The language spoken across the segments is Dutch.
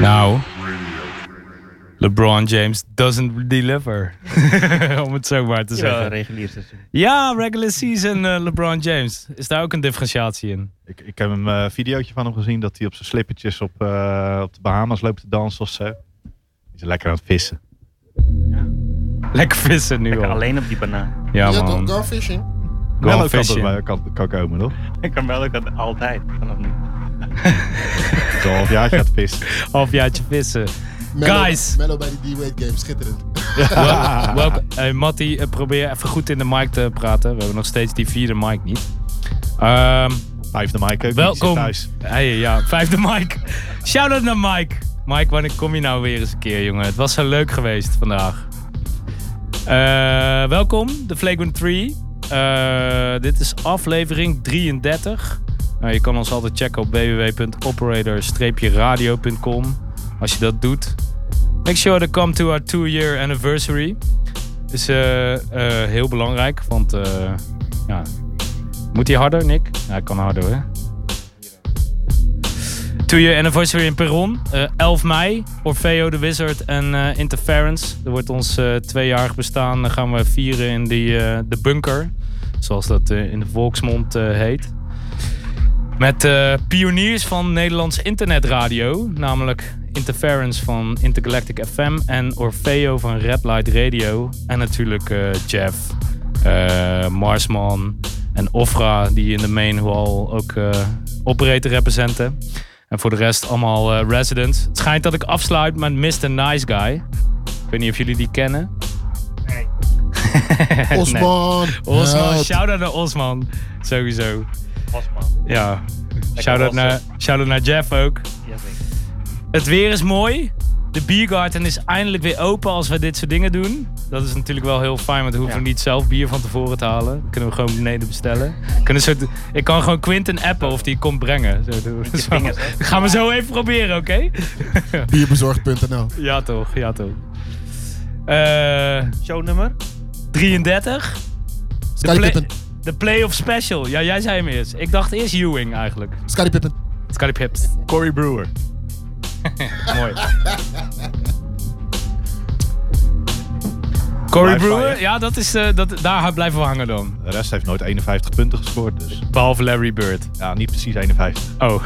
Nou. LeBron James doesn't deliver. Om het zo maar te Ja, zeggen. regulier seizoen. Ja, regular season eh, LeBron James. Is daar ook een differentiatie in? Ik, ik heb een eh, videootje van hem gezien dat hij op zijn slippertjes op, eh, op de Bahamas loopt te dansen of zo. Hij is lekker aan het vissen. Lekker vissen nu Lekker al. alleen op die banaan. Ja, ja, toch? man. Go fishing. Go Mello kan, fishing. er- kan, kan komen, toch? Ik kan wel ook dat altijd. Vanaf nu. Een halfjaartje aan het vissen. Halfjaartje vissen. Mello- Guys. Mello bij die D-Wade game, schitterend. Wel- welk- hey, Matty, eh, probeer even goed in de mic te praten. We hebben nog steeds die vierde mic niet. Ehm, Vijfde Mike ook. die zit welkom. Thuis. Hey, ja, vijfde mic. Shout-out naar Mike. Mike, wanneer kom je nou weer eens een keer, jongen? Het was zo leuk geweest vandaag. Eh, welkom, de Flagrant 3. Eh, dit is aflevering 33. Nou, je kan ons altijd checken op www.operator-radio.com. Als je dat doet, make sure to come to our two-year anniversary. Is eh, eh, heel belangrijk, want eh, ja. moet hij harder, Nick? Ja, hij kan harder, hè? Two-year anniversary in Perron, eh 11 mei. Orfeo the Wizard en eh, Interference. Er wordt ons eh, tweejarig bestaan. Dan gaan we vieren in die, eh, de bunker. Zoals dat eh, in de volksmond eh, heet. Met eh, pioniers van Nederlands internetradio. Namelijk Interference van Intergalactic FM. En Orfeo van Red Light Radio. En natuurlijk eh, Jeff, eh, Marsman en Ofra. Die in de main hall ook eh operator representen. En voor de rest allemaal eh, residents. Het schijnt dat ik afsluit met Mr. Nice Guy. Ik weet niet of jullie die kennen. Nee. Osman. Osman, Help. shout-out naar Osman. Sowieso. Osman. Ja. Shout-out wassen. naar, shout-out naar Jeff ook. Jazeker. Het weer is mooi. De biergarten is eindelijk weer open als we dit soort dingen doen. Dat is natuurlijk wel heel fijn, want dan hoeven we Ja. niet zelf bier van tevoren te halen. Dan kunnen we gewoon beneden bestellen. Kunnen zo ik kan gewoon Quinten appen of die komt brengen. Zo, doen we. je Zo. vingers, hè? Gaan we zo even proberen, oké? Bierbezorgd.nl. Ja toch, ja toch. Eh, Shownummer? 33. De, Scottie play- Pippen. de playoff special. Ja, jij zei hem eerst. Ik dacht eerst Ewing eigenlijk. Scottie Pippen. Scotty Pips. Corey Brewer. Mooi. Corey Blijf Brewer, hangen. ja, dat is, eh, dat, daar blijven we hangen dan. De rest heeft nooit 51 punten gescoord. Dus Behalve Larry Bird. ja, niet precies 51. Oh.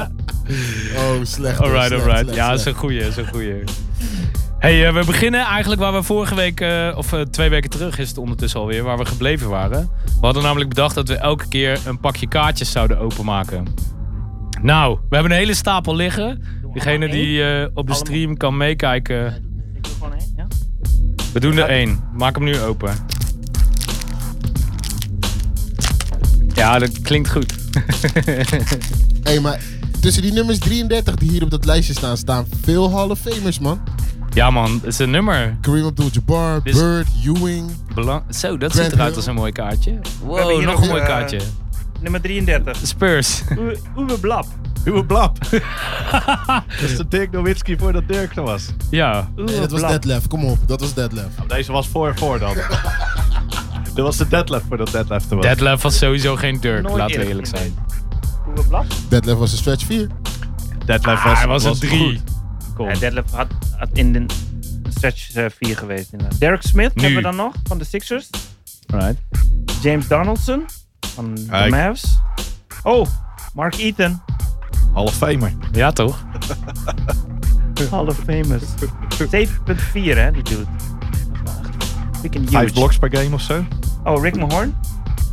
Oh, slecht. hoor, alright, slecht, alright. slecht, Ja, dat is slecht. een goeie, dat is een goeie. Hey, eh, we beginnen eigenlijk waar we vorige week, eh, of eh, twee weken terug is het ondertussen alweer, waar we gebleven waren. We hadden namelijk bedacht dat we elke keer een pakje kaartjes zouden openmaken. Nou, we hebben een hele stapel liggen. Degene allemaal die eh, op de Allemaal. stream kan meekijken, Ik doe gewoon één, ja? We doen er één. Maak hem nu open. Ja, dat klinkt goed. Hey, maar tussen die nummers 33 die hier op dat lijstje staan, staan veel Hall of Famers, man. ja man, het is een nummer. Kareem Abdul-Jabbar, Dit is- Bird, Ewing. Belang Zo, dat Grant ziet eruit Hill. als een mooi kaartje. hebben Wow, hier nog nog, een mooi eh, kaartje. Nummer 33. Spurs. Oe- Oewe Blap. Uwe blap. dat is de Dirk Nowitzki voordat Dirk er was. Ja. Nee, Oewe dat was Blap. Deadlef. Kom op, dat was Deadlef. Nou, deze was voor voor dan. Dit was de deadlift voordat deadlift er was. Deadlift was sowieso geen Dirk, Nooit laten we eerder eerlijk zijn. gezien. Oewe Blap? Deadlef was een stretch 4. Deadlift Ah, hij was een goed. 3. Kom. Ja, Detlef had, had in de stretch 4 geweest. Inderdaad. Derek Smith Nu. hebben we dan nog van de Sixers. Right. James Donaldson van de Kijk. Mavs. Oh, Mark Eaton. Half famer. Ja toch? Hall of Famous. 7.4 hè, die dude. Freaking huge. Vijf bloks per game of zo. Oh, Rick Mahorn.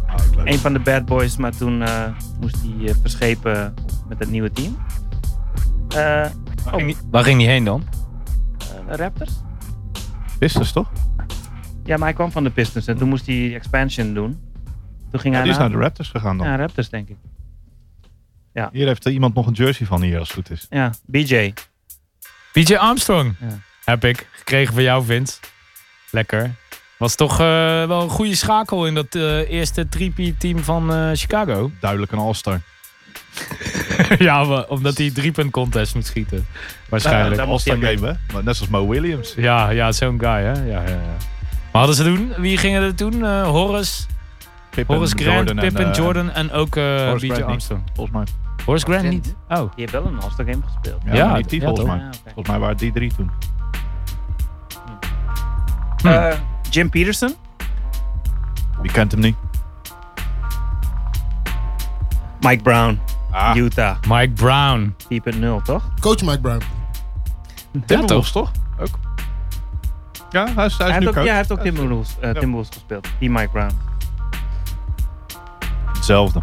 Ah, ik leuk. Een van de bad boys, maar toen eh, moest hij eh, verschepen met het nieuwe team. Eh, oh, Ging die- Waar ging die heen dan? eh, Raptors? Pistons toch? Ja, maar hij kwam van de Pistons en toen moest hij expansion doen. Toen ging hij Die is naar naar de Raptors gegaan dan. nou. ja, Raptors, denk ik. Hier heeft er iemand nog een jersey van hier als het goed is. Ja, BJ. PJ Armstrong. Ja. Heb ik gekregen van jou, Vince. Lekker. Was toch eh, wel een goede schakel in dat eh, eerste 3P-team van eh, Chicago. Duidelijk een all-star. ja, maar omdat hij drie-punt contest moet schieten. Waarschijnlijk. Ja, een all-star game hè. Maar Net zoals Mo Williams. Ja, ja zo'n guy, hè? Ja, ja, ja. Maar hadden ze toen? Wie gingen er toen? Eh, Horace, Pippen, Horace Grant, Jordan en, Pippen, eh, Jordan en ook eh Horace B.J. Grant niet. Armstrong. Volgens mij. Horace Grant Grant. niet. Oh, Die heeft wel een All-Star Game gespeeld. Ja, maar niet die ja, volgens toch? mij. Ja, oké. Volgens mij waren het die drie toen. Eh, Jim Peterson. Wie kent hem niet? Mike Brown. Ah, Utah. Oh. Mike Brown. 4.0, toch? Coach Mike Brown. Timberwolves toch? Ook. Ja, hij is, hij is Hij nu heeft ook, ja, coach. hij heeft ook Hij is Timberwolves, eh, Timberwolves gespeeld. Die Mike Brown. Hetzelfde.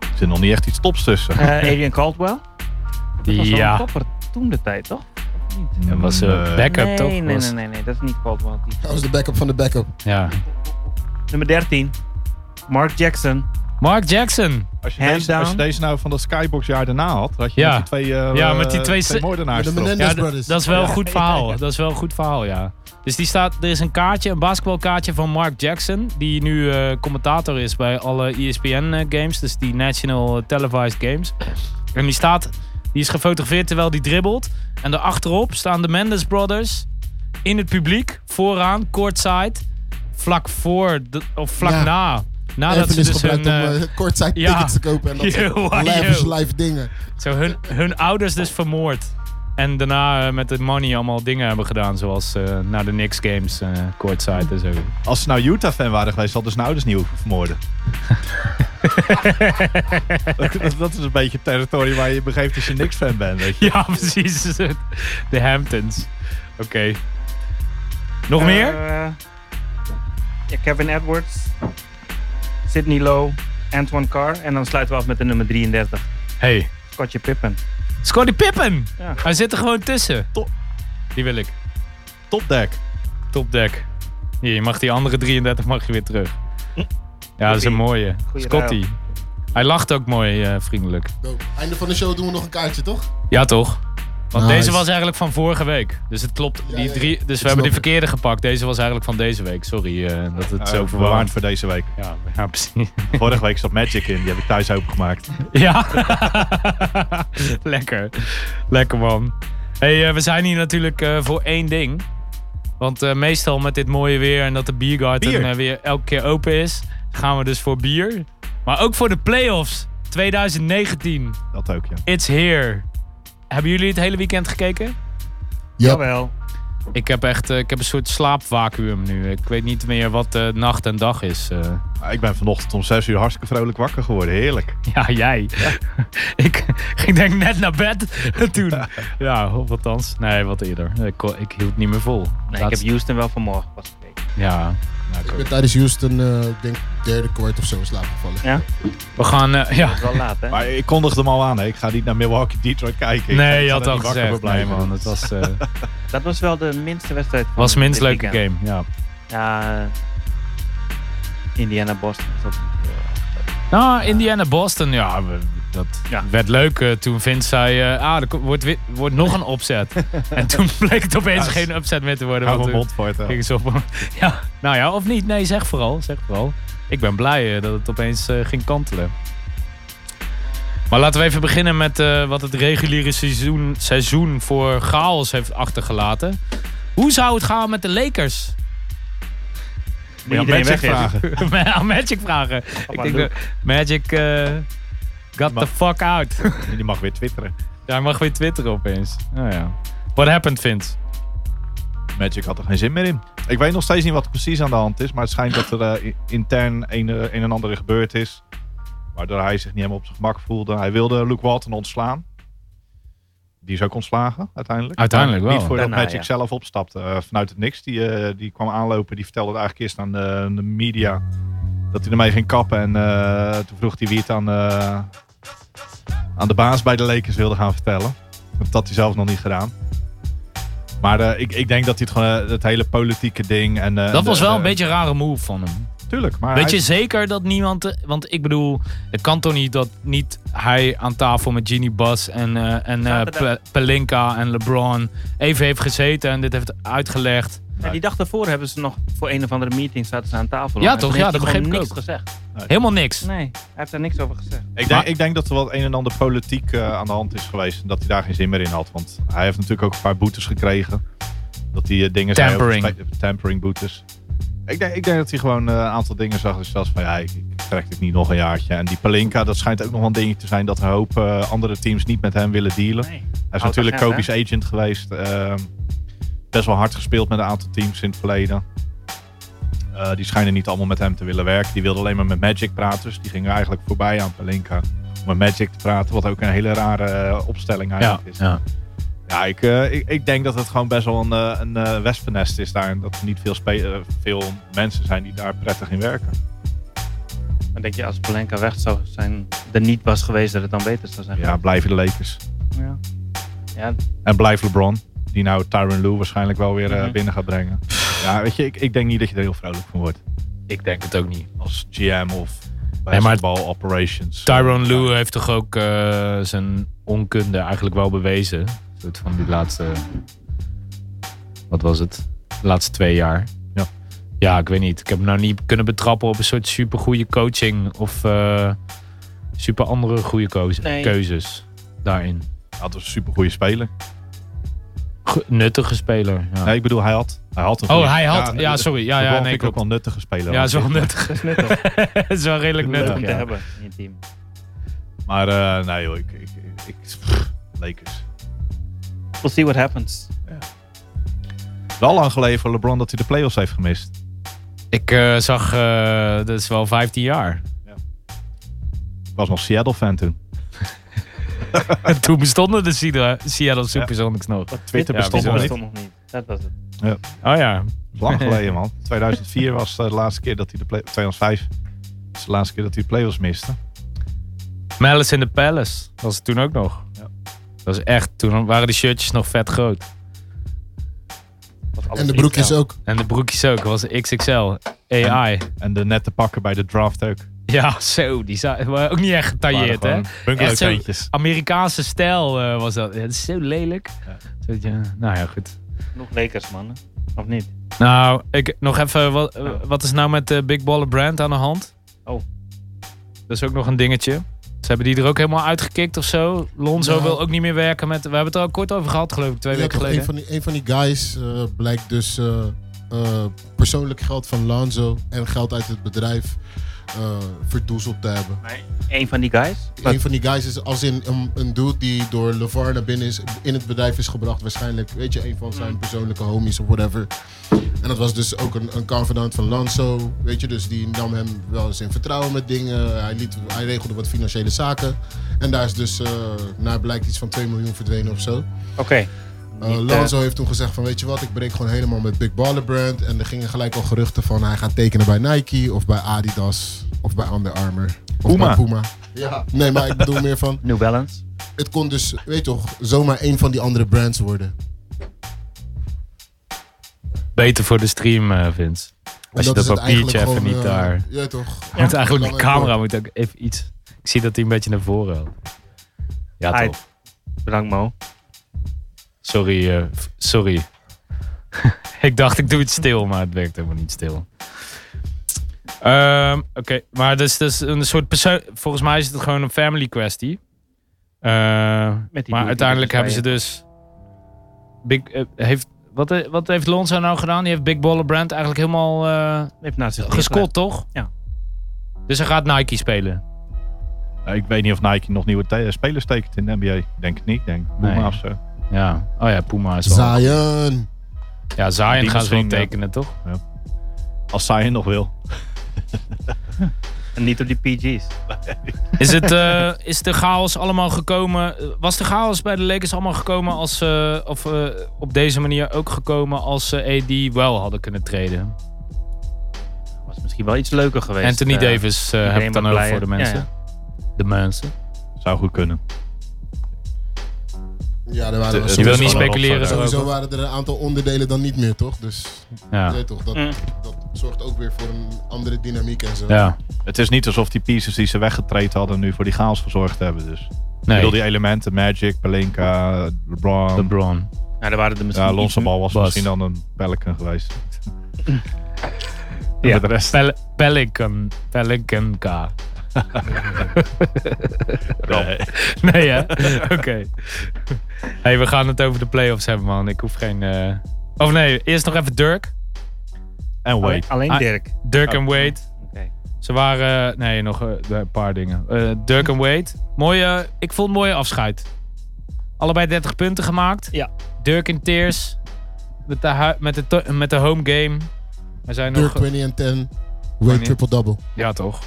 Er zit nog niet echt iets tops tussen. Eh, Adrian Caldwell. Dat was wel een Ja, topper toen de tijd, toch? Of niet? dat was eh, Nee. backup nee, toch? Nee, Was- nee, nee, nee, dat is niet Caldwell. Die- Hij was de backup van de backup. Ja. Nummer 13. Mark Jackson. Mark Jackson. Als je, Hands deze, als je down. deze nou van dat Skybox jaar daarna had, had je Ja. met die twee, eh, Ja, met die twee twee se- moordenaars Met de erop. Menendez- Ja, Yes, d- brothers. dat is wel een goed Oh Ja, verhaal. ja. Dat is wel een goed verhaal, ja. Dus die staat, er is een kaartje, een basketbalkaartje van Mark Jackson, die nu eh, commentator is bij alle E ESPN-games, dus die National Televised Games. En die staat, die is gefotografeerd terwijl die dribbelt. En daarachterop staan de Mendes Brothers in het publiek, vooraan, courtside, vlak voor, de- of vlak Ja. na. Nadat Evan ze is dus hun, gebruikt om eh, eh, kortzij ja. tickets te kopen en dat Yo, soort why, lavish yo. live dingen. Zo hun, hun ouders dus vermoord. En daarna eh, met het money allemaal dingen hebben gedaan. Zoals eh, naar de Knicks games, eh courtside en zo. Als ze nou Utah-fan waren geweest, hadden ze nou dus niet hoeven vermoorden. dat, dat- dat is een beetje het territorium waar je je begeeft als je niks fan bent. Weet je. Ja, precies. De Hamptons. Oké. Nog Eh, meer? ja, Kevin Edwards. Sidney Lowe. Antoine Carr. En dan sluiten we af met de nummer 33. Hey. Scottie Pippen. Scottie Pippen! Ja. Hij zit er gewoon tussen. Top. Die wil ik. Topdeck. Nou, Topdeck. Hier, je mag die andere 33 mag je weer terug. Ja, dat is een mooie. Hm. Goeie Scotty. Hij lacht ook mooi eh, vriendelijk. Dope. Einde van de show doen we nog een kaartje, toch? Ja, toch? Want Nice. deze was eigenlijk van vorige week. Dus het klopt. Ja, Die ja, ja. drie, dus we hebben snap die ik. verkeerde gepakt. Deze was eigenlijk van deze week. Sorry eh, dat het zo Zo verwarrend verwaard voor deze week. Ja, ja, precies. Vorige week zat Magic in, die heb ik thuis opengemaakt. Ja. Lekker. Lekker man. hey, eh, we zijn hier natuurlijk eh, voor één ding. Want eh, meestal met dit mooie weer en dat de biergarten Bier. eh, weer elke keer open is, gaan we dus voor bier. Maar ook voor de playoffs 2019. Dat ook, ja. It's here. Hebben jullie het hele weekend gekeken? Ja. Jawel. Ik heb echt eh, ik heb een soort slaapvacuüm nu. Ik weet niet meer wat eh, nacht en dag is. eh. Maar Ik ben vanochtend om 6 uur hartstikke vrolijk wakker geworden. Heerlijk. ja, jij. ik ging denk net naar bed toen. ja, of althans. Nee, wat eerder. Ik, kon- ik hield niet meer vol. Nee, ik heb Laatst- Houston wel vanmorgen pas gekeken. Ja. nou, ik Ik ook. ben tijdens Houston, eh, ik denk derde kwart of zo in slaap gevallen. Ja? We gaan... eh, ja. Dat is wel laat, hè? Maar ik kondigde hem al aan. Hè. Ik ga niet naar Milwaukee, Detroit kijken. Ik ga- Nee, ik je ga had daar al niet wakker gezegd. voor blijven. Nee man, het was, eh Dat was wel de minste wedstrijd. van was minst dit leuke weekend. game. Ja. Ja. eh, Indiana Boston. was ook niet eh, heel erg. Nou, Indiana-Boston, ja, we- dat Ja. werd leuk eh, toen Vince zei, eh, ah, er ko- wordt, weer- wordt nog een opzet. en toen bleek het opeens Ja, geen opzet meer te Ik worden. hou want eh, mijn toen- mond voor het. hè. Ging ze op. Ja, nou ja, of niet? Nee, zeg vooral. Zeg vooral. Ik ben blij eh, dat het opeens eh, ging kantelen. Maar laten we even beginnen met eh, wat het reguliere seizoen, seizoen voor chaos heeft achtergelaten. Hoe zou het gaan met de Lakers? Moet Ja, iedereen Magic weg vragen. Aan Magic vragen. Ik denk dat Magic eh, got the mag- fuck out. Die mag weer twitteren. Ja, hij mag weer twitteren opeens. Nou ja. What happened, Vince? Magic had er geen zin meer in. Ik weet nog steeds niet wat er precies aan de hand is. Maar het schijnt dat er eh, i- intern een, eh, een en ander gebeurd is. Waardoor hij zich niet helemaal op zijn gemak voelde. Hij wilde Luke Walton ontslaan. Die is ook ontslagen uiteindelijk. Uiteindelijk Maar wel. Niet voordat Daarna, Magic ja. zelf opstapte. Eh, vanuit het niks. Die, eh, die kwam aanlopen. Die vertelde het eigenlijk eerst aan de, de media. Dat hij ermee ging kappen. En eh, toen vroeg hij wie het aan, eh, aan de baas bij de Lakers wilde gaan vertellen. Dat had hij zelf nog niet gedaan. Maar eh, ik, ik denk dat hij het gewoon, eh, het hele politieke ding en... eh, Dat de- was wel de- een beetje een rare move van hem. Tuurlijk, maar Weet je hij- zeker dat niemand. eh, Want ik bedoel, het kan toch niet dat niet hij aan tafel met Ginny Bas en, eh, en eh, Zaterdag. Pe- Pelinka en LeBron even heeft gezeten en dit heeft uitgelegd. Ja, die dag daarvoor hebben ze nog voor een of andere meeting zaten ze aan tafel. Ja, En toen toch? heeft Ja, hij dat gewoon begreep ik niks ook. gezegd. Helemaal niks. Nee, hij heeft daar niks over gezegd. ik, denk, maar- ik denk dat er wel een en ander politiek eh, aan de hand is geweest. En dat hij daar geen zin meer in had. Want hij heeft natuurlijk ook een paar boetes gekregen. Dat hij eh, dingen... zei over Tampering. spe- Tampering boetes. Ik denk, ik denk dat hij gewoon eh, een aantal dingen zag. Dus dat van ja, ik, ik trek dit niet nog een jaartje. En die Palinka, dat schijnt ook nog wel een dingetje te zijn dat een hoop eh, andere teams niet met hem willen dealen. Nee. Hij is Oud natuurlijk agent, Kobe's agent geweest. ehm, best wel hard gespeeld met een aantal teams in het verleden. Eh, die schijnen niet allemaal met hem te willen werken. Die wilden alleen maar met Magic praten. Dus die gingen eigenlijk voorbij aan Pelinka om met Magic te praten. Wat ook een hele rare eh, opstelling eigenlijk is. ja. Ja, ik, eh, ik, ik denk dat het gewoon best wel een, eh, een eh, wespennest is daar. En dat er niet veel, spe- eh, veel mensen zijn die daar prettig in werken. Dan denk je, als Polenka weg zou zijn, er niet was geweest, dat het dan beter zou zijn. Ja, blijven de Lakers. ja. Ja, En blijft LeBron. Die nou Tyron Lue waarschijnlijk wel weer eh, Mhm. binnen gaat brengen. Ja, weet je, ik, ik denk niet dat je er heel vrolijk van wordt. Ik denk het ook niet. Als GM of Nee, maar- basketball operations. Tyrone Lue heeft toch ook eh, zijn onkunde eigenlijk wel bewezen. Een soort van die laatste. Wat was het? De laatste twee jaar. Ja. Ja, ik weet niet. Ik heb hem nou niet kunnen betrappen op een soort super goede coaching. Of eh, super andere goede keuze- Nee. keuzes daarin. Hij had een supergoeie speler. Go- nuttige speler. Ja. Nee, ik bedoel, hij had. Hij had een Oh, goeie- hij had. Ja, de- sorry. Ja, LeBron ja, nee, vind ik ook klopt. wel een nuttige speler. Ja, is wel nuttig. dat is nuttig. is wel redelijk Leuk nuttig. om te ja. hebben in je team. Maar eh, nee joh, ik... ik, ik pff, Lakers. We'll see what happens. Wel lang geleden voor LeBron dat hij de playoffs heeft gemist. Ik eh, zag, eh, dat is wel 15 jaar. Ik was nog Seattle-fan toen. Toen bestonden de Seattle Seattle Supersonics nog. Twitter Ja, bestond nog dat niet. bestond nog niet. Dat was het. Oh ja. Lang geleden, man. 2004 was eh, de laatste keer dat hij de play 2005 was de laatste keer dat hij de playoffs miste. Malice in the Palace was het toen ook nog. Ja. Dat is echt, toen waren de shirtjes nog vet groot. Was alles En de niet broekjes zo. ook. En de broekjes ook, was XXL. AI. En de nette pakken bij de draft ook. Ja, zo. Die za- waren ook niet echt getailleerd, E hè? Echt zo- Bungalowteentjes. Amerikaanse stijl eh, was dat. Ja, dat is zo lelijk. Ja. Zo, ja, nou ja, goed. Genoeg Lakers, man. Of niet? Nou, ik, nog even, wat, eh, wat is nou met de Big Baller Brand aan de hand? Oh. Dat is ook nog een dingetje. Ze hebben die er ook helemaal uitgekikt of zo. Lonzo Nou. wil ook niet meer werken met... We hebben het er al kort over gehad, geloof ik, twee Ja, weken toch, een, geleden. van die, een van die guys eh, blijkt dus eh, eh, persoonlijk geld van Lonzo en geld uit het bedrijf eh, verdoezeld te hebben. Eén van die guys? Een van die guys is als in een, een dude die door LeVar naar binnen is, in het bedrijf is gebracht. Waarschijnlijk, weet je, een van zijn persoonlijke homies of whatever. En dat was dus ook een, een confidant van Lanzo, weet je. Dus die nam hem wel eens in vertrouwen met dingen. Hij, liet, hij regelde wat financiële zaken. En daar is dus, eh naar blijkt iets van 2 miljoen verdwenen of zo. Oké. Eh, Niet, eh, Lonzo heeft toen gezegd van, weet je wat, ik breek gewoon helemaal met Big Baller Brand. En er gingen gelijk al geruchten van, hij gaat tekenen bij Nike of bij Adidas of bij Under Armour. Of Puma. bij Puma. Ja. Nee, maar ik bedoel meer van, New Balance. het kon dus, weet je toch, zomaar een van die andere brands worden. Beter voor de stream, eh, Vince. Als je En dat is het papiertje eigenlijk even niet gewoon, eh, daar... Ja, toch. Je moet eigenlijk Lang de en kort. camera moet ook even iets... Ik zie dat hij een beetje naar voren houdt. Ja, Hij- toch. Bedankt, Mo. Sorry, eh, f- sorry. ik dacht ik doe het stil, maar het werkt helemaal niet stil. Ehm, Oké, maar dus, dus een soort persoon. Volgens mij is het gewoon een family kwestie. Eh, dude die maar uiteindelijk dus bij hebben ze je- dus. Big, eh, heeft, wat, eh, wat heeft Lonzo nou gedaan? Die heeft Big Baller Brand eigenlijk helemaal eh Heeft naast zich gescot, toch? Ja. Dus hij gaat Nike spelen. Nou, ik weet niet of Nike nog nieuwe te- eh, spelers tekent in de NBA. Ik Denk het niet. ik Denk Puma Nee. of zo. Ja. Oh ja, Puma is wel. Zion. Ja, Zion Die gaan ze wel misschien, ja. tekenen, toch? Als zij nog wil. En niet op die PG's. Is, het, eh, is de chaos allemaal gekomen? eh, Was de chaos bij de Lakers allemaal gekomen als eh, of eh, op deze manier ook gekomen als ze AD wel hadden kunnen treden? Was misschien wel iets leuker geweest. Anthony Eh, Davis eh heb ik iedereen dan wat ook blijer. voor de mensen. Ja, De mensen. Zou goed kunnen. Ja, daar waren Je wil we Je wil sowieso- niet wel speculeren. een Sowieso daarover. waren er een aantal onderdelen dan niet meer, toch? Dus Ja. je weet toch, dat, Mm. dat zorgt ook weer voor een andere dynamiek en zo. ja. Het is niet alsof die pieces die ze weggetraind hadden nu voor die chaos gezorgd hebben. Dus. Ik bedoel Nee, die elementen. Magic, Pelinka, LeBron. LeBron. Ja, daar waren er misschien ja, Lonzo iets- Ball was Bas. misschien dan een Pelican geweest. Ja. ja. de rest Pel Pelican. Pelican K. wel. Nee, hè? Oké. hey, we gaan het over de playoffs hebben, man. Ik hoef geen... eh, Of nee, eerst nog even Dirk. En Wade. Alleen Ah, Dirk. Dirk Oh. en Wade. Oké. Ze waren... Nee, nog eh, een paar dingen. Eh, Dirk en Wade. Mooie, ik vond een mooie afscheid. Allebei 30 punten gemaakt. Ja. Dirk in tears. Met de, hu- met de, to- met de home game. Er zijn Dirk nog... 20 en 10. Wade triple-double. Ja, toch.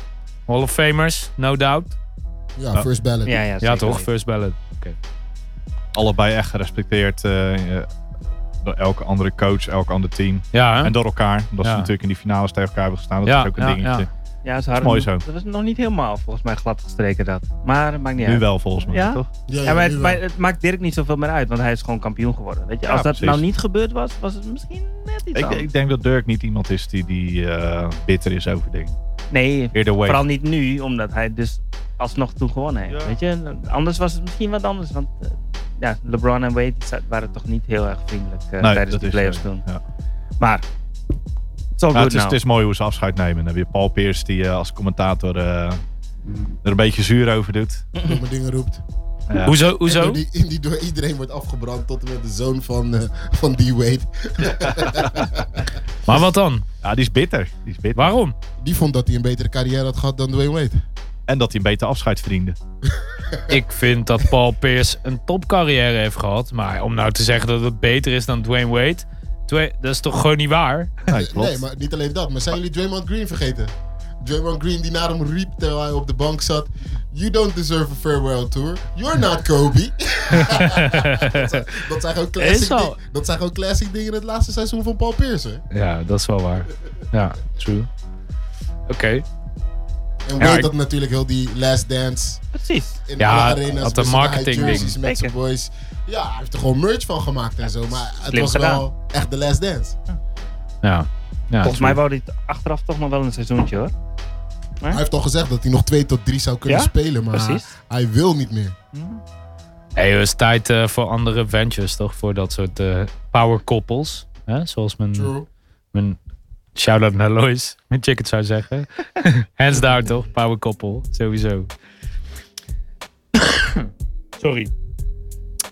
Hall of Famers. No doubt. Ja, Ja. first ballot. Ja, ja, Ja, zeker toch. weten. First ballot. Allebei echt gerespecteerd eh, eh, door elke andere coach, elk ander team. Ja, hè? En door elkaar. Omdat ze Ja. natuurlijk in die finales tegen elkaar hebben gestaan. Dat Ja, is ook een ja, dingetje. Ja, ze hadden mooi zo. Dat was nog niet helemaal volgens mij glad gestreken dat. Maar het maakt niet Nu uit. wel volgens mij, Ja? toch? Ja, Ja, maar het, nu maar wel. het maakt Dirk niet zoveel meer uit, want hij is gewoon kampioen geworden. Weet je, Ja, als dat precies. nou niet gebeurd was, was het misschien net iets Ik, anders. ik denk dat Dirk niet iemand is die, die eh, bitter is over dingen. nee, Eerder Wade. vooral niet nu, omdat hij dus alsnog toen gewonnen heeft. Ja. Weet je, anders was het misschien wat anders, want eh, ja, LeBron en Wade die za- waren toch niet heel erg vriendelijk eh, Nee, tijdens dat de is playoffs zo, toen. ja. Maar, it's all Nou, good het, is, now. het is mooi hoe ze afscheid nemen. Dan heb je Paul Pierce die eh, als commentator eh, er een beetje zuur over doet. Domme dingen roept. Ja. Hoezo? En hoezo? Die, die door iedereen wordt afgebrand tot en met de zoon van, eh, van D-Wade. Maar wat dan? Ja, die is bitter. Die is bitter. Waarom? Die vond dat hij een betere carrière had gehad dan Dwayne Wade. En dat hij een beter afscheid verdiende. Ik vind dat Paul Pierce een topcarrière heeft gehad. Maar om nou te zeggen dat het beter is dan Dwayne Wade. Dwa- dat is toch gewoon niet waar? Nee, klopt. Nee, maar niet alleen dat. Maar zijn jullie Draymond Green vergeten? Draymond Green die naar hem riep terwijl hij op de bank zat. You don't deserve a farewell tour. You're not Kobe. dat, zijn gewoon Is classic zo. ding- dat zijn gewoon classic dingen in het laatste seizoen van Paul Pierce. hè. Ja, dat is wel waar. Ja, true. Oké. En Wade ik- had natuurlijk heel die last dance Precies. in Ja, alle arena's. had een met zijn marketing high jerseys ding. Met zijn Zeker. boys. Ja, hij heeft er gewoon merch van gemaakt en zo. Maar het slim was gedaan. wel echt de last dance. Ja. ja Volgens mij wou hij het achteraf toch nog wel een seizoentje hoor. Hij heeft al gezegd dat hij nog twee tot drie zou kunnen Ja, spelen. Maar precies. hij wil niet meer. Hey, het is tijd eh, voor andere ventures, toch? Voor dat soort eh power couples. Hè? Zoals mijn, True. mijn shout-out naar Lois. Mijn chicken zou zeggen. Hands down, toch? Power couple. Sowieso. Sorry.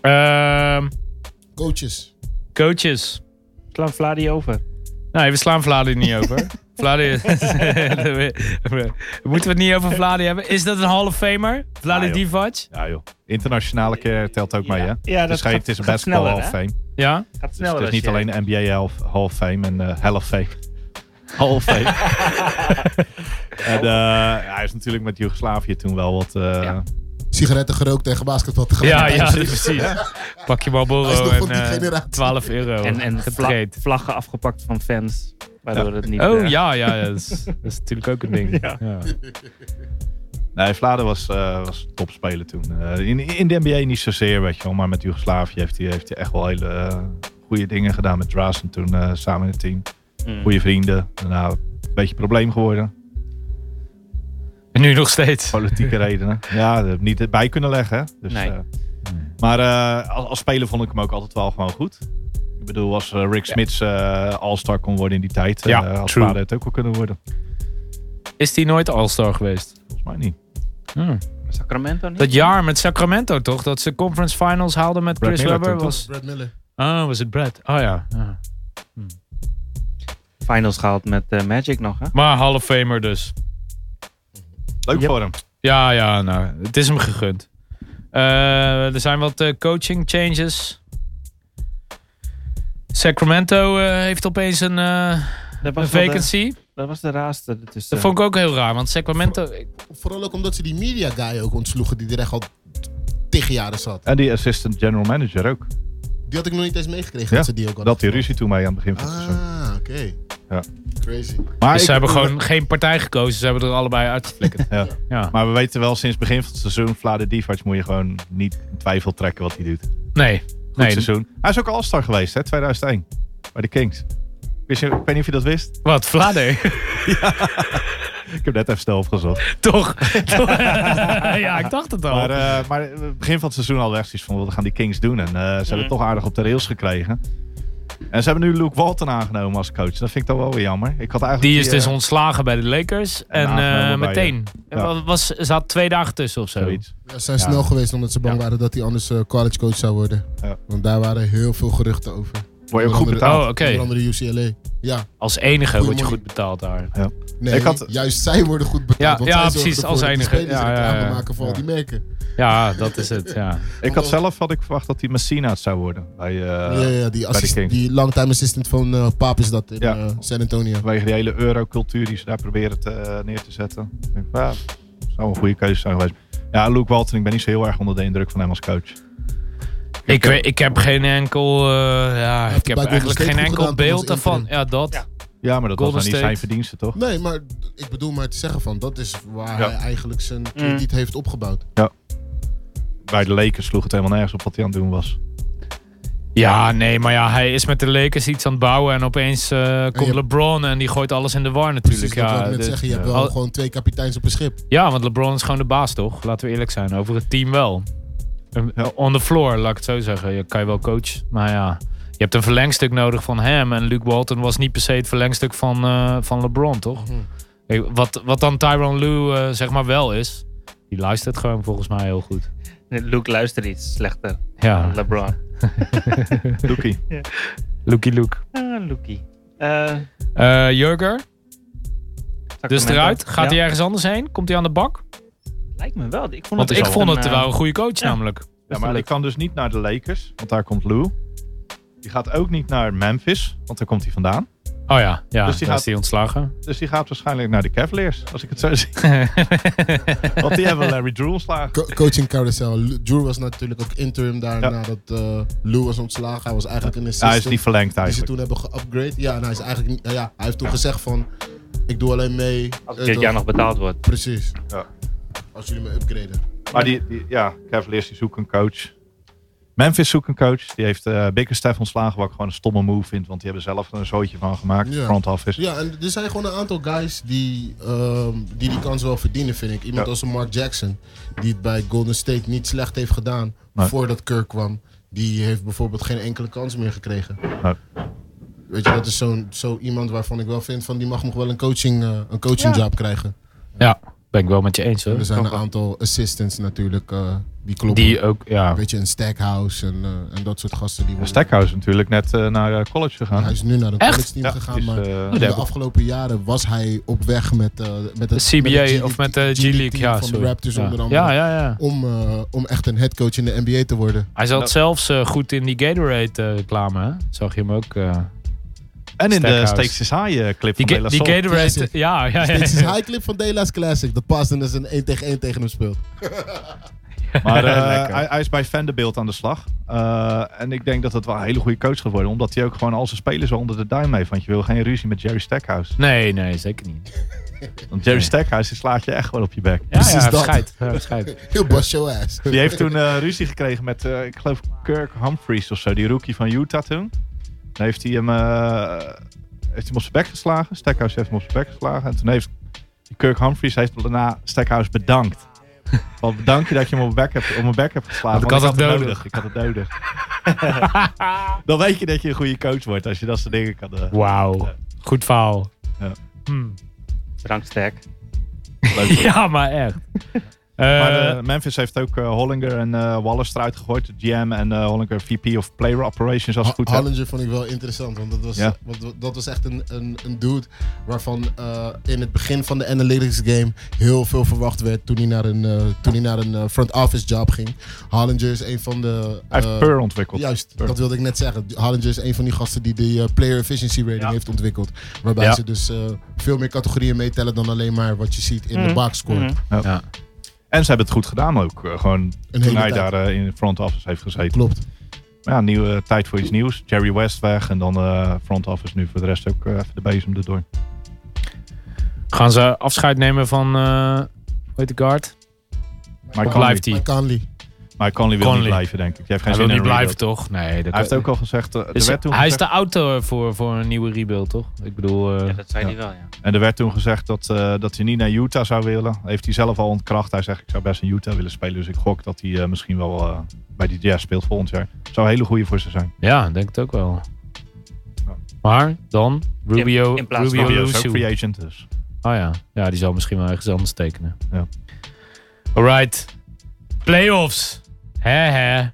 Ehm, Coaches. coaches. Slaan Vladi over. Nee, we slaan Vladi niet over. Vladi... Moeten we het niet over Vladi hebben? Is dat een Hall of Famer? Vladi Ja, joh. Divac? Ja joh. Internationale keer telt ook mee hè. Ja, Het ja is, geen- het is een basketball sneller, Hall of hè? Fame. Ja? Gaat Dus sneller het is als niet je- alleen NBA Hall of- Hall of Fame en eh Hall of Fame. Hall of Fame. en, eh, ja, hij is natuurlijk met Joegoslavië toen wel wat... eh, Ja. Sigaretten gerookt tegen basketbal Ja, tegelijkertijd. ja, precies. Pak je Hij is Marlboro nog van en die eh, generatie. 12 euro. En, en vla- Getreed. vlaggen afgepakt van fans. Waardoor het niet... Oh eh, ja, ja, ja, dat, is, dat is natuurlijk ook een ding. Ja. Ja. Nee, Vladen was, eh, was topspeler toen. Eh, in, in de NBA niet zozeer, weet je wel. Maar met Joegoslavië heeft hij, heeft hij echt wel hele eh, goede dingen gedaan met Drazen toen eh, samen in het team. mm. Goede vrienden. Daarna een beetje probleem geworden. En nu nog steeds. Politieke redenen. Ja, dat heb ik niet bij kunnen leggen. hè. Dus, Nee. eh, maar eh, als, als speler vond ik hem ook altijd wel gewoon goed. Ik bedoel, als eh, Rick Smits eh, All-Star kon worden in die tijd, Ja, ja, had true. Vladen het ook wel kunnen worden. Is die nooit All-Star geweest? Volgens mij niet. Sacramento niet? Dat jaar met Sacramento toch? Dat ze conference finals haalden met Brad Chris Miller Webber. toen, Was... Brad Miller. Oh, was het Brad? Oh ja. ja. Finals gehaald met eh, Magic nog, hè? Maar Hall of Famer dus. Leuk Yep. voor hem. Ja, ja, nou, het is hem gegund. Eh, er zijn wat eh, coaching changes. Sacramento eh, heeft opeens een, eh, Dat een was wel de- vacancy. dat was de raarste. Dus, Dat vond ik ook heel raar, want Sacramento... Vooral ook omdat ze die media guy ook ontsloegen die er echt al tig jaren zat. En die assistant general manager ook. Die had ik nog niet eens meegekregen Ja, dat ze die ook hadden. Dat die ruzie toen mee aan het begin van het seizoen. Ah, oké. Ja. Crazy. Maar Dus ik- ze hebben gewoon geen partij gekozen. Ze hebben er allebei uitgeflikkerd. Ja. Ja. Maar we weten wel sinds begin van het seizoen, Vlade Divac moet je gewoon niet in twijfel trekken wat hij doet. Goed Nee. nee. seizoen. Hij is ook All-Star geweest, hè, 2001. Bij de Kings. Wist je, ik weet niet of je dat wist. Wat, Vlade? Ik heb net even snel opgezocht. Toch? ja, ik dacht het al. Maar, eh, maar begin van het seizoen hadden we echt zoiets van, wat gaan die Kings doen? En eh, ze hebben het toch aardig op de rails gekregen. En ze hebben nu Luke Walton aangenomen als coach. Dat vind ik dan wel weer jammer. Ik had eigenlijk die is dus eh, ontslagen bij de Lakers. En, aangenomen eh, bij, meteen. ja. Er Was, ze had twee dagen tussen of zo. zoiets. Ja, ze zijn snel geweest omdat ze bang Ja. waren dat hij anders eh, college coach zou worden. Ja. Want daar waren heel veel geruchten over. Word je ook Onder goed andere- betaald. Oh, oké. Onder andere UCLA. Ja, Als enige word je Goeiemorgen. goed betaald daar. nee, Ik had- juist zij worden goed Ja, betaald. want ja, zij zorgen precies, ervoor als dat de enige. spelers Ja, ja, reclame ja. maken voor al die merken. Ja, dat is het. Ja. Ik had zelf had ik verwacht dat hij Messina het zou worden. Bij, eh, ja, ja, die, assist, Kings. die longtime assistant van eh Paap is dat in Ja. eh, San Antonio. Vanwege die hele eurocultuur die ze daar proberen te, eh, neer te zetten. Ik denk, ja, zou een goede keuze zijn geweest. Ja, Luke Walton, ik ben niet zo heel erg onder de indruk van hem als coach. Ik, weet- ik heb geen enkel, eh, ja, heeft ik bij heb Golden eigenlijk State geen goed enkel gedaan toen beeld als daarvan. interim. Ja, dat. Ja. Ja, maar dat was Golden dan niet State. zijn verdienste, toch? Nee, maar ik bedoel maar te zeggen van, dat is waar Ja. hij eigenlijk zijn Mm. krediet heeft opgebouwd. Bij de Lakers sloeg het helemaal nergens op wat hij aan het doen was. Ja, nee, maar ja, hij is met de Lakers iets aan het bouwen en opeens eh, komt je- LeBron en die gooit alles in de war Precies, natuurlijk. dat wilde Ja, ik net dit- zeggen. Je hebt wel Al- gewoon twee kapiteins op een schip. ja, want LeBron is gewoon de baas, toch? Laten we eerlijk zijn, over het team wel. Eh, On the floor, laat ik het zo zeggen. Je kan je wel coach, maar ja. Je hebt een verlengstuk nodig van hem en Luke Walton was niet per se het verlengstuk van, eh, van LeBron, toch? Hmm. Kijk, Wat, wat dan Tyron Lue eh, zeg maar wel is, die luistert gewoon volgens mij heel goed. Luke luistert iets slechter Ja, dan LeBron. Doekie. Lookie Luke. Ah, dus Lukie. Eh, Eh Jurger, dus Sacramento. eruit. Gaat Ja, hij ergens anders heen? Komt hij aan de bak? Lijkt me wel. Ik vond Want het ik wel vond een, het eh, wel een goede coach ja. namelijk. Ja, maar ik kan dus niet naar de Lakers, want daar komt Lou. Die gaat ook niet naar Memphis, want daar komt hij vandaan. Oh ja, ja Dus dus die die gaat- is die ontslagen. Dus die gaat waarschijnlijk naar de Cavaliers, als ik het zo zie. Want die hebben Larry Drew ontslagen. Co- coaching carousel. Lu- Drew was natuurlijk ook interim daar Ja. nadat eh, Lou was ontslagen. Hij was eigenlijk een Ja, assistant. hij is niet verlengd die ze eigenlijk. toen hebben geupgrade. Ja, en hij is eigenlijk niet- nou ja, hij heeft toen gezegd van ik doe alleen mee. Als eh, dit dat- jaar nog betaald wordt. Precies. Ja. Als jullie me upgraden. Maar die, die- ja, Cavaliers die zoeken een coach. Memphis zoekt een coach. Die heeft eh Bickerstaff ontslagen, wat ik gewoon een stomme move vind. Want die hebben zelf er een zootje van gemaakt, Ja. front office. Ja, en er zijn gewoon een aantal guys die ehm, die, die kans wel verdienen, vind ik. Iemand Ja. als een Mark Jackson, die het bij Golden State niet slecht heeft gedaan Nee. voordat Kirk kwam. Die heeft bijvoorbeeld geen enkele kans meer gekregen. Nee. Weet je, dat is zo'n- zo iemand waarvan ik wel vind van die mag nog wel een coaching, eh, een coaching job krijgen. Ja, ben ik wel met je eens hoor. Er zijn kan een wel. aantal assistants natuurlijk eh, die kloppen. Die ook, ja. Weet je, een Stackhouse en, eh, en dat soort gasten. Die Ja, worden- Stackhouse is natuurlijk net eh, naar eh, college gegaan. Hij is nu naar een Echt? college team Ja, gegaan, die is, maar eh, in de hebben- afgelopen jaren was hij op weg met, eh met het CBA met het G- of met eh, de G- G-League, ja. van sorry. de Raptors ja. onder andere. Ja, ja, ja. Om, eh, om echt een headcoach in de NBA te worden. Hij zat zelfs eh, goed in die Gatorade-reclame, hè? Zag je hem ook? eh. en in de Stackhouse. Steaks is High eh, clip Die, ga- van De La die Soul. Gatorade, Classic. ja, ja, ja. Dit is high clip van Dela's Classic. Dat past en dat is een 1 tegen 1 tegen hem speelt. Maar eh, Lekker. hij, hij is bij Vanderbilt aan de slag. Eh, en ik denk dat het wel een hele goede coach gaat worden. Omdat hij ook gewoon al zijn spelers wel onder de duim heeft. Want je wil geen ruzie met Jerry Stackhouse. Nee, nee, zeker niet. Want Jerry Stackhouse die slaat je echt gewoon op je bek. Ja, Precies ja, dat. scheid. Ja, scheid. Heel bust your ass. Die heeft toen eh, ruzie gekregen met, eh, ik geloof, Kirk Humphries of zo. Die rookie van Utah toen. Dan heeft hij hem, eh, heeft hij hem op zijn bek geslagen. Stackhouse heeft hem op zijn bek geslagen. En toen heeft Kirk Humphries heeft daarna Stackhouse bedankt. Want bedank je dat je hem op mijn bek hebt, op mijn bek hebt geslagen. Want ik had het nodig. Ik had het nodig. Dan weet je dat je een goede coach wordt als je dat soort dingen kan. eh, Wauw. Goed verhaal. Ja. Hmm. Dranksterk. leuk doen. Ja, maar echt. Maar Eh, eh, Memphis heeft ook eh, Hollinger en eh Wallace eruit gegooid. De GM en eh, Hollinger VP of Player Operations als ik het goed heb. Hollinger vond ik wel interessant, want dat was, Ja. want dat was echt een, een, een dude waarvan eh, in het begin van de analytics game heel veel verwacht werd toen hij naar een, eh, toen hij naar een eh, front office job ging. Hollinger is een van de... Hij heeft eh, Pur ontwikkeld. Juist, Pur. dat wilde ik net zeggen. Hollinger is een van die gasten die de eh, player efficiency rating heeft ontwikkeld. Waarbij Ja. ze dus eh, veel meer categorieën meetellen dan alleen maar wat je ziet in de Mhm. boxscore. Mhm. ja. En ze hebben het goed gedaan ook. eh, gewoon Een toen hele hij tijd. daar eh, in de front office heeft gezeten. Klopt. Ja, nieuwe eh, tijd voor iets nieuws. Jerry West weg en dan eh, front office nu voor de rest ook eh, even de bezem erdoor. Gaan ze afscheid nemen van, eh hoe heet de guard? Maar Conley, Blijft hij? Mike Conley. maar Conley wil Conley. niet blijven, denk ik. Die heeft geen Hij wil zin niet in een blijven, rebuild. toch? Nee, dat Hij heeft ook al gezegd, eh, er Is- werd toen hij is gezegd de auto voor, voor een nieuwe rebuild, toch? Ik bedoel, eh, Ja, dat zei Ja. hij wel, ja. en er werd toen gezegd dat, eh, dat hij niet naar Utah zou willen. Heeft hij zelf al ontkracht. Hij zegt, ik zou best in Utah willen spelen. Dus ik gok dat hij eh, misschien wel eh, bij die Jazz speelt volgend jaar. Zou een hele goede voor ze zijn. ja, ik denk het ook wel. Ja. Maar dan Rubio, in plaats van- Rubio Rubio is ook Luciu. free agent dus. Oh ja. ja, die zal misschien wel ergens anders tekenen. Ja. Alright, playoffs. Hè hè.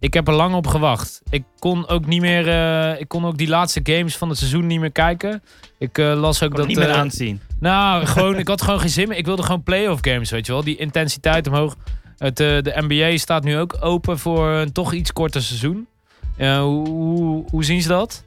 Ik heb er lang op gewacht. Ik kon ook niet meer. eh, ik kon ook die laatste games van het seizoen niet meer kijken. Ik eh, las ook dat. Kan het niet meer eh, aanzien. nou, gewoon, ik had gewoon geen zin meer. Ik wilde gewoon playoff games, weet je wel. Die intensiteit omhoog. Het, eh, de NBA staat nu ook open voor een toch iets korter seizoen. Eh, hoe, hoe, hoe zien ze dat?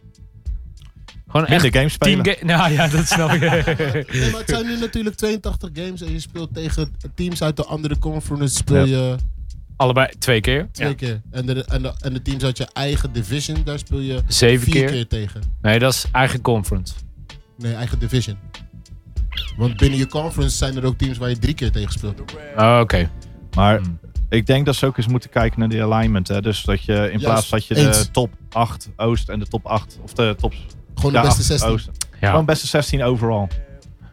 Gewoon echt Minder games team spelen. game. Nou ja, dat snap ik. Nee, maar het zijn nu natuurlijk 82 games en je speelt tegen teams uit de andere conference speel je Allebei twee keer. twee Ja. keer. En de, en, de, en de teams uit je eigen division, daar speel je Zeven vier keer. keer. tegen. Nee, dat is eigen conference. Nee, eigen division. Want binnen je conference zijn er ook teams waar je drie keer tegen speelt. Oh, Oké. Maar Hmm. ik denk dat ze ook eens moeten kijken naar die alignment. Hè? Dus dat je in plaats dat je eens. de top 8 Oost en de top 8 of de top Gewoon ja, de beste acht 16. Oost. Ja. Gewoon beste 16 overall.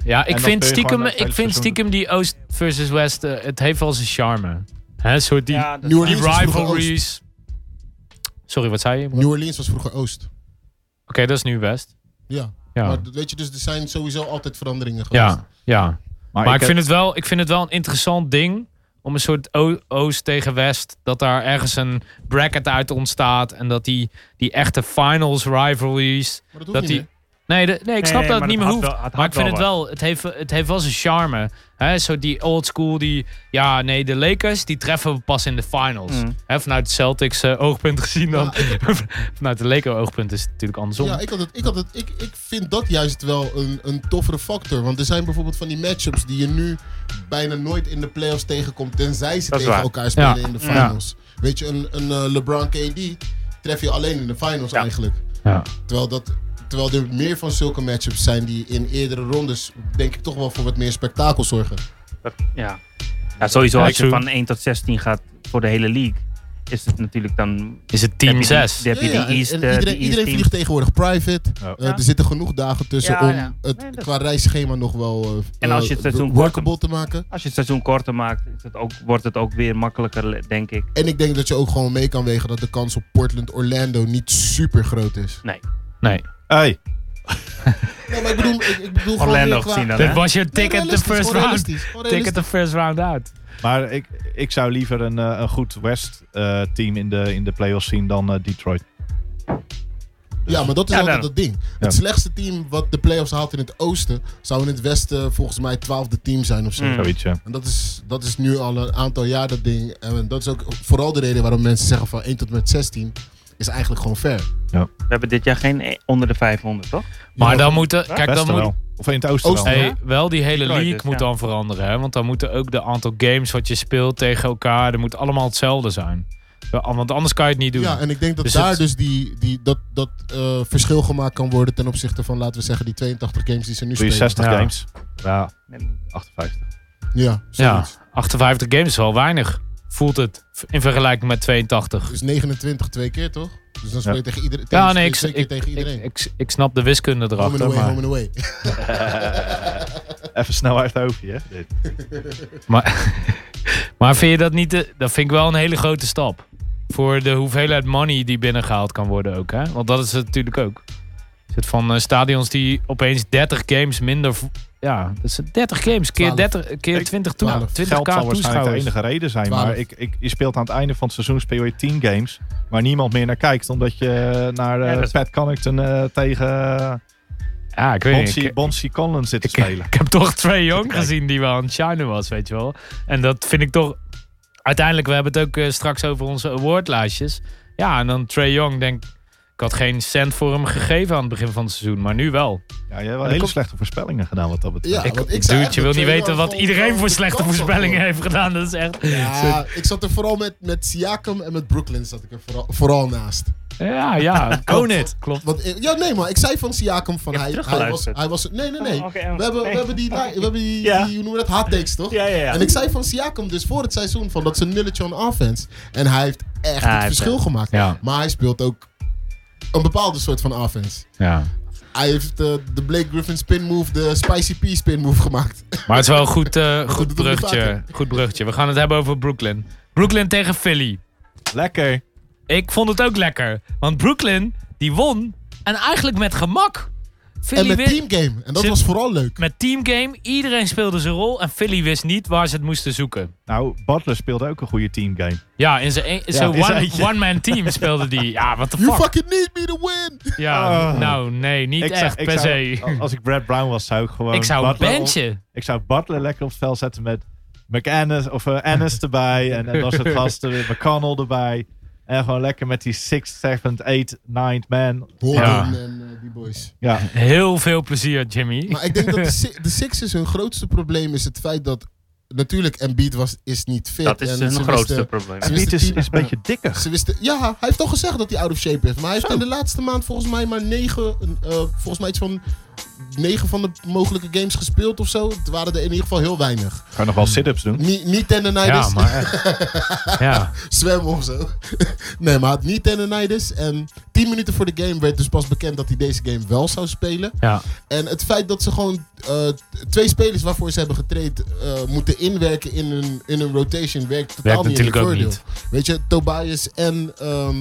ja, ik dan vind, kun je gewoon stiekem, dat ik hele vind seizoen stiekem die Oost versus West, eh, het heeft wel zijn charme. Hè, een soort die, Ja, dat- New die Orleans was vroeger Oost. rivalries. Sorry, wat zei je? Oké, New Orleans was vroeger Oost. dat is nu West. Ja. Ja. Maar dat- weet je, dus er zijn sowieso altijd veranderingen geweest. Ja, ja. Maar, Maar ik, ik heb- vind, het wel, ik vind het wel een interessant ding. Om een soort o- Oost tegen West. Dat daar ergens een bracket uit ontstaat. En dat die, die echte finals rivalries. Maar dat hoeft Dat niet die- meer. Nee, de- nee ik snap Nee, dat maar het niet meer dat had hoeft. wel- het maar ik had vind het wel wel. Het heeft, het heeft wel zijn charme. hè zo die old school. Die, ja, nee, de Lakers. Die treffen we pas in de finals. Mm. hè vanuit Celtics eh, oogpunt gezien dan. vanuit de Lakers oogpunt is het natuurlijk andersom. Ja, ik, had het, ik, had het, ik, ik vind dat juist wel een, een toffere factor. Want er zijn bijvoorbeeld van die matchups die je nu bijna nooit in de playoffs tegenkomt. Tenzij ze Dat is tegen waar. elkaar spelen Ja. in de Ja. finals. Weet je, een, een eh, LeBron KD tref je alleen in de finals Ja. eigenlijk. Ja. Terwijl, dat, terwijl er meer van zulke matchups zijn die in eerdere rondes, denk ik, toch wel voor wat meer spektakel zorgen. dat- ja. ja, sowieso Ja, als je true. van 1 tot 16 gaat voor de hele league, is het natuurlijk dan... Is het heb je team die- 6? dan Heb je Ja, ja, die en- East, en eh, die iedereen, East iedereen team. vliegt tegenwoordig private. Ja. Eh, Er zitten genoeg dagen tussen Ja, om ja. het Nee, dat- qua reisschema nog wel eh, En als je eh, het seizoen workable te maken. Als je het seizoen korter maakt, is het ook, wordt het ook weer makkelijker, denk ik. En ik denk dat je ook gewoon mee kan wegen dat de kans op Portland-Orlando niet super groot is. Nee. Hey, Nee, maar ik bedoel, ik, ik bedoel gewoon Orlando meer qua- gezien dan, Dit hè? was je Nee, ticket the realistisch, first gewoon round. realistisch, gewoon Ticket realistisch. the first round out. maar ik, ik zou liever een, eh, een goed West-team in, de, in de playoffs zien dan eh, Detroit. Ja, maar dat is Ja, altijd daarom. dat ding. Het slechtste team wat de playoffs haalt in het oosten, zou in het westen volgens mij twaalfde team zijn of zo. Hmm. Mm. Zoiets, ja. En dat is, dat is nu al een aantal jaar dat ding. En dat is ook vooral de reden waarom mensen zeggen van 1 tot met 16 is eigenlijk gewoon fair. We hebben dit jaar geen e- onder de 500, toch? Maar Ja, dan moeten. Kijk, Westen dan moet. wel. Of in het oosten, Oosten. wel. Hey, wel die hele Detroit league dus, moet ja. dan veranderen. Hè? Want dan moeten ook de aantal games wat je speelt tegen elkaar. Dat moet allemaal hetzelfde zijn. Wel, Want anders kan je het niet doen. Ja, en ik denk dat Dus daar het- dus die, die, dat, dat eh, verschil gemaakt kan worden ten opzichte van, laten we zeggen, die 82 games die ze nu spelen. 63 Ja. games. Ja, Nee, nee. 58. Ja, ja, zoiets. 58 games is wel weinig. Voelt het in vergelijking met 82. Dus 29 twee keer, toch? Dus dan speel je Ja. tegen iedereen. Ja, tegen- nee, ik, twee ik, keer tegen ik, iedereen. ik, ik snap de wiskunde home and erachter. away, Maar, home and away. Even snel uit het hoofdje, hè? dit. maar vind je dat niet... de- dat vind ik wel een hele grote stap. Voor de hoeveelheid money die binnengehaald kan worden ook. Hè? Want dat is het natuurlijk ook. Is het van eh, stadions die opeens 30 games minder... vo- Ja, dat is 30 games keer, Twaalf. 30, keer Ik- 20 twaalf. Geld zal 20k waarschijnlijk de toeschouwers. enige reden zijn. Twaalf. Maar ik, ik, je speelt aan het einde van het seizoen speel je 10 games. Waar niemand meer naar kijkt. Omdat je naar eh, Ja, dat is- Pat Connaughton eh, tegen Ja, ik weet niet. Bonsie, Ik, Bonsie Collins zit te ik, spelen. ik heb toch Trae Young kijken. gezien die wel aan het shinen was, weet je wel. En dat vind ik toch... Uiteindelijk, we hebben het ook eh, straks over onze awardlijstjes. Ja, en dan Trae Young, denk ik... had geen cent voor hem gegeven aan het begin van het seizoen, maar nu wel. Ja, je hebt wel dat hele komt- slechte voorspellingen gedaan wat dat betreft. Ja, ik, want ik dude, zei echt je dat wil niet Trae weten Young wat gewoon iedereen gewoon voor de slechte kans had voorspellingen gewoon. heeft gedaan. Dat is echt... Ja, ik zat er vooral met, met Siakam en met Brooklyn zat ik er vooral, vooral naast. Ja, ja. Own it. Klopt. Want, eh, ja, nee, maar ik zei van Siakam van Je hebt hij, hij, was, teruggeluisterd. hij was... Nee, nee, nee. Oh, oké, oh, we, hebben, nee. we hebben die, li- we hebben die, Ja. die hoe noemen we dat, hot takes, toch? ja, ja. En ik zei van Siakam dus voor het seizoen van dat ze nulletje on offense. En hij heeft echt Ja, het hij heeft verschil echt- gemaakt. Ja, Maar hij speelt ook een bepaalde soort van offense. ja. Hij heeft eh, de Blake Griffin spin move, de Spicy P spin move gemaakt. Maar het is wel een goed, eh, goed, doet hij bruggetje, vaker. goed bruggetje. We gaan het hebben over Brooklyn. Brooklyn tegen Philly. Lekker. Ik vond het ook lekker. Want Brooklyn, die won. En eigenlijk met gemak. En Philly met wi- teamgame. En dat Zit- was vooral leuk. met teamgame, iedereen speelde zijn rol en Philly wist niet waar ze het moesten zoeken. Nou, Butler speelde ook een goede teamgame. Ja, in zijn een- zo'n in zijn one- eentje. one-man team speelde die. Ja, wat de You fuck. fucking need me to win! Ja, Ah. nou nee, niet zou- echt per zou- Oh, se. Als ik Brad Brown was, zou ik gewoon. Ik zou een Butler op- bandje. ik zou Butler lekker op het veld zetten met McAnnis of eh, Ennis erbij. En, en dat soort gasten. McConnell erbij. En gewoon lekker met die 6, 7, 8, 9 man. Bolden Ja. en eh, die boys. Ja, Heel veel plezier, Jimmy. Maar ik denk dat de, Si- de Sixers hun grootste probleem is het feit dat... Natuurlijk, Embiid was, is niet fit. Dat is en hun ze grootste wisten- probleem. ze Piet wisten is, tien- is een beetje dikker. Ze wisten, ja, hij heeft al gezegd dat hij out of shape is. Maar hij heeft in de laatste maand volgens mij maar negen, eh, volgens mij iets van negen van de mogelijke games gespeeld of zo. Het waren er in ieder geval heel weinig. Kan nog wel sit-ups doen. Niet niet Ja, tendonitis, maar echt. Ja. zwemmen of zo. nee, maar hij had niet tendonitis. En tien minuten voor de game werd dus pas bekend dat hij deze game wel zou spelen. Ja. En het feit dat ze gewoon eh, twee spelers waarvoor ze hebben getraind eh, moeten inwerken in hun, in hun rotation werkt totaal Werkt niet in natuurlijk hun ook voordeel. niet. Weet je, Tobias en ehm,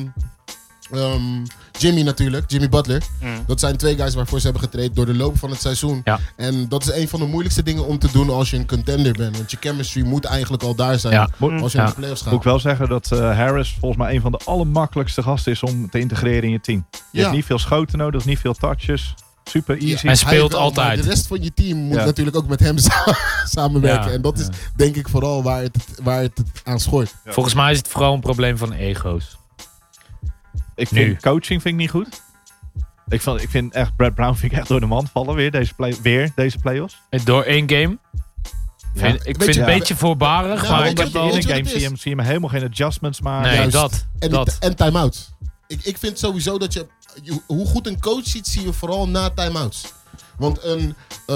ehm, Jimmy natuurlijk, Jimmy Butler. Mm. Dat zijn twee guys waarvoor ze hebben getraind door de loop van het seizoen. Ja. En dat is een van de moeilijkste dingen om te doen als je een contender bent. Want je chemistry moet eigenlijk al daar zijn Ja. Moet, als je Ja. naar de playoffs gaat. moet ik wel zeggen dat eh, Harris volgens mij een van de allermakkelijkste gasten is om te integreren in je team. Je Ja. hebt niet veel schoten nodig, niet veel touches. Super Ja, easy. Hij speelt wel, maar altijd. De rest van je team moet Ja. natuurlijk ook met hem sa- samenwerken. Ja, En dat is ja. denk ik vooral waar het, waar het aan schort. Ja. Volgens mij is het vooral een probleem van ego's. Ik Nu. vind coaching vind ik niet goed. Ik, vond, ik vind echt Brad Brown vind ik echt door de man vallen weer deze, play, weer deze playoffs. Eh, Door één game. Vind- ik Weet vind je- het een beetje voorbarig, Nou, maar weet ik je heb wat- wel... in weet een je wat game het zie je, hem, zie je hem helemaal geen adjustments maken. Nee, Juist. dat. En, die- dat. en time-outs. Ik, ik vind sowieso dat je, je- Hoe goed een coach ziet, zie je vooral na time-outs. Want een... eh,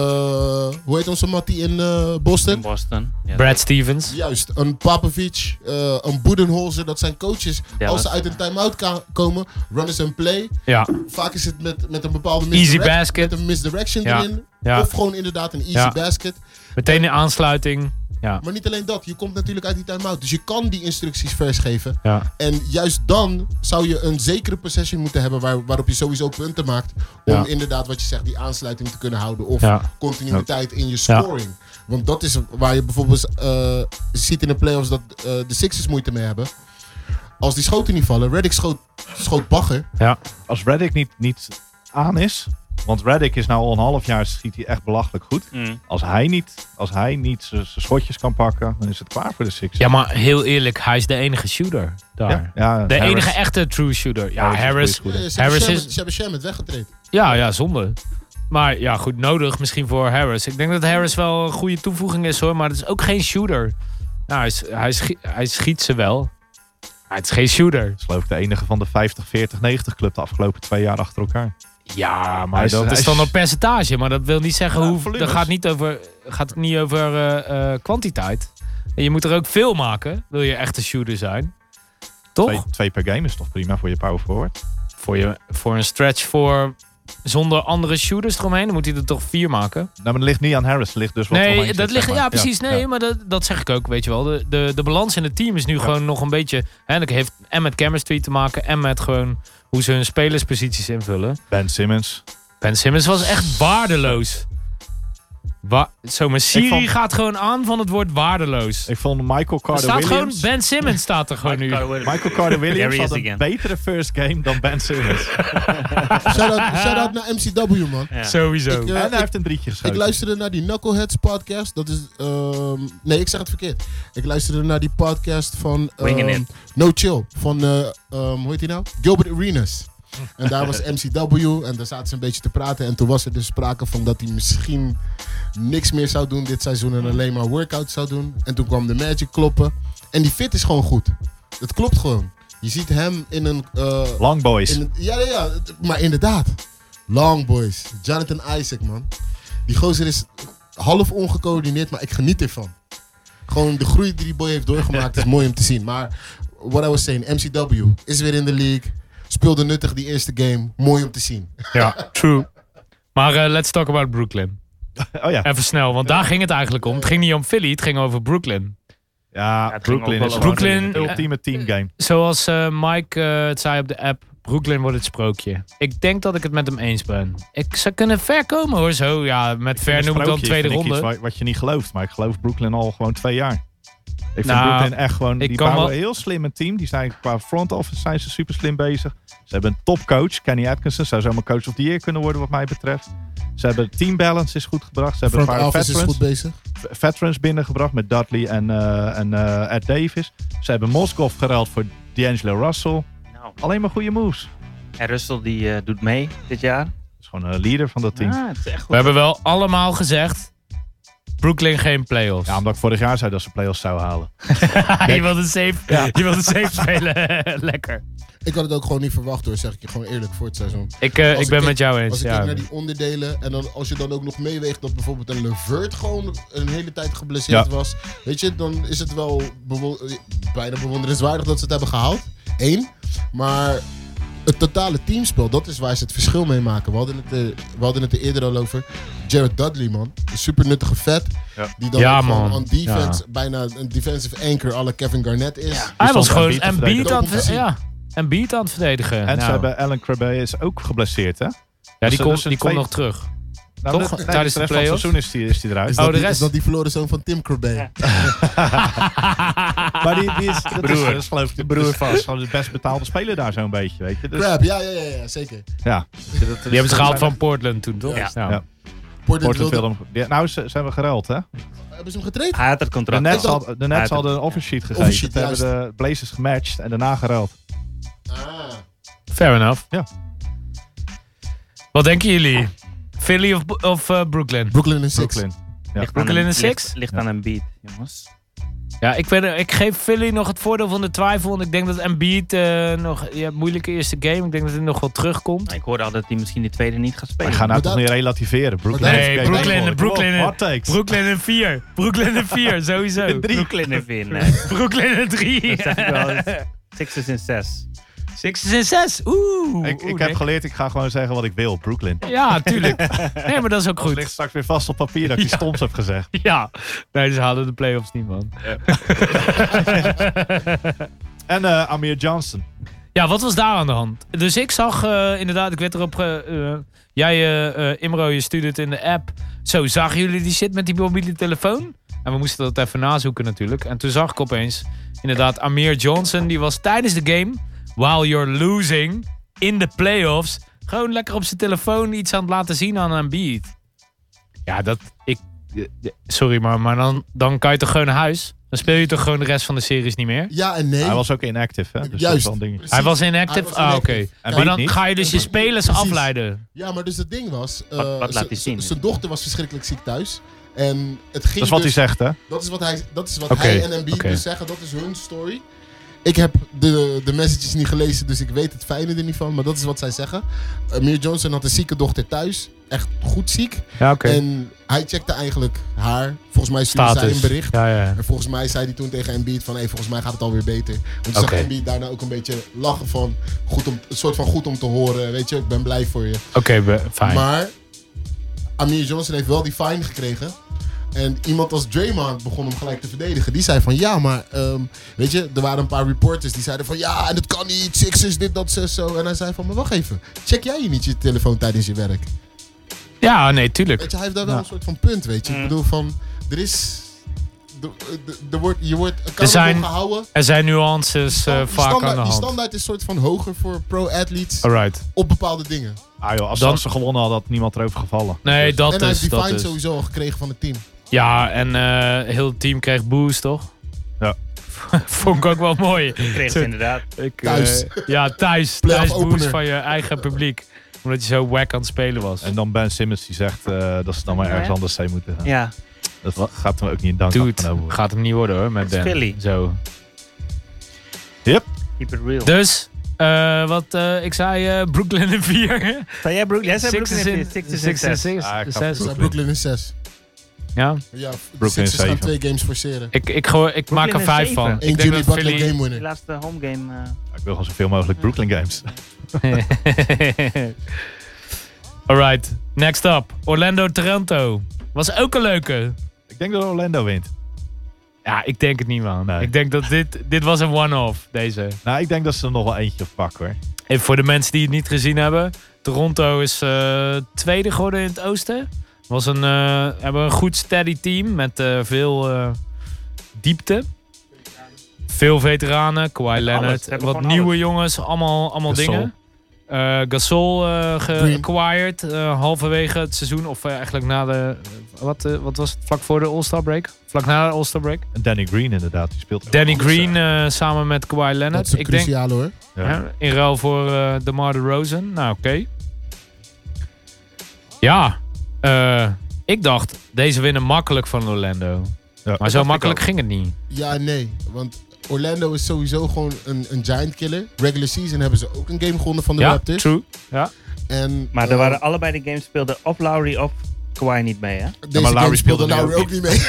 hoe heet onze mattie in eh, In Boston? Boston. Ja. Brad Stevens. Juist, een Papovic, eh, een Boedenholzer, dat zijn coaches. Ja, Als ze dat- uit een time-out ka- komen, runnen ze een play. Ja. Vaak is het met, met een bepaalde Easy misdirect- basket. met een misdirection Ja, erin. ja. Of gewoon inderdaad een easy Ja. basket. Meteen in aansluiting. Ja. Maar niet alleen dat, je komt natuurlijk uit die time-out. Dus je kan die instructies vers geven. Ja. En juist dan zou je een zekere possession moeten hebben waar, waarop je sowieso punten maakt. Om Ja. inderdaad, wat je zegt, die aansluiting te kunnen houden. Of Ja. continuïteit in je scoring. Want dat is waar je bijvoorbeeld eh, ziet in de playoffs dat eh, de Sixers moeite mee hebben. Als die schoten niet vallen, Reddick schoot, schoot bagger. Als Reddick niet, niet aan is, want Reddick is nou al een half jaar schiet hij echt belachelijk goed. Mm. Als hij niet, als hij niet zijn zijn schotjes kan pakken, dan is het klaar voor de Six. ja, maar heel eerlijk, hij is de enige shooter daar. De enige echte true shooter. Ja, Harris. Eh, Ze Harris hebben is- Shamit- ze hebben Shamit weggetreden. Ja, ja, zonde. Maar ja, goed, nodig misschien voor Harris. Ik denk dat Harris wel een goede toevoeging is hoor, maar het is ook geen shooter. Nou, hij, sch- hij, schi- hij schiet ze wel. Maar het is geen shooter. Dat is geloof ik de enige van de 50, 40, 90 club de afgelopen twee jaar achter elkaar. Ja, maar Hij is- dat hij is is- dan een percentage. Maar dat wil niet zeggen Ja, hoe. Dat volumes. gaat niet over, gaat niet over eh, eh, kwantiteit. En je moet er ook veel maken, wil je echt een shooter zijn. Toch? Twee, twee per game is toch prima voor je power forward. Voor, je, voor een stretch voor zonder andere shooters eromheen, dan moet hij er toch vier maken. Nou, maar dat ligt niet aan Harris, dat ligt dus wat nee, omheen zit, dat zeg ligt, maar. ja, precies. Nee, ja. maar dat, dat zeg ik ook, weet je wel. De, de, de balans in het team is nu gewoon nog een beetje... Hè, dat heeft en met chemistry te maken en met gewoon hoe ze hun spelersposities invullen. Ben Simmons. Ben Simmons was echt waardeloos. Wa Zo, maar Siri Ik vond- gaat gewoon aan van het woord waardeloos. Ik vond Michael Er staat gewoon, Carter-Williams... ben Simmons staat er gewoon nu. Michael Carter-Williams There he is had een again. betere first game dan Ben Simmons. Shout-out shout-out naar MCW, man. Sowieso. Ik, en eh, hij ik- heeft een drietje geschoten. Ik luisterde naar die Knuckleheads podcast. Dat is. ehm, nee, ik zeg het verkeerd. Ik luisterde naar die podcast van. ehm, Winging It. No Chill. Van. eh, ehm, hoe heet die nou? Gilbert Arenas. En daar was MCW en daar zaten ze een beetje te praten. En toen was er dus sprake van dat hij misschien niks meer zou doen dit seizoen en alleen maar workouts zou doen. En toen kwam de Magic kloppen. En die fit is gewoon goed. Het klopt gewoon. Je ziet hem in een. eh, Long boys. in- ja, ja, ja, maar inderdaad. Long Boys. Jonathan Isaac, man. Die gozer is half ongecoördineerd, maar ik geniet ervan. Gewoon de groei die die boy heeft doorgemaakt is mooi om te zien. Maar what I was saying, MCW is weer in de league. Speelde nuttig die eerste game. Mooi om te zien. Ja, true. Maar eh, let's talk about Brooklyn. Oh ja. Even snel, want daar ging het eigenlijk om. Het ging niet om Philly, het ging over Brooklyn. Ja, het ging Brooklyn ook is wel gewoon Brooklyn- een ultieme teamgame. Zoals eh, Mike eh, het zei op de app, Brooklyn wordt het sprookje. Ik denk dat ik het met hem eens ben. Ik zou kunnen ver komen hoor, zo. Ja, met ver noem ik dan Sprookje tweede vind ik ronde. iets wat, wat je niet gelooft, maar ik geloof Brooklyn al gewoon twee jaar. Ik Nou, vind Brooklyn echt gewoon... ik kan Die bouwen wel- een heel slim een team. Die zijn qua front office zijn ze super slim bezig. Ze hebben een topcoach, Kenny Atkinson. Zou zomaar coach of the year kunnen worden wat mij betreft. Ze hebben team balance is goed gebracht. Ze hebben Front een paar office is veterans, goed bezig. v- veterans binnengebracht met Dudley en, eh en eh, Ed Davis. Ze hebben Moskov geruild voor D'Angelo Russell. Nou, Alleen maar goede moves. Dat en Russell die eh, doet mee dit jaar. is gewoon een leader van dat team. Ah, het is echt We goed. hebben wel allemaal gezegd, Brooklyn geen playoffs. Ja, omdat ik vorig jaar zei dat ze play-offs zouden halen. je wilt een safe, je wilt een safe spelen. Lekker. Ik had het ook gewoon niet verwacht hoor, zeg ik je gewoon eerlijk voor het seizoen. Ik, eh, Als ik ik ben kijk- met jou eens. Als ik ja. kijk naar die onderdelen en dan, als je dan ook nog meeweegt dat bijvoorbeeld een Levert gewoon een hele tijd geblesseerd Ja. was, weet je, dan is het wel bewo- eh, bijna bewonderenswaardig dat ze het hebben gehaald. Eén. Maar het totale teamspel, dat is waar ze het verschil mee maken. We hadden het, eh, we hadden het er eerder al over. Jared Dudley, man. Een super nuttige vet. Ja. Die dan Ja, ook gewoon man. aan defense bijna een defensive anchor alle Kevin Garnett is. Hij was stond gewoon Embiid te en beat verdedigen. aan het ver- ja. Embiid aan het verdedigen. En ze Nou, hebben Alan Crabbe is ook geblesseerd, hè? ja, die dus- komt dus een die komt twee- nog terug. Nou, Toch? de- nee, Tijdens de rest de van het play-offs? seizoen is die, is die eruit. Is, Oh, dat, de die- rest- is dat die verloren zoon van Tim Corbijn? Ja. Maar die, die is, dat is, Broer. dat is geloof ik de broer van. is gewoon de best betaalde speler daar zo'n beetje, weet je. Dus, Crap, ja, ja, ja, ja, zeker. ja. Die Die hebben ze gehaald van Portland toen, toch? Ja. Nou. dus Ja. Portland Portland wilde- wilde hem- die- Nou, ze, zijn we gereld, hè? Hebben ze hem getraind? Hij had het De contract. Nets, al. had, de Nets Ja, hadden een offersheet gegeven. Offersheet, Toen hebben de Blazers gematcht en daarna gereld. Ah. Fair enough. Ja. Wat denken jullie? Philly of, of eh, Brooklyn? Brooklyn en Six. Brooklyn. Ja. Ligt aan Brooklyn een- in six? Ligt, ligt Ja. aan een beat, jongens. Ja, ik, weet, ik geef Philly nog het voordeel van de twijfel. Want ik denk dat Embiid eh, nog... Ja, moeilijke eerste game. Ik denk dat hij nog wel terugkomt. Nou, Ik hoorde al dat hij misschien de tweede niet gaat We spelen. gaan nou Maar toch dat- niet relativeren. Brooklyn Nee, heeft geen Brooklyn- tegenwoordig. Brooklyn- Wow, Hot takes. Brooklyn in 4. Brooklyn in 4, sowieso. Brooklyn er winnen. Brooklyn in 3. Dat zeg ik wel. Sixers in zes. Sixers in 6. Oeh. Ik, oeh, ik heb Nick. geleerd, ik ga gewoon zeggen wat ik wil. Brooklyn. Ja, tuurlijk. Nee, maar dat is ook Het ligt goed. straks weer vast op papier dat ik die stoms heb gezegd. Ja. Nee, ze halen de playoffs niet, man. En eh, Amir Johnson. Ja, wat was daar aan de hand? Dus ik zag eh, inderdaad, ik werd erop. ge- eh, jij, eh, eh, Imro, je stuurde het in de app. Zo, zagen jullie die shit met die mobiele telefoon? En we moesten dat even nazoeken natuurlijk. En toen zag ik opeens, inderdaad, Amir Johnson. Die was tijdens de game, while you're losing, in de playoffs... gewoon lekker op zijn telefoon iets aan het laten zien aan een beat. Ja, dat... Ik, eh, eh, sorry, maar, maar dan, dan kan je toch gewoon naar huis? Dan speel je toch gewoon de rest van de series niet meer? Ja en nee. Hij was ook inactive, hè? Dus dat is Juist. wel een ding. Precies. Hij was inactive? Hij was ah, oké. inactive. En Kijk, Maar Beat dan niet? ga je dus je spelers Precies. afleiden. Ja, maar dus het ding was... eh, Wat- wat laat z- hij z- zien? Zijn dochter was verschrikkelijk ziek thuis. En het ging Dat is wat hij dus- zegt, hè? Dat is wat hij, dat is wat Oké, hij en Embiid oké. dus zeggen. Dat is hun story. Ik heb de, de messages niet gelezen, dus ik weet het fijne er niet van. Maar dat is wat zij zeggen. Amir Johnson had een zieke dochter thuis. Echt goed ziek. Ja, oké. En hij checkte eigenlijk haar. Volgens mij stuurde zij een bericht. Ja, ja. En volgens mij zei hij toen tegen Embiid van... Hey, volgens mij gaat het alweer beter. Want toen Oké. zag Embiid daarna ook een beetje lachen van... Goed om, een soort van goed om te horen. Weet je, ik ben blij voor je. Oké, be- fijn. Maar Amir Johnson heeft wel die fine gekregen. En iemand als Draymond begon hem gelijk te verdedigen. Die zei van ja, maar ehm, weet je, er waren een paar reporters die zeiden van ja, en dat kan niet. Sixers, dit, dat, zes, zo. En hij zei van maar wacht even, check jij je niet je telefoon tijdens je werk? Ja, nee, tuurlijk. Weet je, hij heeft daar wel Ja. een soort van punt, weet je. Ik Mhm. bedoel van, er is, er- er- er wordt, je wordt accountable zijn gehouden. Er zijn nuances eh, Die vaak standaard, aan de die hand. standaard is soort van hoger voor pro-athleets Alright. op bepaalde dingen. Ah joh, als Dan- ze gewonnen hadden, had niemand erover gevallen. Nee, Dus- dat en hij is. heeft die Dat fine is. sowieso al gekregen van het team. Dus Ja, en eh, heel het team kreeg boost, toch? Ja. Vond ik ook wel mooi. Kreeg Zo- ze inderdaad. Ik, eh, Thuis. ja, thuis. Playoff Thuis boost opener. van je eigen publiek. Omdat je zo wack aan het spelen was. Dus- En dan Ben Simmons die zegt eh, dat ze dan maar Ja, ergens hè? anders zijn moeten gaan. Ja. Dat gaat hem ook niet in dank Dude, afgenomen worden. gaat hem niet worden hoor, met Het is Ben. Philly. Zo. Keep it real. Dus, eh, wat eh, ik zei, eh, Brooklyn in 4. Zijn jij Brooklyn? Jij zei Sixers Brooklyn in in Sixers in Sixers zes. in Ah, ik zes. ga Dus hij Brooklyn. Brooklyn in 6. Ja, Ja, Brooklyn Sixers gaan zeven. twee games forceren. ik, ik, gooi- ik maak er is vijf zeven. van. Eén Ik Eén denk Jimmy dat Butler Philly- game Die winner. laatste home game. eh, Ik wil gewoon zoveel mogelijk Brooklyn Games. Alright, next up. Orlando Toronto. Was ook een leuke. ik denk dat Orlando wint. Ja, ik denk het niet, man. Nee. Ik denk dat dit, dit was een one-off, deze. Nou, ik denk dat ze er nog wel eentje pakken hoor. En voor de mensen die het niet gezien hebben. Toronto is eh, tweede geworden in het oosten. Was een, eh, hebben een goed steady team met eh, veel eh, diepte. Veel veteranen, Kawhi alles. Leonard, Ze hebben wat gewoon nieuwe alles. jongens, allemaal, allemaal Gasol. dingen. Eh, Gasol eh Green. geacquired eh, halverwege het seizoen. Of eh, eigenlijk na de... Wat, eh, wat was het? Vlak voor de All-Star break? Vlak na de All-Star break. En Danny Green inderdaad, die speelt. Danny ook goed, Green eh, samen met Kawhi Dat Leonard. is een Ik denk, cruciale hoor. eh, ja. Hè? In ruil voor eh DeMar DeRozan. Nou, oké. Ja, eh, ik dacht, deze winnen makkelijk van Orlando. Ja. Maar zo makkelijk ging het niet. Ja, en nee. Want Orlando is sowieso gewoon een, een giant killer. Regular season hebben ze ook een game gewonnen van de ja, Raptors. true. En, Maar er eh, waren allebei de games speelden of Lowry of Kawhi niet mee, hè? Deze maar Lowry game speelde speelde Lowry nu ook niet mee.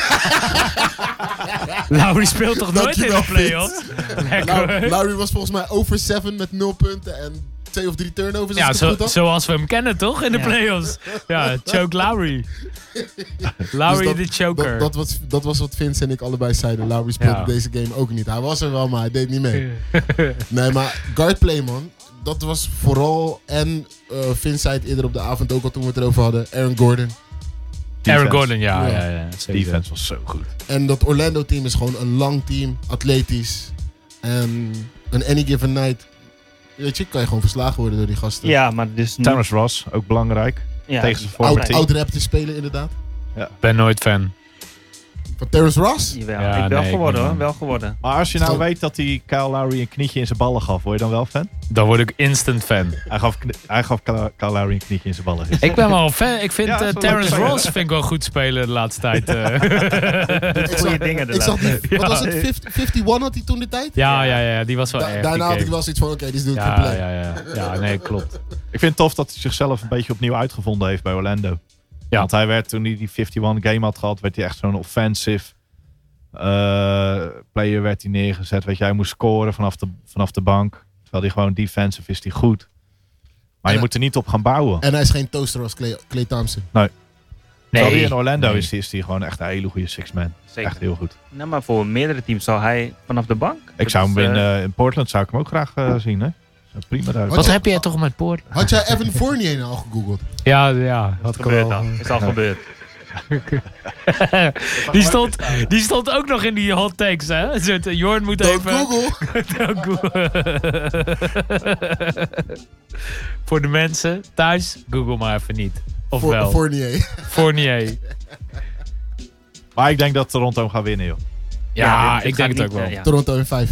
Lowry speelt toch nooit in Dankjewel, de Piet. playoffs? Lowry, Lekker. Lowry was volgens mij over 7 met 0 punten en 2 of 3 turnovers. Ja, als zo, ik het goed had. zoals we hem kennen, toch? In de Ja. playoffs. Ja, choke Lowry. Lowry Dus de choker. Dat, dat, was, dat was wat Vince en ik allebei zeiden. Lowry speelde Ja. deze game ook niet. Hij was er wel, maar hij deed niet mee. nee, maar guardplay, man. Dat was vooral... En eh Vince zei het eerder op de avond ook al toen we het erover hadden. Aaron Gordon. Defense. Aaron Gordon, ja. Ja. ja. ja, zeker. Defense was zo goed. En dat Orlando-team is gewoon een lang team. Atletisch. En een any given night... Weet je, kan je gewoon verslagen worden door die gasten. Ja, maar dus nu- Thomas Ross, ook belangrijk. ja, Oh, tegen zijn altijd. former Oud, team. oud raptor spelen inderdaad. Ik ben nooit fan. Van Terrence Ross? Jawel, Ja, ik wel nee, ik geworden ben- hoor, wel geworden. Maar als je nou weet dat hij Kyle Lowry een knietje in zijn ballen gaf, word je dan wel fan? Dan word ik instant fan. Hij gaf, kni- hij gaf Kyle Kyle Lowry een knietje in zijn ballen. gisteren. Ik ben wel een fan. Ik vind Ja, eh, dat is wel Terrence leuk. Ross vind ik wel goed spelen de laatste tijd. eh. Ik Goeie zag- dingen de Ik zag die, laatste- wat was het, 50, 51 had hij toen de tijd? ja, ja, ja, die was wel Da- echt. die daarna had ik game. wel zoiets van, oké, dit is nu ja, compleet. ja, ja, ja, nee, klopt. Ik vind het tof dat hij zichzelf een beetje opnieuw uitgevonden heeft bij Orlando. Ja. Want hij werd toen hij die 51 game had gehad, werd hij echt zo'n offensive eh, player werd hij neergezet. Weet je, hij moest scoren vanaf de, vanaf de bank. Terwijl hij gewoon defensive is, die goed. Maar je En- moet er niet op gaan bouwen. En hij is geen toaster als Clay, Clay Thompson. Terwijl hij in Nee. Orlando Nee. is, is hij gewoon echt een hele goede six-man. Zeker. Echt heel goed. Nou, maar voor meerdere teams zal hij vanaf de bank. Ik zou hem Dus, in, eh, eh, in Portland zou ik hem ook graag eh, zien, hè? Zou Prima daar. Wat heb jij toch met Poort? Had jij Evan Fournier nou al gegoogeld? Ja, ja, had ik gebeurt wel. al. eh, Is al eh, gebeurd. Die stond, die stond ook nog in die hot takes, hè? Een soort, eh, Jorn moet Don't even... Google. Don't Google. Voor de mensen thuis, Google maar even niet. Of Voor, wel. Fournier. Fournier. Maar ik denk dat Toronto hem gaat winnen, joh. Ja, dit- dit ik denk gaat het ook niet, wel. eh, ja. Toronto in 5.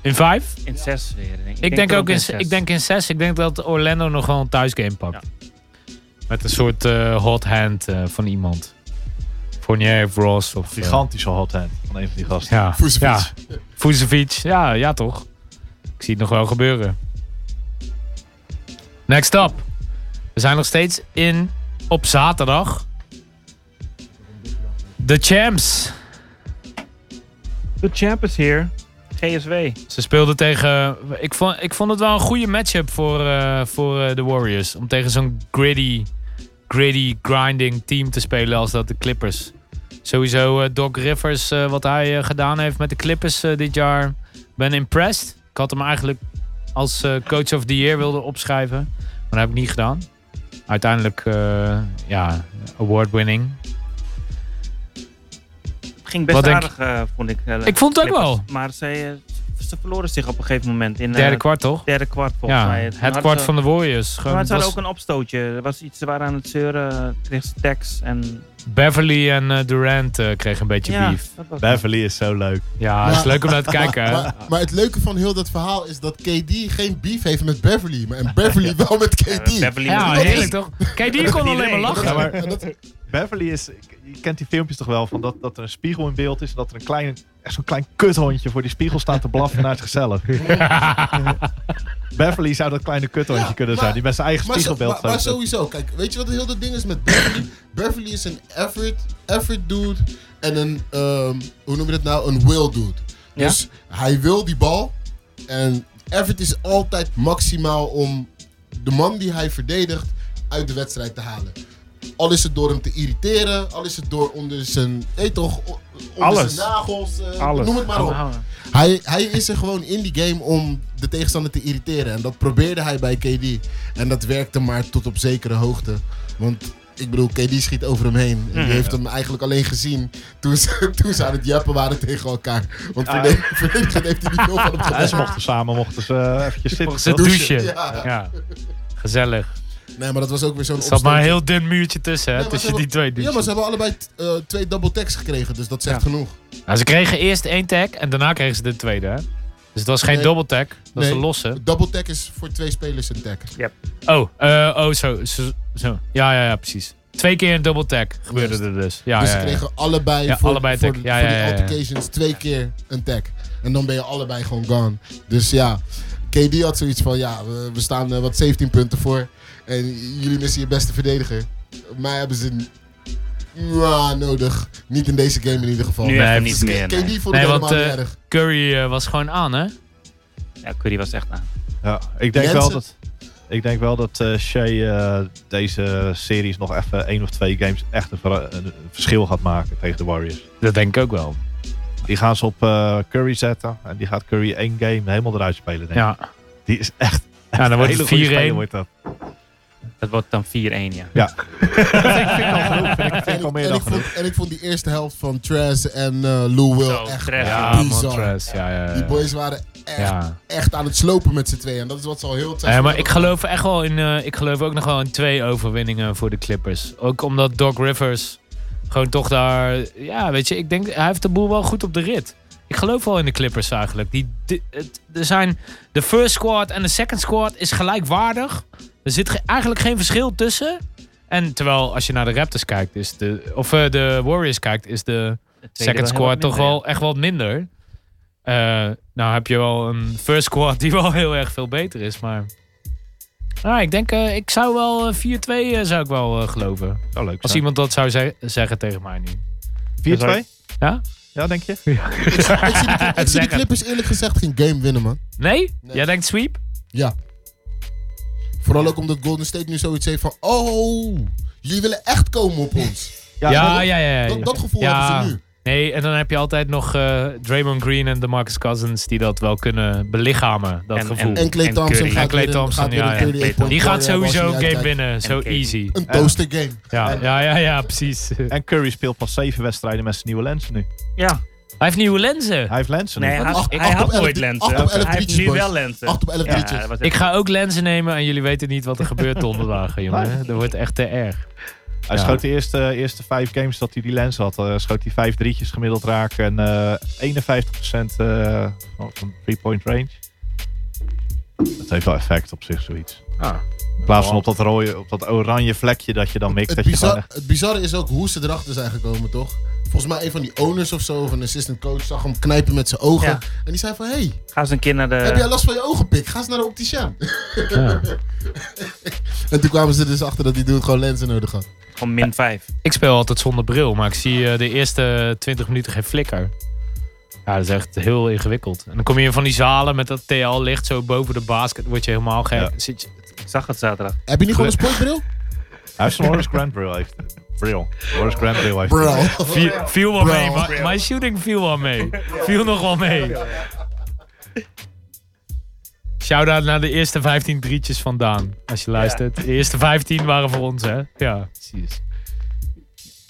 In vijf? In zes weer. denk Ik, Ik denk, ook in, zes. ik denk in 6. Ik denk dat Orlando nog wel een thuisgame pakt. Met een soort eh, hot hand eh, van iemand. Fournier of Ross of... eh, Gigantische hot hand van een van die gasten. ja. Vucevic. Ja. Vucevic. Ja, ja toch. Ik zie het nog wel gebeuren. Next up. We zijn nog steeds in op zaterdag. De Champs. The champ is here. GSW. Ze speelden tegen. Ik vond, ik vond het wel een goede matchup voor, eh, voor eh, de Warriors. Om tegen zo'n gritty, gritty, grinding team te spelen als dat de Clippers. Sowieso eh, Doc Rivers, eh, wat hij eh, gedaan heeft met de Clippers eh, dit jaar. Ben impressed. Ik had hem eigenlijk als eh, coach of the year wilde opschrijven. Maar dat heb ik niet gedaan. Uiteindelijk, eh, ja, award winning. Ging best Wat denk aardig, eh, vond ik. eh, Ik vond het ook Clippers. wel. Maar ze, eh, ze verloren zich op een gegeven moment in eh, Derde kwart toch? derde kwart volgens Ja, mij. Toen het hadden kwart ze- van de Warriors. Gewoon, Maar het het was was- ook een opstootje. Er was iets, ze waren aan het zeuren, kreeg ze tax en... Beverly en eh, Durant eh, kregen een beetje Ja, beef. dat was- Beverly is zo leuk. Ja, het is leuk om naar te kijken. hè? Maar, maar het leuke van heel dat verhaal is dat KD geen beef heeft met Beverly. Maar en Beverly wel met Ja, KD. Beverly Ja, was- heerlijk toch? Kijk, die kon alleen maar lachen. Ja, maar- En dat- Beverly is, je kent die filmpjes toch wel, van dat, dat er een spiegel in beeld is en dat er een klein, echt zo'n klein kuthondje voor die spiegel staat te blaffen naar zichzelf. Beverly zou dat kleine kuthondje Ja, kunnen maar- zijn, die met zijn eigen maar, zo- spiegelbeeld maar, maar staat. sowieso, kijk, weet je wat heel dat ding is met Beverly? Beverly is een effort, effort dude en een, ehm, hoe noem je dat nou? Een will dude. Ja? Dus hij wil die bal en effort is altijd maximaal om de man die hij verdedigt uit de wedstrijd te halen. Al is het door hem te irriteren, al is het door onder zijn, hey toch, o- onder Alles. zijn nagels, eh, Alles. noem het maar op. Hij, hij is er gewoon in die game om de tegenstander te irriteren. En dat probeerde hij bij KD. En dat werkte maar tot op zekere hoogte. Want ik bedoel, KD schiet over hem heen. Mhm. En die heeft hem eigenlijk alleen gezien toen ze, toen ze aan het jappen waren tegen elkaar. Want Ah, verdedigend verdedigend heeft hij niet veel van hem Ja, ze gedaan. mochten samen mochten ze eh, eventjes zitten. Ze toch? douchen. Ja. Ah, Ja. Gezellig. Nee, maar dat was ook weer zo'n Er zat maar een opstootje. heel dun muurtje tussen, hè, Nee, maar ze tussen die hebben- twee Ja, maar douches. ze hebben allebei t- eh, twee double tags gekregen, dus dat zegt genoeg. Nou, ze kregen eerst één tag en daarna kregen ze de tweede, hè. Dus het was geen Nee. double tag, dat was Nee. een losse. Double tag is voor twee spelers een tag. Oh, eh, oh zo, zo, zo. Ja, ja, ja, precies. Twee keer een double tag gebeurde Juist. er dus. Ja, dus ja, ze ja. kregen allebei Ja, voor, allebei voor, tag. Ja, voor ja, ja, die ja. altercations twee keer een tag. En dan ben je allebei gewoon gone. Dus ja, KD had zoiets van, ja, we, we staan eh, wat 17 punten voor. En jullie missen je beste verdediger. Mij hebben ze n- mwah, nodig. Niet in deze game in ieder geval. Nu Nee, echt hij niet Dus meer. KD nee. vond het Nee, helemaal want eh, niet erg. Curry eh, was gewoon aan, hè? Ja, Curry was echt aan. Ja, ik denk Mensen- wel dat, ik denk wel dat eh Shea eh, deze series nog even één of twee games echt een, vera- een verschil gaat maken tegen de Warriors. Dat denk ik ook wel. Die gaan ze op eh, Curry zetten en die gaat Curry één game helemaal eruit spelen. Denk ik. Ja, Die is echt ja dan een wordt hele goede speler, het 4-1. wordt dat. Dat wordt dan 4-1, ja. Ik vind al meer en, dan ik vond, genoeg. en ik vond die eerste helft van Trash en eh, Lou Will Zo, echt Trash. Ja, bizar. Montrez. Ja, ja, ja. Die boys waren echt, Ja. echt aan het slopen met z'n tweeën. En dat is wat ze al heel Ja, het seizoen Eh, maar ik hebben geloof echt wel in. eh, ik geloof ook nog wel in twee overwinningen voor de Clippers. Ook omdat Doc Rivers gewoon toch daar. Ja, weet je, ik denk hij heeft de boel wel goed op de rit. Ik geloof wel in de Clippers eigenlijk. Die, di- het, er zijn de first squad en de second squad is gelijkwaardig. Er zit ge- eigenlijk geen verschil tussen. En terwijl als je naar de Raptors kijkt, is de of eh, de Warriors kijkt, is de De tweede second wel heel squad wat toch minder, wel echt wat minder. Eh, nou heb je wel een first squad die wel heel erg veel beter is, maar... Nou, ik denk, eh, ik zou wel eh, 4-2 eh, zou ik wel eh, geloven. Zou leuk Als zijn. iemand dat zou ze- zeggen tegen mij nu. 4-2? Ja? Ja, denk je? Ik zie, die, ik zie die Lekker. Clippers eerlijk gezegd geen game winnen, man. Nee? Nee. Jij denkt sweep? Ja. Vooral ook omdat Golden State nu zoiets heeft van... Oh, jullie willen echt komen op ons. Ja, ja, dat- ja. ja, ja. Dat, dat gevoel Ja. hebben ze nu. Nee, en dan heb je altijd nog eh, Draymond Green en DeMarcus Cousins die dat wel kunnen belichamen, dat En- gevoel. En Clay En Thompson Curry. gaat En Klay weer een- Thompson, gaat weer ja, een ja. 38 Die point die gaat guard hebben als sowieso een je niet game winnen, uitkijkt. zo En Katie. easy. Een toaster game. Ja, En- ja, ja, ja, precies. Hij En Curry speelt pas zeven wedstrijden met zijn nieuwe lenzen nu. Ja. heeft nieuwe lenzen. Hij heeft lenzen Nee, nu. hij Acht- had, acht hij op had elf nooit drie- lenzen. acht op elf hij heeft drietjes, nu boys. wel lenzen. 8 op 11 Ja, drietjes. dat was echt- Ik ga ook lenzen nemen en jullie weten niet wat er gebeurt donderdagen, jongen. Dat wordt echt te erg. Hij Ja. schoot de eerste, eerste vijf games dat hij die lens had. eh, schoot hij vijf drietjes gemiddeld raak en eh 51% eh, van van three-point range. Dat heeft wel effect op zich, zoiets. In plaats van op dat, rode, op dat oranje vlekje dat je dan mikt. Het, Dat je gewoon bizar, echt, het bizarre is ook hoe ze erachter zijn gekomen, toch? Volgens mij een van die owners of zo, of een assistant coach, zag hem knijpen met zijn ogen. Ja. En die zei van, hey, Ga eens een keer naar de... heb jij last van je ogen, pik? Ga eens naar de opticien. en toen kwamen ze er dus achter dat die dude gewoon lenzen nodig had. Gewoon min 5. Ik speel altijd zonder bril, maar ik zie eh, de eerste 20 minuten geen flikker. Ja, dat is echt heel ingewikkeld. En dan kom je in van die zalen met dat TL-licht zo boven de basket. Word je helemaal gek. Ja. Zit je- Ik zag het zaterdag. Heb je niet gewoon een sportbril? Hij heeft zijn Horace Grandbril. Heeft, bril. Horace Grandbril heeft. Bro. Viel, viel wel Bro. mee. maar- Mijn shooting viel wel mee. Viel nog wel mee. Shout-out naar de eerste 15 drietjes van Daan. Als je luistert. De eerste 15 waren voor ons, hè? Ja, precies.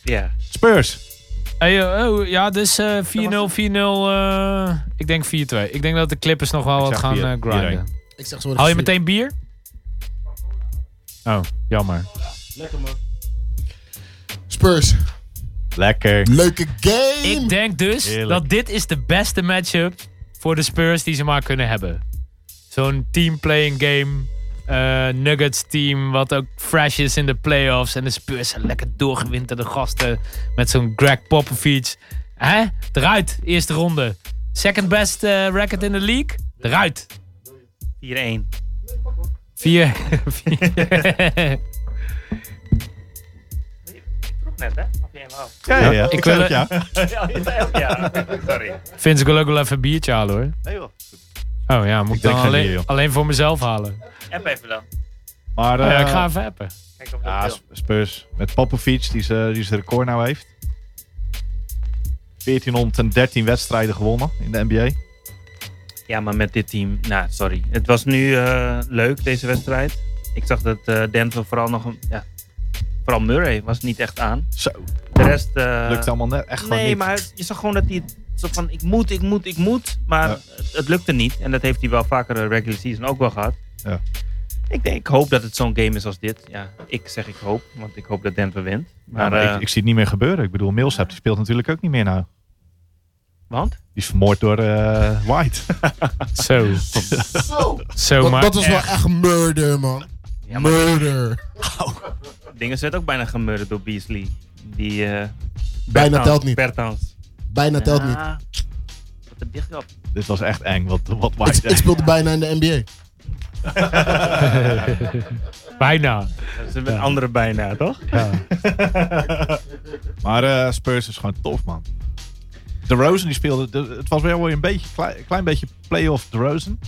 Ja. Spurs. Hey, eh, oh, ja, dus eh 4-0, 4-0. eh, ik denk 4-2. Ik denk dat de Clippers nog wel Ik wat zeg gaan vier- eh, grinden. 4-1. Ik zeg zo maar Hou je even- meteen bier? Oh, jammer. Lekker man. Spurs, Lekker. leuke game. Ik denk dus Heerlijk. dat dit is de beste matchup voor de Spurs die ze maar kunnen hebben. Zo'n team-playing game. eh, Nuggets team, wat ook fresh is in de playoffs. En de Spurs zijn lekker doorgewinterde gasten. Met zo'n Greg Popovich. Hè? Eruit, eerste ronde. Second best eh, record in de league. Eruit. 4-1. Vier. vier. Vroeg net, hè? Of jij wel? Ja, ja, ja. Ik, wil- wil het, ja. Ja, je zei ook ja. Sorry. Vince, ik wil ook wel even een biertje halen hoor. Nee, joh. Oh ja, moet ik drink dan geen alleen, bier, joh. alleen voor mezelf halen. App even dan. Maar eh ja, ik ga even appen. Kijk of ja, dat wil. Spurs. Met Popovic, die zijn die zijn record nou heeft. 1413 wedstrijden gewonnen in de NBA. Ja, maar met dit team, nou, sorry. Het was nu eh, leuk, deze wedstrijd. Ik zag dat eh, Denver vooral nog een... Ja, vooral Murray was niet echt aan. Zo, De rest... eh, lukt allemaal net, echt gewoon nee, niet. maar je zag gewoon dat hij het soort van ik moet, ik moet, ik moet. Maar Ja. het, het lukte niet. En dat heeft hij wel vaker de regular season ook wel gehad. Ja. Ik, denk, ik hoop dat het zo'n game is als dit. Ja, ik zeg ik hoop, want ik hoop dat Denver wint. Ja, Maar, maar eh, ik, ik zie het niet meer gebeuren. Ik bedoel, Millsap die speelt natuurlijk ook niet meer nou. want? Die is vermoord door eh, White. Zo, Zo! zo Dat, maar. dat was wel echt murder, man. Ja, maar Murder. dingen zijn ook bijna gemurderd door Beasley. Die, eh, Bijna nou. Bertans- telt niet. Bertans. Bijna telt niet. Ja, Wat er dicht op. Dit was echt eng, wat, wat Het, White het speelde bijna in de NBA. Bijna. Dat is een andere bijna, toch? Maar eh, Spurs is gewoon tof, man. De Rosen die speelde, de- het was wel weer een beetje, klein, klein beetje playoff De Rosen.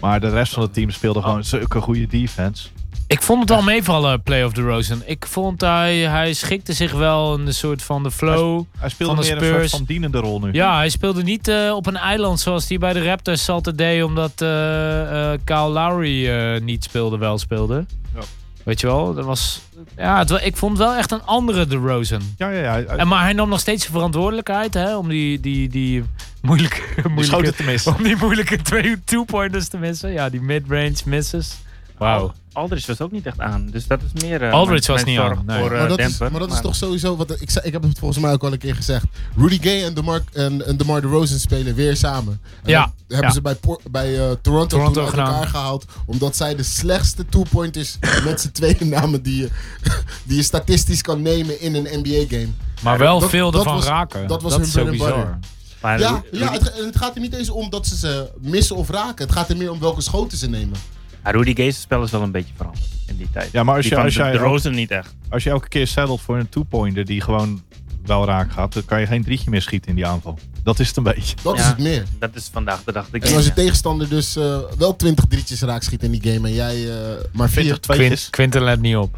Maar de rest van het team speelde Ah. gewoon zulke goede defense. Ik vond het al meevallen, Play of the Rosen. Ik vond hij, hij schikte zich wel in een soort van de flow. Hij speelde Van meer de een soort Spurs. van dienende rol nu. Ja, hij speelde niet eh, op een eiland zoals hij bij de Raptors altijd deed. Omdat eh, eh, Kyle Lowry eh, niet speelde, wel speelde. Ja. Weet je wel, dat was... Ja, het wa- ik vond wel echt een andere de Rosen. ja, ja. ja. Hij- hij- En, maar hij nam nog steeds de verantwoordelijkheid hè, om die, die, die moeilijke, die moeilijke, schoten te missen. om die moeilijke twee- two-pointers te missen. Ja, die mid-range misses. Oh. Wauw. Aldridge was ook niet echt aan. Dus dat is meer. eh, Aldridge was niet zorg aan, nee. Voor, eh, maar, dat is, Denver, maar dat is toch sowieso wat ik zei. Ik heb het volgens mij ook al een keer gezegd. Rudy Gay en DeMar, en, en DeMar DeRozan spelen weer samen. En Ja, dat hebben ja. ze bij, Por- bij eh, Toronto, Toronto toen uit gedaan. elkaar gehaald. Omdat zij de slechtste two-pointers met z'n tweeën namen die je, die je statistisch kan nemen in een NBA-game. Maar wel dat- veel dat ervan was- raken. dat was is hun zo bread and bizar. butter. Maar Ja, Rudy- ja het, het gaat er niet eens om dat ze ze missen of raken. Het gaat er meer om welke schoten ze nemen. Maar Rudy Gay's spel is wel een beetje veranderd in die tijd. Ja, maar als Die je- van als de, jij de ook- Rosen niet echt. Als je elke keer settelt voor een two-pointer die gewoon wel raak gaat, dan kan je geen drietje meer schieten in die aanval. Dat is het een beetje. Dat is Ja. het meer. Dat is vandaag de dag. De En game, als je ja. tegenstander dus eh, wel 20 drietjes raak schiet in die game en jij eh, maar 20 vier. Quint, tweetjes. Quinten let niet op.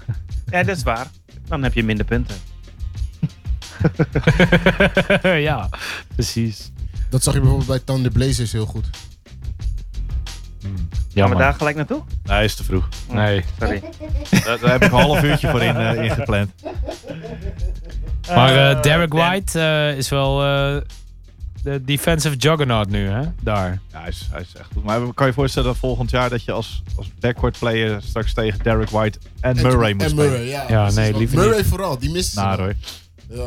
ja, dat is waar. Dan heb je minder punten. ja, precies. Dat zag je bijvoorbeeld bij Thunder Blazers heel goed. Gaan we Jammer. daar gelijk naartoe? Nee, is te vroeg. Nee. Sorry. Daar, daar heb ik een half uurtje voor in, eh, ingepland. Maar Eh, eh, Derek Dan- White eh, is wel eh, de defensive juggernaut nu, hè? Daar. Ja, hij is, hij is echt goed. Maar kan je voorstellen dat volgend jaar dat je als, als backcourt player straks tegen Derek White en Murray moet Nou, En spelen? Murray, ja. Ja, precies. nee, Want liever Murray vooral, die mist. Naar hoor. Ja.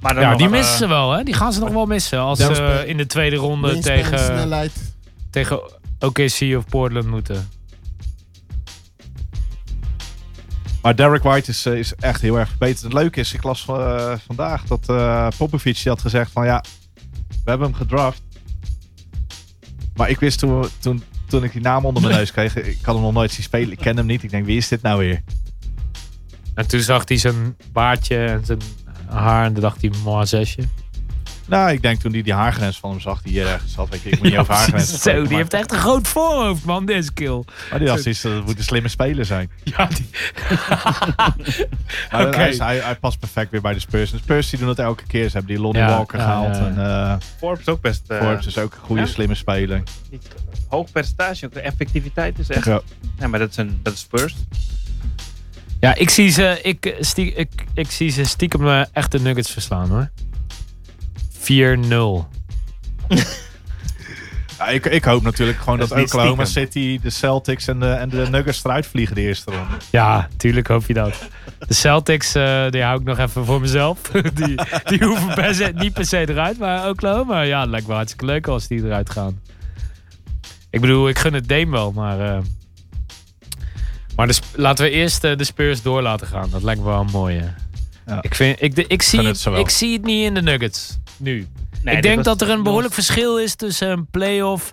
Maar dan Ja, nog, die eh, missen ze wel, hè? Die gaan ze nog wel missen. Als Daar ze spelen- eh, in de tweede ronde Wingspan, tegen, snelheid. tegen OKC of Portland moeten. Maar Derek White is, eh, is echt heel erg verbeterd. Het leuke is, ik las eh, vandaag dat eh Popovic die had gezegd van ja, we hebben hem gedraft. Maar ik wist toen, toen, toen ik die naam onder mijn neus kreeg, ik had hem nog nooit zien spelen. Ik ken hem niet. Ik denk, wie is dit nou weer? En toen zag hij zijn baardje en zijn haar en toen dacht hij, maar zesje. Nou, ik denk toen hij die haargrens van hem zag, die hier ergens zat. Weet je, ik moet niet over haargrens precies. spreken, Zo, die maar- heeft echt een groot voorhoofd, man, deze kill. Maar die had zoiets, dat moet een slimme speler zijn. Ja, die... Maar Oké. hij, is- hij, hij past perfect weer bij de Spurs. En de Spurs die doen het elke keer. Ze hebben die Lonnie Ja, Walker ja, gehaald. ja. En eh Forbes ook best. eh, Forbes is ook een goede, ja. slimme speler. niet- Hoog percentage, ook de effectiviteit is echt. Ja. Ja, maar dat is, een, dat is Spurs. Ja, ik zie ze, ik, eh, stie, ik, ik zie ze stiekem eh, echt de Nuggets verslaan, hoor. 4-0. Ja, ik, ik hoop natuurlijk gewoon Dat dat, is niet Oklahoma stiekem. City, de Celtics en de, en de Nuggets eruit vliegen de eerste ronde. Ja, tuurlijk hoop je dat. De Celtics, eh, die hou ik nog even voor mezelf. die, die hoeven per se, niet per se eruit, maar Oklahoma. Ja, het lijkt me hartstikke leuk als die eruit gaan. Ik bedoel, ik gun het Dame wel, maar... eh, maar de Sp- laten we eerst eh, de Spurs door laten gaan. Dat lijkt me wel een mooie. Ja. Ik, vind, ik, de- ik, zie Gun het het, ze wel. ik zie het niet in de Nuggets nu. Nee, ik dit denk was- dat er een behoorlijk dit verschil is tussen een playoff,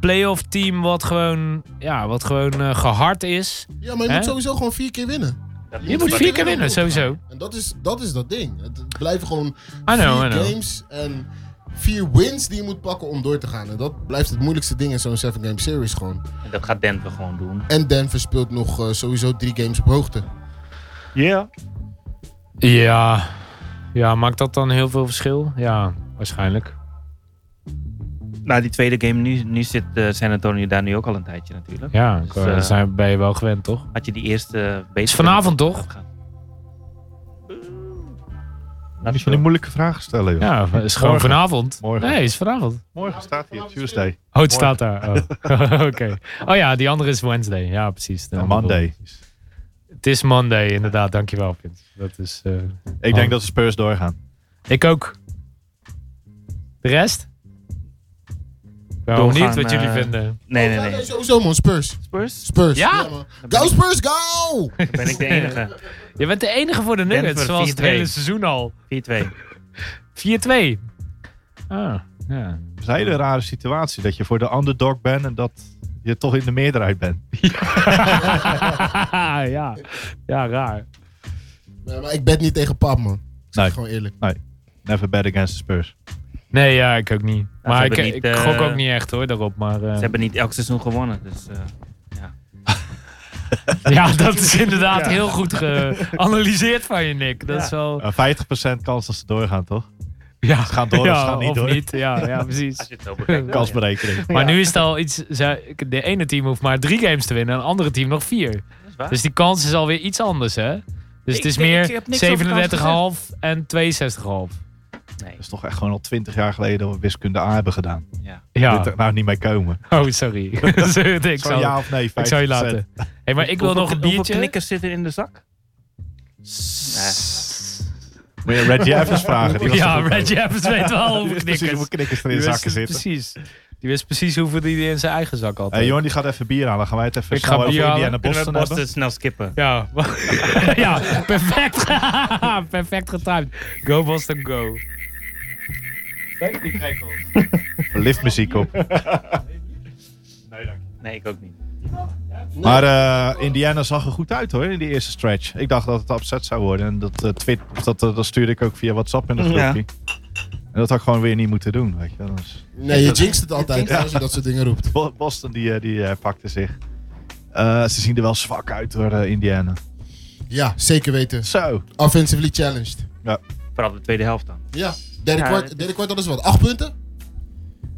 playoff team wat gewoon, ja, wat gewoon eh, gehard is. Ja, maar je Hè? moet sowieso gewoon vier keer winnen. was- Je moet vier keer winnen, sowieso. En dat is dat, is dat ding. Het het blijven gewoon I know, I vier know. games en vier wins die je moet pakken om door te gaan. En dat blijft het moeilijkste ding in zo'n seven game series gewoon. En Dat gaat Denver gewoon doen. En Denver speelt nog eh, sowieso drie games op hoogte. Ja. Ja, Ja, maakt dat dan heel veel verschil? Ja, waarschijnlijk. Nou, die tweede game, nu, nu zit eh, San Antonio daar nu ook al een tijdje natuurlijk. Ja, ik Dus, wou- eh, dat zijn, ben je wel gewend, toch? Had je die eerste beter... Is vanavond toch? Niet van die moeilijke vragen stellen, joh. Ja, is gewoon Morgen. vanavond. Morgen. Nee, is vanavond. Morgen staat hier, Tuesday. Oh, het staat daar. Oh. Oké. Oh ja, die andere is Wednesday. Ja, precies. De En andere Monday. bedoel- Het is Monday, inderdaad. Dankjewel, Pint. Dat is... eh, Ik denk dat de Spurs doorgaan. Ik ook. De rest? Ik ben wel Doorgaan, benieuwd wat jullie eh, vinden. Nee, nee, Ja, nee. Sowieso man, Spurs. Spurs? Spurs. Ja? man. Go Spurs, go! Dan ben ik de enige. Je bent de enige voor de Nuggets, Denver, zoals het 4-2. hele seizoen al. 4-2. 4-2. Ah, ja. Het is een hele rare situatie dat je voor de underdog bent en dat je toch in de meerderheid bent. ja. Ja, raar. Nee, maar ik bed niet tegen pap, man. Ik zeg Nee. Gewoon eerlijk. Never bet against the Spurs. Nee, ja, ik ook niet. maar ik, hebben niet, ik eh, gok ook niet echt hoor, daarop. Maar, eh, Ze hebben niet elk seizoen gewonnen, dus... eh, Ja, dat is inderdaad heel goed geanalyseerd van je, Nick. Dat Ja. is wel... Eh, 50% kans dat ze doorgaan, toch? Ja. Ze gaan door of ze Ja, gaan niet of door. niet. Ja, ja, precies. als je het zo bekijkt. wel, ja. Kansberekening. Maar nu is het al iets... ze- De ene team hoeft maar drie games te winnen en een andere team nog vier. Dat is waar. Dus die kans is alweer iets anders, hè? Dus het Ik is denk- ik meer heb niks over de kans 37,5 en 62,5. Nee, Dat is toch echt gewoon al 20 jaar geleden dat we wiskunde A hebben gedaan. ja. Ja. Dit Ja. er nou niet mee komen. Oh, sorry. ik, Zo'n zal, ja of nee, 50%. ik zou je laten. hey, maar ik wil Hoeveel- nog een Hoeveel biertje. knikkers zitten in de zak? Moet je Reggie Evans vragen. die was Ja, er ook Reggie Evans weet wel Die hoeveel wist precies knikkers. hoeveel knikkers er Die in wist zakken het zitten. Precies. Die wist precies hoeveel die hij in zijn eigen zak had. Hey, Jorn die gaat even bier halen. Dan gaan wij het even Ik ga snel over bier halen. Indiana Kunnen we Boston hebben. Boston snel skippen? Ja, ja perfect. perfect getimed. Go Boston, go. Liftmuziek op. Nee, ik ook niet. Maar eh, Indiana zag er goed uit hoor, in die eerste stretch. Ik dacht dat het upset zou worden. En dat, eh, tweet, of dat, eh, dat stuurde ik ook via WhatsApp in de groepje. Ja. En dat had ik gewoon weer niet moeten doen. Weet je. wel. Dus Nee, je jinxt het altijd als je dat soort dingen roept. Bo- Boston die, eh, die eh, pakte zich. Eh, ze zien er wel zwak uit hoor, eh, Indiana. Ja, zeker weten. Zo. Offensively challenged. Vooral de tweede helft dan. Ja, derde Ja, kwart, dit- derde kwart hadden ze dus wat. Acht punten?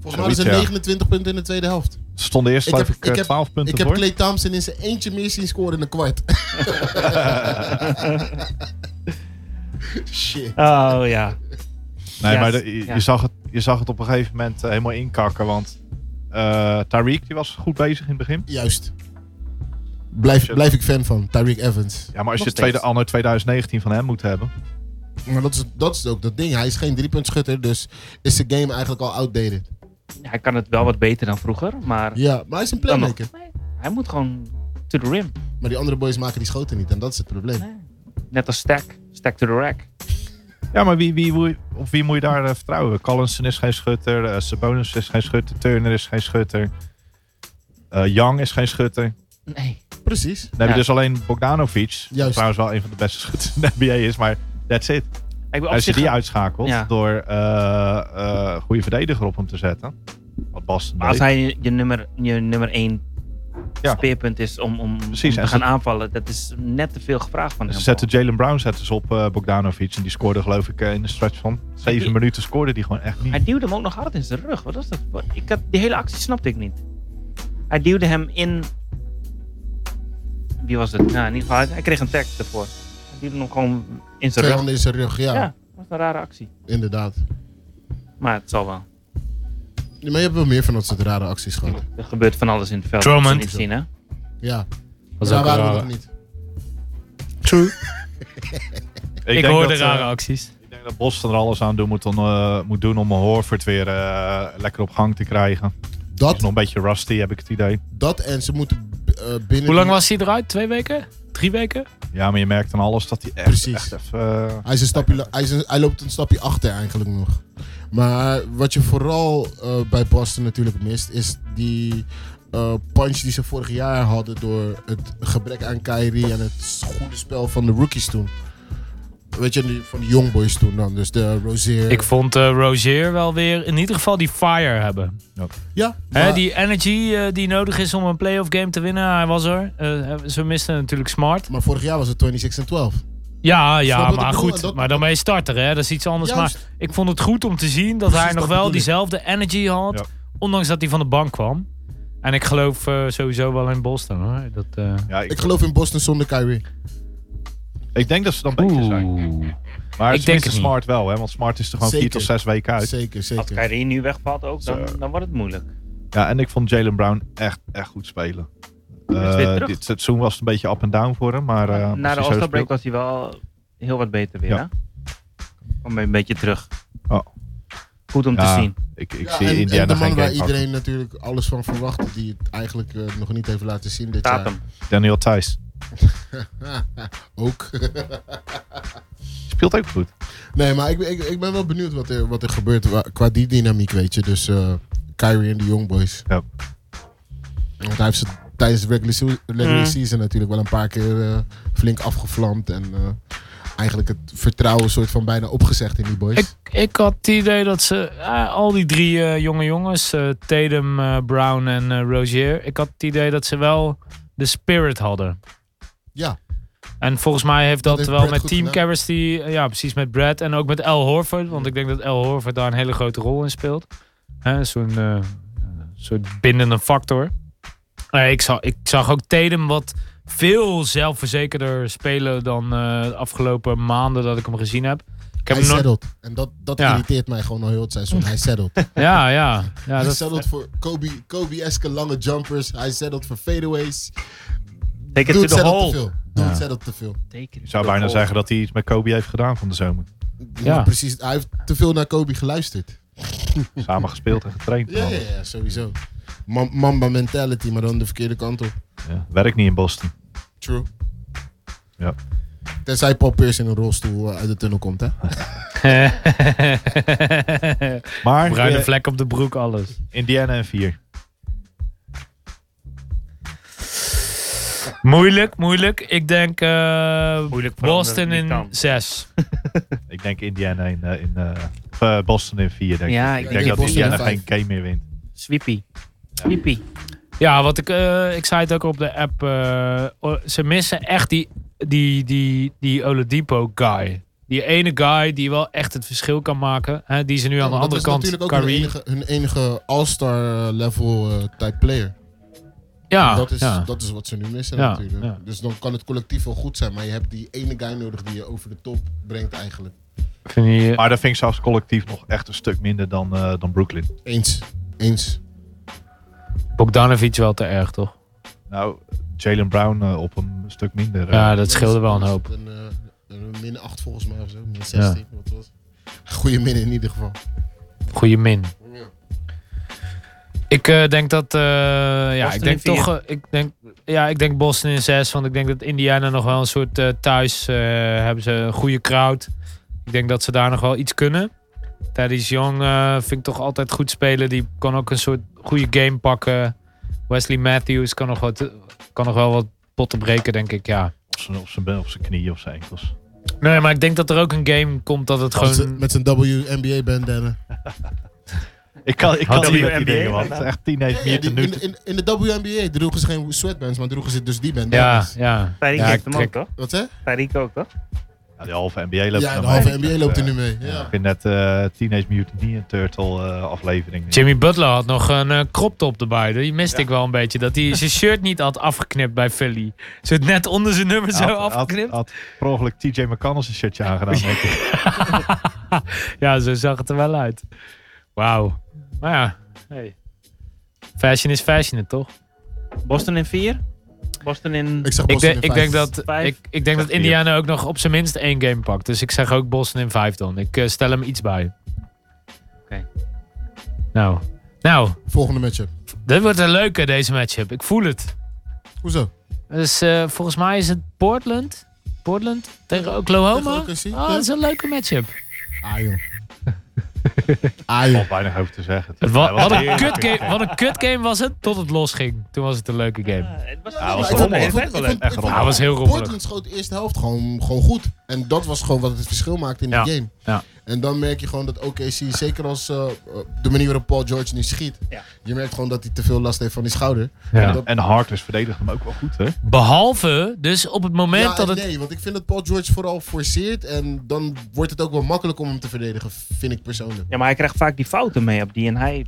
Volgens mij hadden ze Zoiets, ja. 29 punten in de tweede helft. Ze stonden eerst Ik heb- geloof ik, ik eh, heb- 12 punten Ik heb voor. Clay Thompson in zijn eentje meer zien scoren in een kwart. Shit. Oh ja. Nee, Ja, maar de- je, ja. je zag het, je zag het op een gegeven moment eh, helemaal inkakken. Want eh Tariq die was goed bezig in het begin. Juist. Blijf, blijf ik fan van, Tyreek Evans. Ja, maar als Nog je tweede steeds. anno 2019 van hem moet hebben. Maar dat is, dat is ook dat ding. Hij is geen driepuntschutter, dus is zijn game eigenlijk al outdated. Ja, Hij kan het wel wat beter dan vroeger, maar Ja, maar hij is een Dan nog. playmaker. hij moet gewoon to the rim. Maar die andere boys maken die schoten niet en dat is het probleem. Net als Stack. Stack to the rack. Ja, maar wie, wie, wie- op wie moet je daar eh, vertrouwen? Collinson is geen schutter. eh, Sabonis is geen schutter. Turner is geen schutter. eh, Young is geen schutter. Dan Nee. Precies. heb je Ja. dus alleen Bogdanovic. Die Juist. trouwens wel een van de beste schutters in de NBA is. Maar that's it. Ik ben op Als je zich die uitschakelt Ja. door eh eh, goede verdediger op hem te zetten. Wat Boston Maar als deed. hij je nummer, je nummer één Ja. speerpunt is om, om, om Precies, te en gaan ze- aanvallen, dat is net te veel gevraagd van hem. Ze zetten Jalen Brown zetten ze op eh, Bogdanovic. En die scoorde geloof ik eh, in een stretch van zeven die- minuten scoorde die gewoon echt Hij niet. duwde hem ook nog hard in zijn rug. Wat was dat? voor- Ik had, die hele actie snapte ik niet. Hij duwde hem in... Wie was het? Nou, in ieder geval, hij kreeg een tag ervoor. Hij duwde hem gewoon in zijn Twee rug. handen in zijn rug, ja, Ja, dat was een rare actie. inderdaad. Maar het zal wel. Ja, Maar je hebt wel meer van dat soort rare acties gehad. Er gebeurt van alles in het veld. Drummond. Dat ze niet zien, hè? Ja, Was daar ook een waren we rare- nog niet. Ik, denk hoorde dat, eh, rare acties. Ik denk dat Boston er alles aan doen moet, om, eh, moet doen om Horford weer eh, lekker op gang te krijgen. Hij is Dat, nog een beetje rusty, heb ik het idee. dat en ze moeten eh, binnen... Hoe lang die- was hij eruit? Twee weken? Drie weken? Ja, maar je merkt aan alles dat hij echt, Precies. echt even... eh, Hij, is een stapje, la- hij, is een- hij loopt een stapje achter eigenlijk nog. Maar wat je vooral eh, bij Boston natuurlijk mist, is die eh, punch die ze vorig jaar hadden door het gebrek aan Kyrie en het goede spel van de rookies toen. Weet je, die- van de youngboys toen dan. Dus de Rozier. Ik vond eh Rozier wel weer in ieder geval die fire hebben. ja, Hè, maar- die energy eh, die nodig is om een playoff game te winnen, hij was er. Eh, ze misten natuurlijk Smart. Maar vorig jaar was het 26 en 12. Ja, Snap ja wat ik maar bedoel? goed. Dat- maar dan ben je starter, hè? Dat is iets anders. Juist. Maar ik vond het goed om te zien dat Precies, hij nog dat wel bedoel ik. diezelfde energy had. Ja. Ondanks dat hij van de bank kwam. En ik geloof eh, sowieso wel in Boston, hoor. Dat, eh, Ja, ik, Ik geloof in Boston zonder Kyrie. ik denk dat ze dan beter zijn. Maar Ik ik denk het denk niet. Smart wel, hè? Want Smart is er gewoon vier Zeker. tot zes weken uit. Zeker, Als zeker. Kyrie nu wegvalt ook, dan, dan wordt het moeilijk. Ja, en ik vond Jalen Brown echt, echt goed spelen. is Eh, weer terug. dit seizoen was het een beetje up en down voor hem, maar... eh, als Na hij de zo all speelt- break was hij wel heel wat beter weer, Ja. hè? Kwam weer een beetje terug. Oh. Goed om Ja. te zien. Ik, ik Ja, zie en, en Indiana de geen man waar game pakken. iedereen natuurlijk alles van verwachtte, die het eigenlijk eh, nog niet heeft laten zien dit jaar. Tatum. Daniel Thijs. Ook. Speelt ook goed. nee, maar ik, ik, ik ben wel benieuwd wat er, wat er gebeurt wa- qua die dynamiek, weet je. Dus eh, Kyrie en de Young Boys. Ja. Want hij heeft ze tijdens de regular, seo- regular Mm. season natuurlijk wel een paar keer eh, flink afgevlamd. En eh, eigenlijk het vertrouwen soort van bijna opgezegd in die boys. Ik, ik had het idee dat ze eh, al die drie eh, jonge jongens, eh Tatum, eh, Brown en eh, Rozier, ik had het idee dat ze wel de spirit hadden. Ja. En volgens mij heeft dat, heeft wel Brad met goed Team gedaan. Carrots, die, eh, ja precies met Brad en ook met Al Horford, want ik denk dat Al Horford daar een hele grote rol in speelt. Hè, Zo'n eh, soort bindende factor. Nee, ik, zag, ik zag ook Tatum wat veel zelfverzekerder spelen dan eh, de afgelopen maanden dat ik hem gezien heb. Ik heb hij hem nooit- settled. En dat, dat Ja. Mm. irriteert mij gewoon al heel het seizoen. Hij settled. Ja, ja. ja hij dat, settled voor Kobe- Kobe-eske lange jumpers. Hij settled voor fadeaways. Take it Doe to het the settled te hole. veel. Doe het settled te veel. Ik zou bijna zeggen dat hij iets met Kobe heeft gedaan van de zomer. Ja. Maar Precies, hij heeft te veel naar Kobe geluisterd. Samen gespeeld en getraind. Ja, ja, ja sowieso. Ma- Mamba mentality, maar dan de verkeerde kant op. Ja, Werkt niet in Boston. True. Ja. Tenzij Paul Pierce in een rolstoel eh, uit de tunnel komt, hè? Maar Bruine eh, vlek op de broek, alles. Indiana en 4. Moeilijk, moeilijk. Ik denk eh, Moeilijk voor Boston anderen die in kan. 6. Ik denk Indiana in, eh, in eh, of, eh, Boston in 4. Denk Ja, ik. ik ik denk denk dat Boston in Indiana geen vijf. game meer wint. Sweepy. Sweepy. Ja, wat ik, eh, ik zei het ook op de app. eh, o- ze missen echt die, die, die, die Oladipo guy. Die ene guy die wel echt het verschil kan maken. Hè, die ze nu aan de dat andere is kant, natuurlijk ook hun Curry. enige, hun enige all-star eh, level eh, type player. Ja, dat, is, ja. dat is wat ze nu missen Ja, natuurlijk. ja. Dus dan kan het collectief wel goed zijn. Maar je hebt die ene guy nodig die je over de top brengt eigenlijk. Vind je, Maar dat vind ik zelfs collectief nog echt een stuk minder dan, eh, dan Brooklyn. Eens. Eens. Bogdanovic wel te erg, toch? Nou, Jalen Brown eh, op een stuk minder. eh. Ja, dat scheelde wel een Is hoop. het Een, eh, een min 8 volgens mij of zo. Min 16, wat was het? Goeie min in ieder geval. Goeie min. Ik eh, denk dat. eh, ja, Boston ik denk in vier. toch. eh, ik denk, ja, ik denk Boston in 6. Want ik denk dat Indiana nog wel een soort eh, thuis. eh, hebben ze een goede crowd. Ik denk dat ze daar nog wel iets kunnen. Thaddeus Young eh, vind ik toch altijd goed spelen. Die kan ook een soort goede game pakken. Wesley Matthews kan nog, wat, kan nog wel wat potten breken, denk ik. Ja. Op zijn- Op zijn op zijn knieën of zijn enkels. Nee, maar ik denk dat er ook een game komt dat het gewoon. Met zijn WNBA bandana. Ik kan, ik Had kan niet met hij die NBA dingen, man. Het is echt 10 heeft meer te in, nu. in, in de WNBA droegen ze geen sweatbands, maar droegen ze dus die Ja, bandanas. ja. Tyreek Ja, heeft ik hem ook, trek- toch? Wat hè? Tyreek ook, toch? Ja, de halve NBA loopt Ja, naar de mij. halve NBA loopt er nu mee. Ja. Ik vind net eh Teenage Mutant Ninja Turtle eh, aflevering. Jimmy Butler had nog een eh, crop top erbij. Die miste ik wel een beetje. Dat hij zijn shirt niet had afgeknipt bij Philly. Zo het net onder zijn nummer zo Had- afgeknipt. Had, had per ongeluk TJ McConnell zijn shirtje aangedaan. denk ik. Ja, zo zag het er wel uit. Wauw. Maar ja, hey. fashion is fashion, toch? Boston in 4. Boston in... Ik zag Ik, Boston denk- ik denk dat, Vijf. ik, ik denk dat Vier. Indiana ook nog op zijn minst één game pakt. Dus ik zeg ook Boston in vijf dan. Ik eh, stel hem iets bij. Oké. Nou. nou, Volgende matchup. dit wordt een leuke deze matchup. Ik voel het. Hoezo? Dus eh, volgens mij is het Portland. Portland tegen Oklahoma. Tegen OKC, Oh, ja. dat is een leuke matchup. Ah joh. Ah joh. Valt weinig over te zeggen. Het wa- Hij was wat, een heerlijk. kut game, wat een kut game was het, tot het losging. Toen was het een leuke game. Het was Ja, was Ik rommelig. Het vond- ik vond- wel ik leuk. vond- Echt ik rommelig. Hij vond- was heel rommelig. Portland schoot de eerste helft gewoon, gewoon goed. En dat was gewoon wat het verschil maakte in Ja. de game. Ja. En dan merk je gewoon dat OKC, zeker als eh, de manier waarop Paul George nu schiet, Ja. je merkt gewoon dat hij te veel last heeft van die schouder. Ja. Dat- En Harkless verdedigt hem ook wel goed, hè? Behalve dus op het moment Ja, dat en het... nee, want ik vind dat Paul George vooral forceert en dan wordt het ook wel makkelijk om hem te verdedigen, vind ik persoonlijk. Ja, maar hij krijgt vaak die fouten mee op die. En hij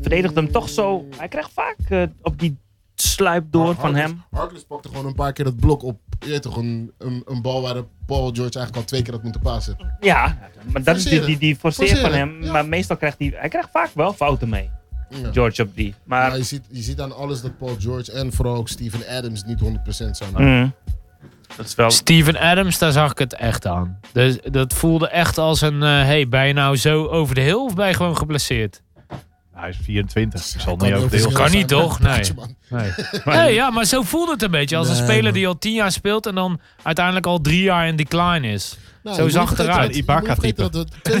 verdedigt hem toch zo. Hij krijgt vaak eh, op die sluip door van oh, Harkless- hem. Harkless pakte gewoon een paar keer dat blok op. Je weet toch, een, een, een bal waar Paul George eigenlijk al twee keer had moeten passen. Ja, maar dat is die, Forceren. die, die forceer van Forceren, hem. ja. Maar meestal krijgt hij... Hij krijgt vaak wel fouten mee, Ja. George, op die. Maar... Ja, je, ziet, je ziet aan alles dat Paul George en vooral ook Steven Adams niet 100% zijn. mm, dat is wel... Steven Adams, daar zag ik het echt aan. Dus dat voelde echt als een... eh hey, ben je nou zo over de hill of ben je gewoon geblesseerd? Hij is 24. Ik zal Kan niet heel over de verschil heel... Kan zijn niet, met toch? een plaatje, Nee. man. Nee. Nee, ja, maar zo voelde het een beetje. Als een Nee, speler man. die al tien jaar speelt en dan uiteindelijk al drie jaar in decline is. Nou, Zo je moet zag niet het vergeten eruit. dat- je moet niet vergeten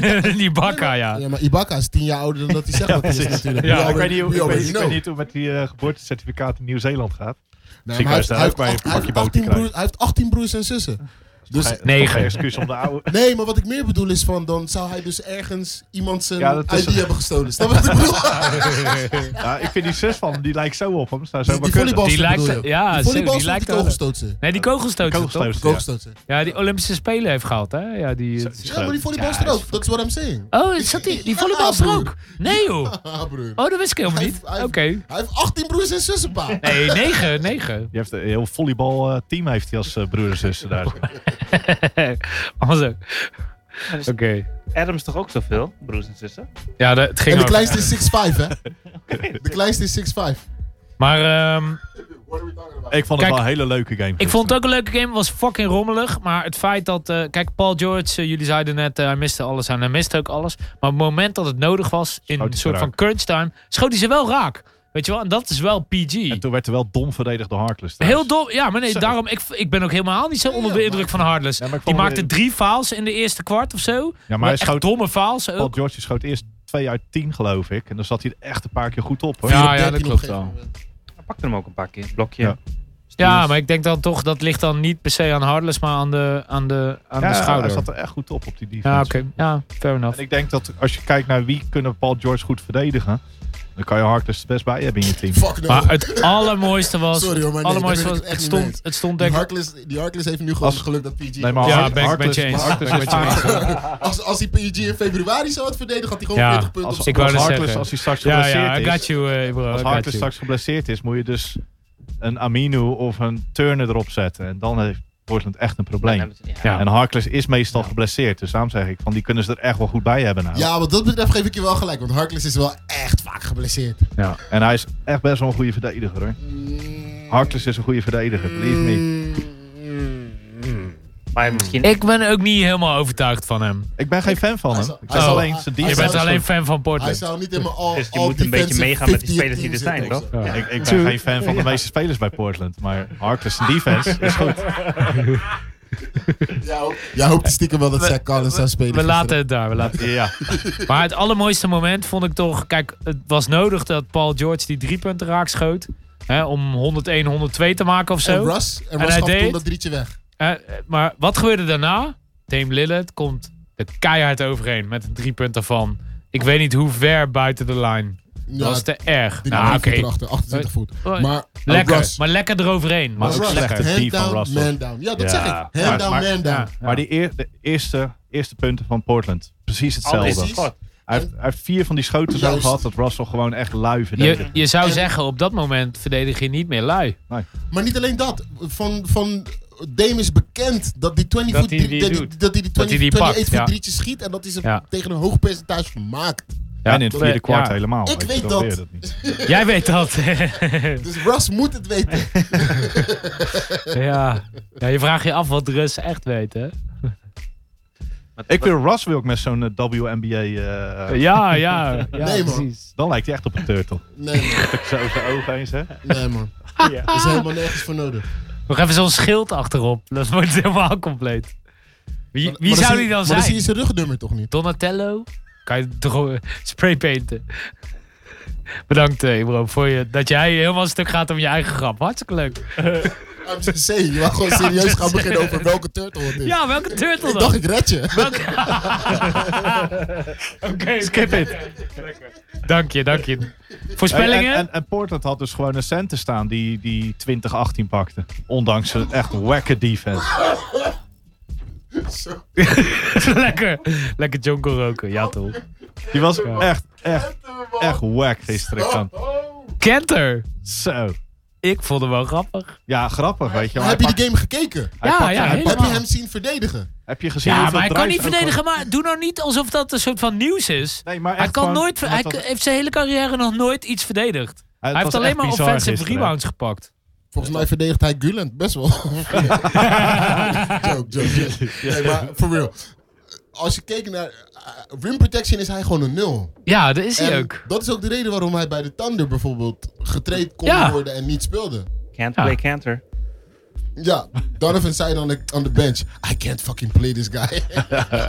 Ibaka-type. dat we twintig- die bakka, ja. Ja, maar Ibaka is tien jaar ouder dan dat hij zegt dat hij is natuurlijk. Ja, We ik weet already- niet hoe, we ik weet, already ik know. weet niet hoe het met die eh, geboortecertificaat in Nieuw-Zeeland gaat. Nee, maar hij Ziekenhuis heeft- daar hij heeft ook bij acht- een hij pakje heeft boter 18 krijgen. broer- hij heeft 18 broers en zussen. Dus, Negen. Geen excuus om de oude... nee, maar wat ik meer bedoel is van, dan zou hij dus ergens iemand zijn Ja, dat is ID het. hebben gestolen. Snap je wat ik bedoel? Ja, ik vind die zus van hem, die lijkt zo op hem. Zou zo Die- maar die kunnen. volleybal- Die lijkt... bedoel je? Ja, Die zo, volleybal die die lijkt... kogelstoten. Nee, die kogelstoten, toch? Kogelstoten, ja. Kogelstoten. Ja, die Olympische Spelen heeft gehad, hè? Ja, die... Zo- Ja, maar die volleybal is Ja, er is ook. Dat is wat I'm saying. Oh, zat die, die volleybal is er ook? Nee, joh. Ah, broer. Oh, dat wist ik helemaal niet. Hij- Oké. hij- Hij heeft 18 broers en zussen, pa. Nee, negen, negen. Die heeft een heel volleybalteam heeft hij als eh, broer en zus daar. Anders ook. Oké. Adams toch ook zoveel, broers en zussen? dus- Ja, dat, het ging En de ook. kleinste is 6'5, hè? De kleinste is 6'5. Maar ehm, Ik vond Kijk, het wel een hele leuke game. ik vond het ook een leuke game. Het was fucking rommelig. Maar het feit dat... eh, kijk, Paul George, eh, jullie zeiden net... eh, hij miste alles en hij miste ook alles. Maar op het moment dat het nodig was... In hij een ze soort van raak. crunch time... schoot hij ze wel raak. Weet je wel? En dat is wel PG. En toen werd er wel dom verdedigd door Harkless. Heel trouwens. dom. Ja, maar nee, Zo. daarom... Ik, ik ben ook helemaal niet zo onder de Ja, indruk van Hardless. Ja, maar ik Die vond hem- maakte drie fouls in de eerste kwart of zo. Ja, maar hij echt schoot domme fouls Paul ook. George die schoot eerst 2 uit 10 geloof ik. En dan zat hij er echt een paar keer goed op. Hoor. Ja, Vier op ja, 13 dat op klopt een gegeven wel. moment. Hij pakt hem ook een paar keer. Blokje. Ja. Ja, maar ik denk dan toch, dat ligt dan niet per se aan Hardless, maar aan de, aan de, aan Ja, de schouder. hij zat er echt goed op op die defense. Ja, oké. Ja, fair enough. En ik denk dat als je kijkt naar wie kunnen Paul George goed verdedigen, dan kan je Harkless het best bij hebben in je team. Fuck no. Maar het allermooiste was, Sorry hoor, maar nee, allermooiste daar was ben ik het het, echt niet mee stond, eens. het stond denk die, ik... Harkless, die Harkless heeft nu gewoon Als- het geluk dat PG... Nee, maar Ja, Harkless- ben ik met Harkless- je eens. Harkless Ben ik met je heeft- als, als hij PG in februari zou had verdedigd, had hij gewoon Ja, 40 punten Als, op als, Ik wou dus- net Harkless- zeggen. als hij straks Ja, geblesseerd ja, I got is, you, eh, bro. als I got Harkless you. straks geblesseerd is, moet je dus een Aminu of een Turner erop zetten. En dan heeft Portland echt een probleem. Ja. En Harkless is meestal geblesseerd. Dus daarom zeg ik, van die kunnen ze er echt wel goed bij hebben. Nou. Ja, wat dat betreft geef ik je wel gelijk. Want Harkless is wel echt vaak geblesseerd. En hij is echt best wel een goede verdediger hoor. Harkless is een goede verdediger, believe me. Maar misschien... Ik ben ook niet helemaal overtuigd van hem. Ik ben geen fan van Hij hem. zou- Ik hij zou zou- alleen zijn hij Je defense bent zou- alleen fan van Hij Portland. zou niet in mijn al Dus je all moet een beetje defensive meegaan met die 50 spelers die er team zijn, zitten toch? of zo. Ja. Ik, ik ben geen fan van de meeste spelers bij Portland, maar Harkless en defense is goed. Jij hoopt- Jij hoopt stiekem wel dat Zach Collins zou spelen. We gisteren. laten het daar, we laten Ja, Maar het allermooiste moment vond ik toch... Kijk, het was nodig dat Paul George die drie punten raak schoot. Hè, om 101, 102 te maken of zo. En Russ, en En Russ hij gaf toen deed- dat drietje weg. Eh, eh, maar wat gebeurde daarna? Dame Lillard komt er keihard overheen met een drie punten van. Ik weet niet hoe ver buiten de lijn. Ja, Dat was te erg. die Nou, nou, oké. erachter, 28 voet. Oh, Maar Lekker, Russ, maar lekker eroverheen. Maar Maar ook Russ, slechter. hand Die van down, Russell. man down. Ja, dat Ja. zeg ik. Hand Maar- down, maar- man down. ja. maar die eer- de eerste, eerste punten van Portland, precies Alles hetzelfde. is goed. Hij heeft, hij heeft vier van die schoten zo Juist. gehad dat Russell gewoon echt lui je, verdedigde. je zou zeggen, op dat moment verdedig je niet meer lui. Maar niet alleen dat. Van, van Dame is bekend dat die 20 Dat voet hij die dat, doet. dat hij die 20, hij die 28 pakt, voet ja. drietjes schiet en dat hij ze Ja. tegen een hoog percentage van maakt. en in het vierde Ja. kwart helemaal. Ik je, weet dan dat. wil je niet. Jij weet dat. Dus Russ moet het weten. ja. ja, je vraagt je af wat de Russen echt weten. Ik wil Russ wil ik met zo'n eh, WNBA. eh, Ja, ja. ja Nee, man. precies. Dan lijkt hij echt op een turtle. Nee man, Zo over de ogen eens, hè? nee man. Er is helemaal nergens voor nodig. Nog even zo'n schild achterop. Dat wordt helemaal compleet. Wie, Maar- wie maar zou zie- die dan Maar zijn? dan zie je zijn rugnummer toch niet? Donatello. Kan je toch gewoon spraypainten. Bedankt, eh, Ibro, voor je, dat jij helemaal stuk gaat om je eigen grap. Hartstikke leuk. I'm just saying, je mag gewoon serieus gaan beginnen over welke turtle het is. Ja, welke turtle ik dan? dacht, ik red je. Oké, skip it. Dank je, dank je. Voorspellingen? En, en, en Portland had dus gewoon een cent te staan die, die 2018 pakte. Ondanks een echt wacker defense. lekker, lekker jonko roken, ja toch. Die was echt, echt, echt wack gisteren. Kan. Kenter! Zo. Ik vond hem wel grappig. Ja, grappig, weet je. maar heb je hij die game gekeken? pakt- hij Ja, pakt- ja, hij helemaal. pakt- Heb je hem zien verdedigen? Heb je gezien Ja, hoeveel maar hij kan drives niet ook al- verdedigen, maar doe nou niet alsof dat een soort van nieuws is. Nee, maar Hij, echt kan gewoon- nooit, want hij dat- heeft zijn hele carrière nog nooit iets verdedigd. het Hij was heeft alleen echt maar bizar offensive gisteren. rebounds gepakt. Volgens mij verdedigt hij Guland best wel. joke, joke, joke. Nee, maar for real. Als je kijkt naar... eh, rim protection is hij gewoon een nul. Ja, dat is hij En ook. dat is ook de reden waarom hij bij de Thunder bijvoorbeeld getraind kon Ja. worden en niet speelde. Can't Ja. play canter. Ja, Donovan zei dan aan de- aan de bench, I can't fucking play this guy. Maar dus Dat is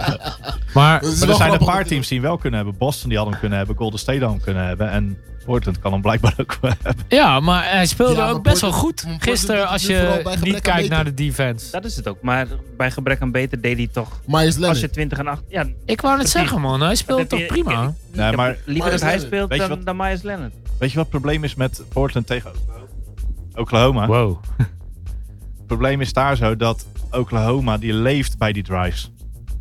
Maar wel er zijn een grappig paar dat- teams die hem wel kunnen hebben. Boston die had hem kunnen hebben. Golden State had hem kunnen hebben. En Portland kan hem blijkbaar ook wel hebben. Ja, maar hij speelde Ja, maar ook best wel Portland- goed Portland doet gisteren het als nu vooral je bij gebrek niet aan kijkt naar de beter. defense. Dat is het ook. Maar bij gebrek aan beter deed hij toch. Myers Als je Leonard. 20 en 8. Ja, Ik wou net Precies. zeggen man, hij speelde dat toch heb je- prima. ik- Nee, ik- maar- liever dat Myers hij Leonard. speelt Weet je dan, wat- dan Myers Leonard. Weet je wat het probleem is met Portland tegen Oklahoma? Wow. Het probleem is daar zo dat Oklahoma die leeft bij die drives.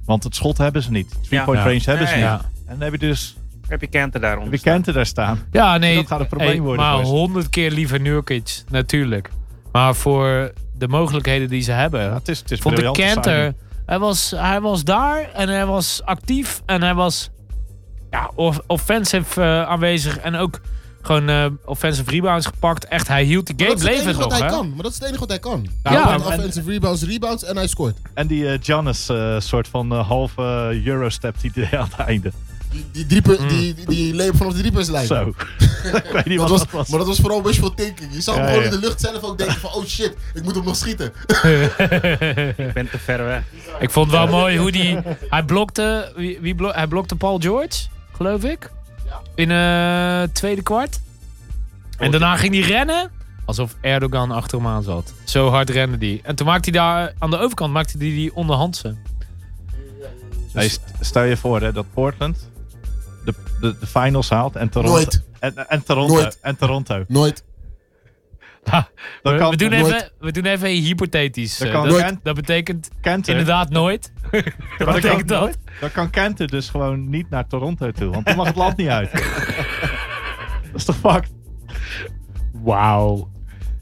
Want het schot hebben ze niet. Three-point Ja. range hebben ze Nee. niet. Ja. En dan heb je dus Heb je Canter daaronder? de Kenten daar staan. Ja, nee. Dat gaat een probleem worden Maar voor ze. honderd keer liever Nurkic, natuurlijk. Maar voor de mogelijkheden die ze hebben, Ja, het is, het is vond ik briljant te Kenter. zijn. Hij was, hij was daar en hij was actief en hij was ja, off- offensive eh, aanwezig en ook gewoon eh, offensive rebounds gepakt. Echt, hij hield die Oh, Dat game is het levend enige wat nog, hij hè? kan. Maar dat is het enige wat hij kan. Nou, Ja, Hij pakt en- offensive rebounds, rebounds en hij scoort. En die eh Giannis eh, soort van eh, halve eh, Eurostep die hij aan het einde. Die, die, drie pu- die, die, die leep vanaf de driepuntslijn. Zo. lijn. ik weet niet Dat wat was, dat was. Maar dat was vooral wishful thinking. Je zag Ja, hem gewoon ja. in de lucht zelf ook denken van, oh shit, ik moet hem nog schieten. Ik ben te ver weg. Ik vond het wel mooi hoe die. Hij blokte. Wie, wie blo- hij blokte Paul George, geloof ik. In het tweede kwart. En daarna ging hij rennen. Alsof Erdogan achter hem aan zat. Zo hard rende die. En toen maakte hij daar aan de overkant maakte hij die onderhandse. Dus- Nee, st- stel je voor hè, dat Portland de, de, de finals haalt en Toronto. Nooit. En, en Toronto. Nooit. En Toronto. Nooit. Dan We, kan we doen nooit. even, we doen even hypothetisch. Dat Eh, kan Dat, nooit. dat betekent Kenter. inderdaad nooit. Wat dat kan betekent dat? nooit. Dan kan Kenter dus gewoon niet naar Toronto toe. Want dan mag het land niet uit. dat is toch fucked? Wauw.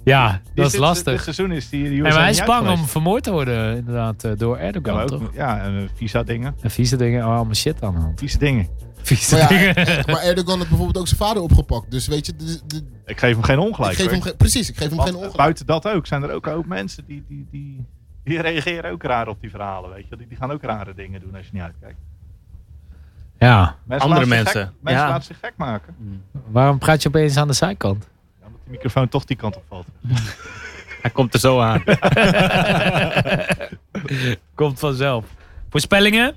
Ja, Die dat is zit- Dit lastig. seizoen is die, die En USA hij niet is bang om uitgeweest. vermoord te worden, inderdaad, eh, door Erdogan, Ja, maar ook- toch? Ja, en eh, visa dingen. En vieze dingen, oh, allemaal shit aan de hand. Vieze dingen. Vieze Maar, ja, dingen. maar Erdogan had bijvoorbeeld ook zijn vader opgepakt. Dus weet je, de- de- Ik geef hem geen ongelijk. ik geef hoor. hem geen- precies, ik geef hem Want, geen eh, ongelijk. buiten dat ook zijn er ook ook mensen die, die, die, die reageren ook raar op die verhalen. Weet je? wel. Die, die gaan ook rare dingen doen als je niet uitkijkt. Ja, Mensen Andere laten zich mensen. Gek, mensen Ja. laten zich gek maken. waarom praat je opeens aan de zijkant? Ja, omdat die microfoon toch die kant op valt. Hij komt er zo aan. Komt vanzelf. Voorspellingen?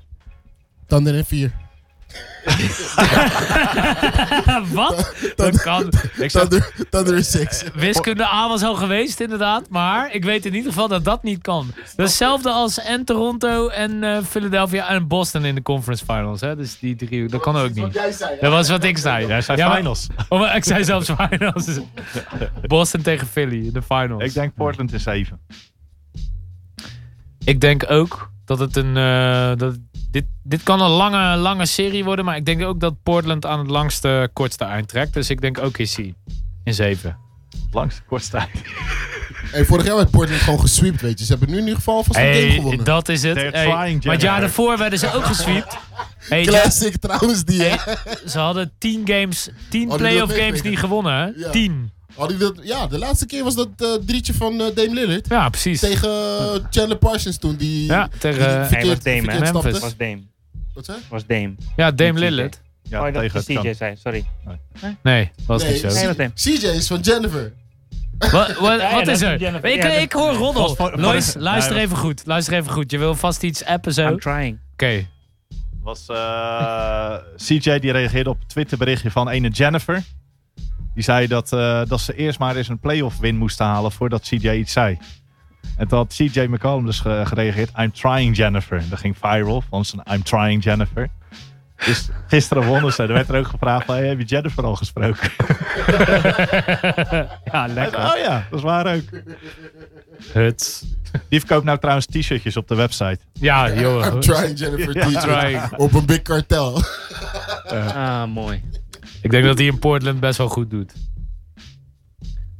Thunder en 4. Wat? Dat kan. Ik zeg, Thunder, Thunder en 6. Wiskunde A was al geweest, inderdaad. Maar ik weet in ieder geval dat dat niet kan. Dat is Hetzelfde als en Toronto en eh, Philadelphia en Boston in de conference finals. Hè? Dus die drie, dat kan ook niet. jij zei. Dat was wat ik zei. jij zei Ja, maar- finals. Oh, maar ik zei zelfs finals. Boston tegen Philly, de finals. Ik denk Portland is 7. Ik denk ook dat het een. eh, dat dit, dit kan een lange, lange serie worden. Maar ik denk ook dat Portland aan het langste, kortste eind trekt. Dus ik denk OKC in 7. Langs de kortste tijd. Hey, vorig jaar werd Portland gewoon gesweept, weet je. Ze hebben nu in ieder geval vast een game gewonnen. dat is het. They're Hey, trying, maar het Jennifer. jaar daarvoor werden ze ook gesweept. Hey, Classic trouwens, die hè. ja, ze hadden 10 games, 10 Oh, die wil playoff ik games weten. niet gewonnen. Ja. 10. Hadden jullie dat- ja, de laatste keer was dat eh, drietje van eh, Dame Lillard. Ja. precies. Tegen eh, Chandler Parsons toen, die, Ja, die tegen, eh, Hij was verkeerd, Dame, hè? verkeerd stapte. Memphis. was Dame. Wat zei? Was Dame. Ja, Dame Niet Lillard. Ja, oh, dat tegen was het TJ kamp. zei, sorry. Nee, was Nee, niet zo. C- Nee, wat Dame. CJ is van Jennifer. Wat, wat, ja, wat dat is is er? Jennifer. Ik, Ja, dat- ik hoor roddel. Was voor- Lois, voor- luister Nee, even goed. Luister even goed. Je wil vast iets appen zo. I'm Oké. trying. was eh, CJ die reageerde op een Twitterberichtje van ene Jennifer. Die zei dat, eh, dat ze eerst maar eens een playoff win moesten halen voordat CJ iets zei. En toen had CJ McCollum dus ge- gereageerd. I'm trying Jennifer. Dat ging viral van zijn I'm trying Jennifer. Dus gisteren wonnen ze. Er werd er ook gevraagd, van, hey, heb je Jennifer al gesproken? ja, Hij lekker. zei, oh ja, dat is waar ook. Huts. Die verkoopt nou trouwens t-shirtjes op de website. Ja, joh. I'm trying Jennifer Ja. Teacher Trying. op een big kartel. Ah, mooi. Ik denk dat hij in Portland best wel goed doet. Dat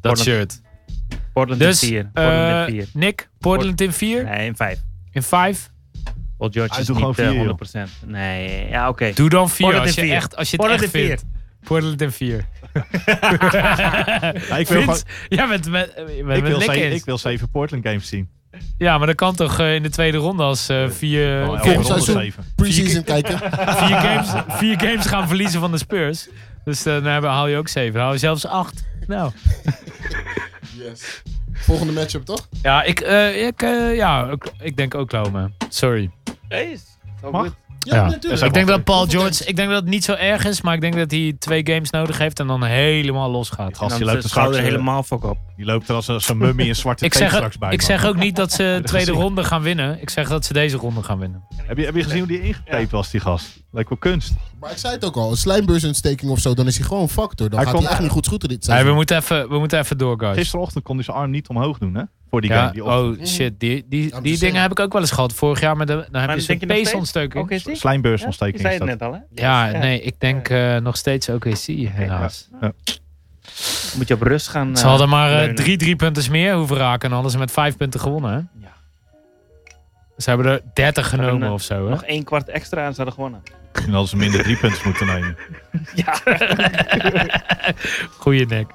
Portland- shirt. Portland Dus, in 4. eh, Portland in 4. Nick, Portland in 4? Nee, in 5. In 5? Paul George Hij is doet niet gewoon eh, vier, joh. 100%. Nee, ja, oké. Doe dan 4 Portland als je, in vier. echt, als je het Portland echt in vier. vindt. Portland in 4. Ja, ik wil, Vince, gewoon, ja, met, met, met, ik, met wil Nick zeven, eens. ik wil zeven Portland games zien. Ja, maar dat kan toch eh, in de tweede ronde als eh, vier, Gewoon elke vier, volgend ronde seizoen. zeven. Preseason kijken. vier games, vier games gaan verliezen van de Spurs. Dus dan hebben, haal je ook zeven. Dan haal je zelfs acht. Nou. Yes. Volgende matchup toch? Ja, ik, eh, ik, eh, ja, ik, ik denk Oklahoma. Sorry. Nee, is zo Mag? goed. Ja, Ja. natuurlijk. Ik denk dat Paul Hoeveel George, ik denk dat het niet zo erg is, maar ik denk dat hij twee games nodig heeft en dan helemaal los gaat. Gast, Dan die is loopt de er schouder straks, eh, helemaal fuck op. die loopt er als een, als een mummy in zwarte Ik tape zeg, straks bij. ik man. zeg ook niet dat ze de tweede gezien. ronde gaan winnen. Ik zeg dat ze deze ronde gaan winnen. Heb je, heb je gezien hoe die ingetaped was, die gast? Lijkt wel kunst. Maar ik zei het ook al, een slijmbeursontsteking of zo, dan is hij gewoon factor. Dan Hij gaat komt- hij echt niet goed schieten dit Nee, we seizoen. moeten even, we moeten even door, guys. Gisterochtend kon hij zijn arm niet omhoog doen, hè? Voor die Ja, game. Die op- oh shit, die, die, die just saying. dingen heb ik ook wel eens gehad. Vorig jaar met de, dan heb Maar je zo'n denk je nog steeds? peesontsteking. Oké, zie? Slijmbeursontsteking zei is het dat. net al, hè? Ja, Ja. Nou, nee, ik denk eh, nog steeds OKC helaas. Moet je op rust gaan. Ze eh, hadden maar eh, leunen. drie drie punten meer hoeven raken en hadden ze met vijf punten gewonnen. Hè? Ja. Ze hebben er 30 En, genomen eh, of zo. Hè? Nog één kwart extra en ze hadden gewonnen. Misschien hadden ze minder drie punten moeten nemen. Ja. Goeie nek.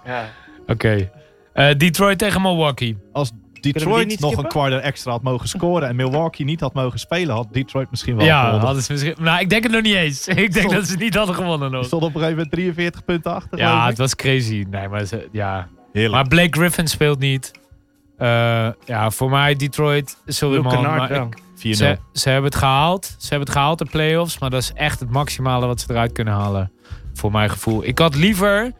Oké. Eh, Detroit tegen Milwaukee. Als Kunnen we die Detroit niet nog een skippen? kwartier extra had mogen scoren en Milwaukee niet had mogen spelen, had Detroit misschien wel ja, gewonnen. hadden ze misschien. Nou, ik denk het nog niet eens. Ik denk Stond- dat ze het niet hadden gewonnen Die nog. stond op een gegeven moment 43 punten achter. Ja, geloof het ik. was crazy. Nee, maar, ze, ja. Heerlijk. maar Blake Griffin speelt niet. Eh, ja, voor mij Detroit. Sorry Luke man. Kennard Maar ik- wel. 4-0. Ze, ze hebben het gehaald. Ze hebben het gehaald in playoffs. Maar dat is echt het maximale wat ze eruit kunnen halen. Voor mijn gevoel. Ik had liever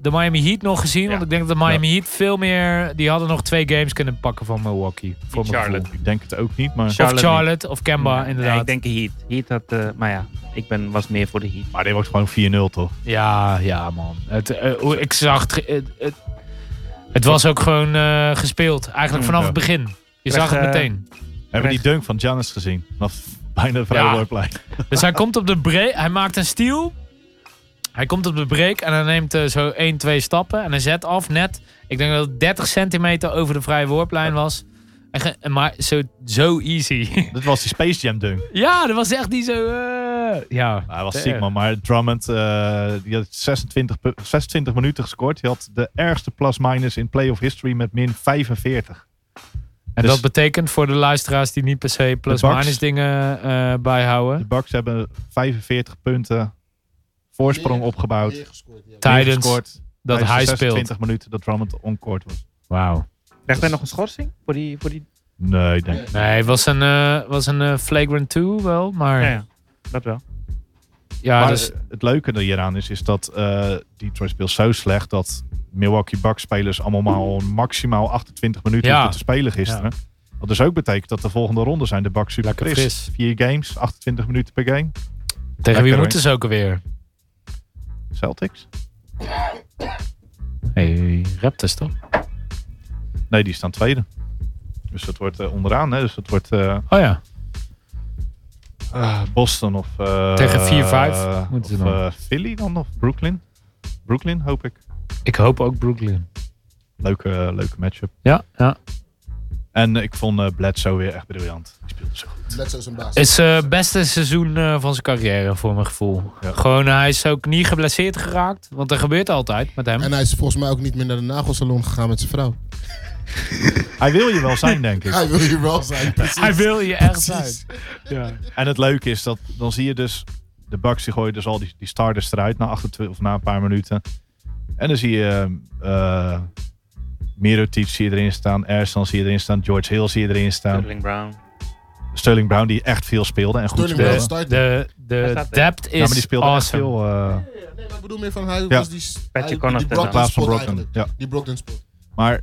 de Miami Heat nog gezien. Want ik denk dat de Miami Heat veel meer... Die hadden nog twee games kunnen pakken van Milwaukee. Voor mijn Charlotte. Ik denk het ook niet, maar... gevoel. Charlotte Of Charlotte of Kemba Nee, inderdaad. ik denk Heat. Heat had, eh, maar ja, ik ben, was meer voor de Heat. Maar dit wordt gewoon 4-0, toch? Ja, ja man. Het, eh, hoe- ik zag... Het, ge- het, het, het was ook gewoon eh, gespeeld. Eigenlijk vanaf Mm, Ja. het begin. Je Krijg, zag het eh, meteen. Hebben die dunk van Giannis gezien? Vanaf bijna de vrijwoordplein. Dus hij komt op de break. Hij maakt een steal. Hij komt op de break en hij neemt eh, zo 1, 2 stappen. En hij zet af net. Ik denk dat het 30 centimeter over de vrije worplijn was. En ge- en maar zo, zo easy. Dit was die Space Jam dunk. ja, dat was echt niet zo. eh, ja. Nou, hij was Damn. ziek, man. Maar Drummond eh, die had 26, pu- 26 minuten gescoord. Hij had de ergste plus-minus in playoff history met min 45. En Dus dat betekent voor de luisteraars die niet per se plus-minus Bucks- dingen eh, de bijhouden. Bucks hebben 45 punten voorsprong Meer- opgebouwd. Meer gescoord, ja. Tijdens Neergescoord dat tijdens hij de speelt. 26 minuten dat Drummond onkort was. Wauw. Krijgt hij nog een schorsing? Voor die, voor die... Nee, ik denk Nee. Nee, het was een, eh, was een eh, flagrant 2 wel. Maar Ja, ja, ja, dat wel. maar dus, eh, het leuke er hieraan is, is dat eh, Detroit speelt zo slecht dat Milwaukee Bucks spelers allemaal maximaal 28 minuten Ja. hoeven te spelen gisteren. Wat dus ook betekent dat de volgende ronde zijn de Bucks super Lekker fris. Vier games, 28 minuten per game. tegen wie lekker, moeten ze ook alweer? Celtics? Hey, Raptors toch? Nee, die staan tweede. Dus dat wordt eh, onderaan. Hè? Dus dat wordt eh, Oh ja. ah, Boston of... eh, Tegen 4-5 eh, moeten ze of, dan. eh, Philly dan of Brooklyn? Brooklyn hoop ik. Ik hoop ook Brooklyn. Leuke, leuke matchup. Ja, ja. En ik vond eh Bledsoe weer echt briljant. Die speelde zo goed. Bledsoe is een baas. Is het beste seizoen eh, van zijn carrière, voor mijn gevoel. Ja. Gewoon, eh, hij is ook niet geblesseerd geraakt. Want dat gebeurt altijd met hem. En hij is volgens mij ook niet meer naar de nagelsalon gegaan met zijn vrouw. Hij wil je wel zijn, denk ik. Hij wil hier wel zijn, precies. Hij wil je echt zijn. eh, Precies. En het leuke is dat dan zie je dus de Bucks die gooien dus al die, die starters eruit na 28 of na een paar minuten. En dan zie je eh Mirotic zie je erin staan, Ersan zie je erin staan, George Hill zie je erin staan, Sterling Brown. Sterling Brown die echt veel speelde en goed Sterling speelde. Brown De, is start. de, Hij de staat er. depth Ja, maar die is speelde echt awesome. veel eh, Nee, maar ik bedoel meer van hij Ja. was die... Patrick hij- Connaughton. die in plaats van spot Brockton. eigenlijk. Ja. Die Brockton spot. Maar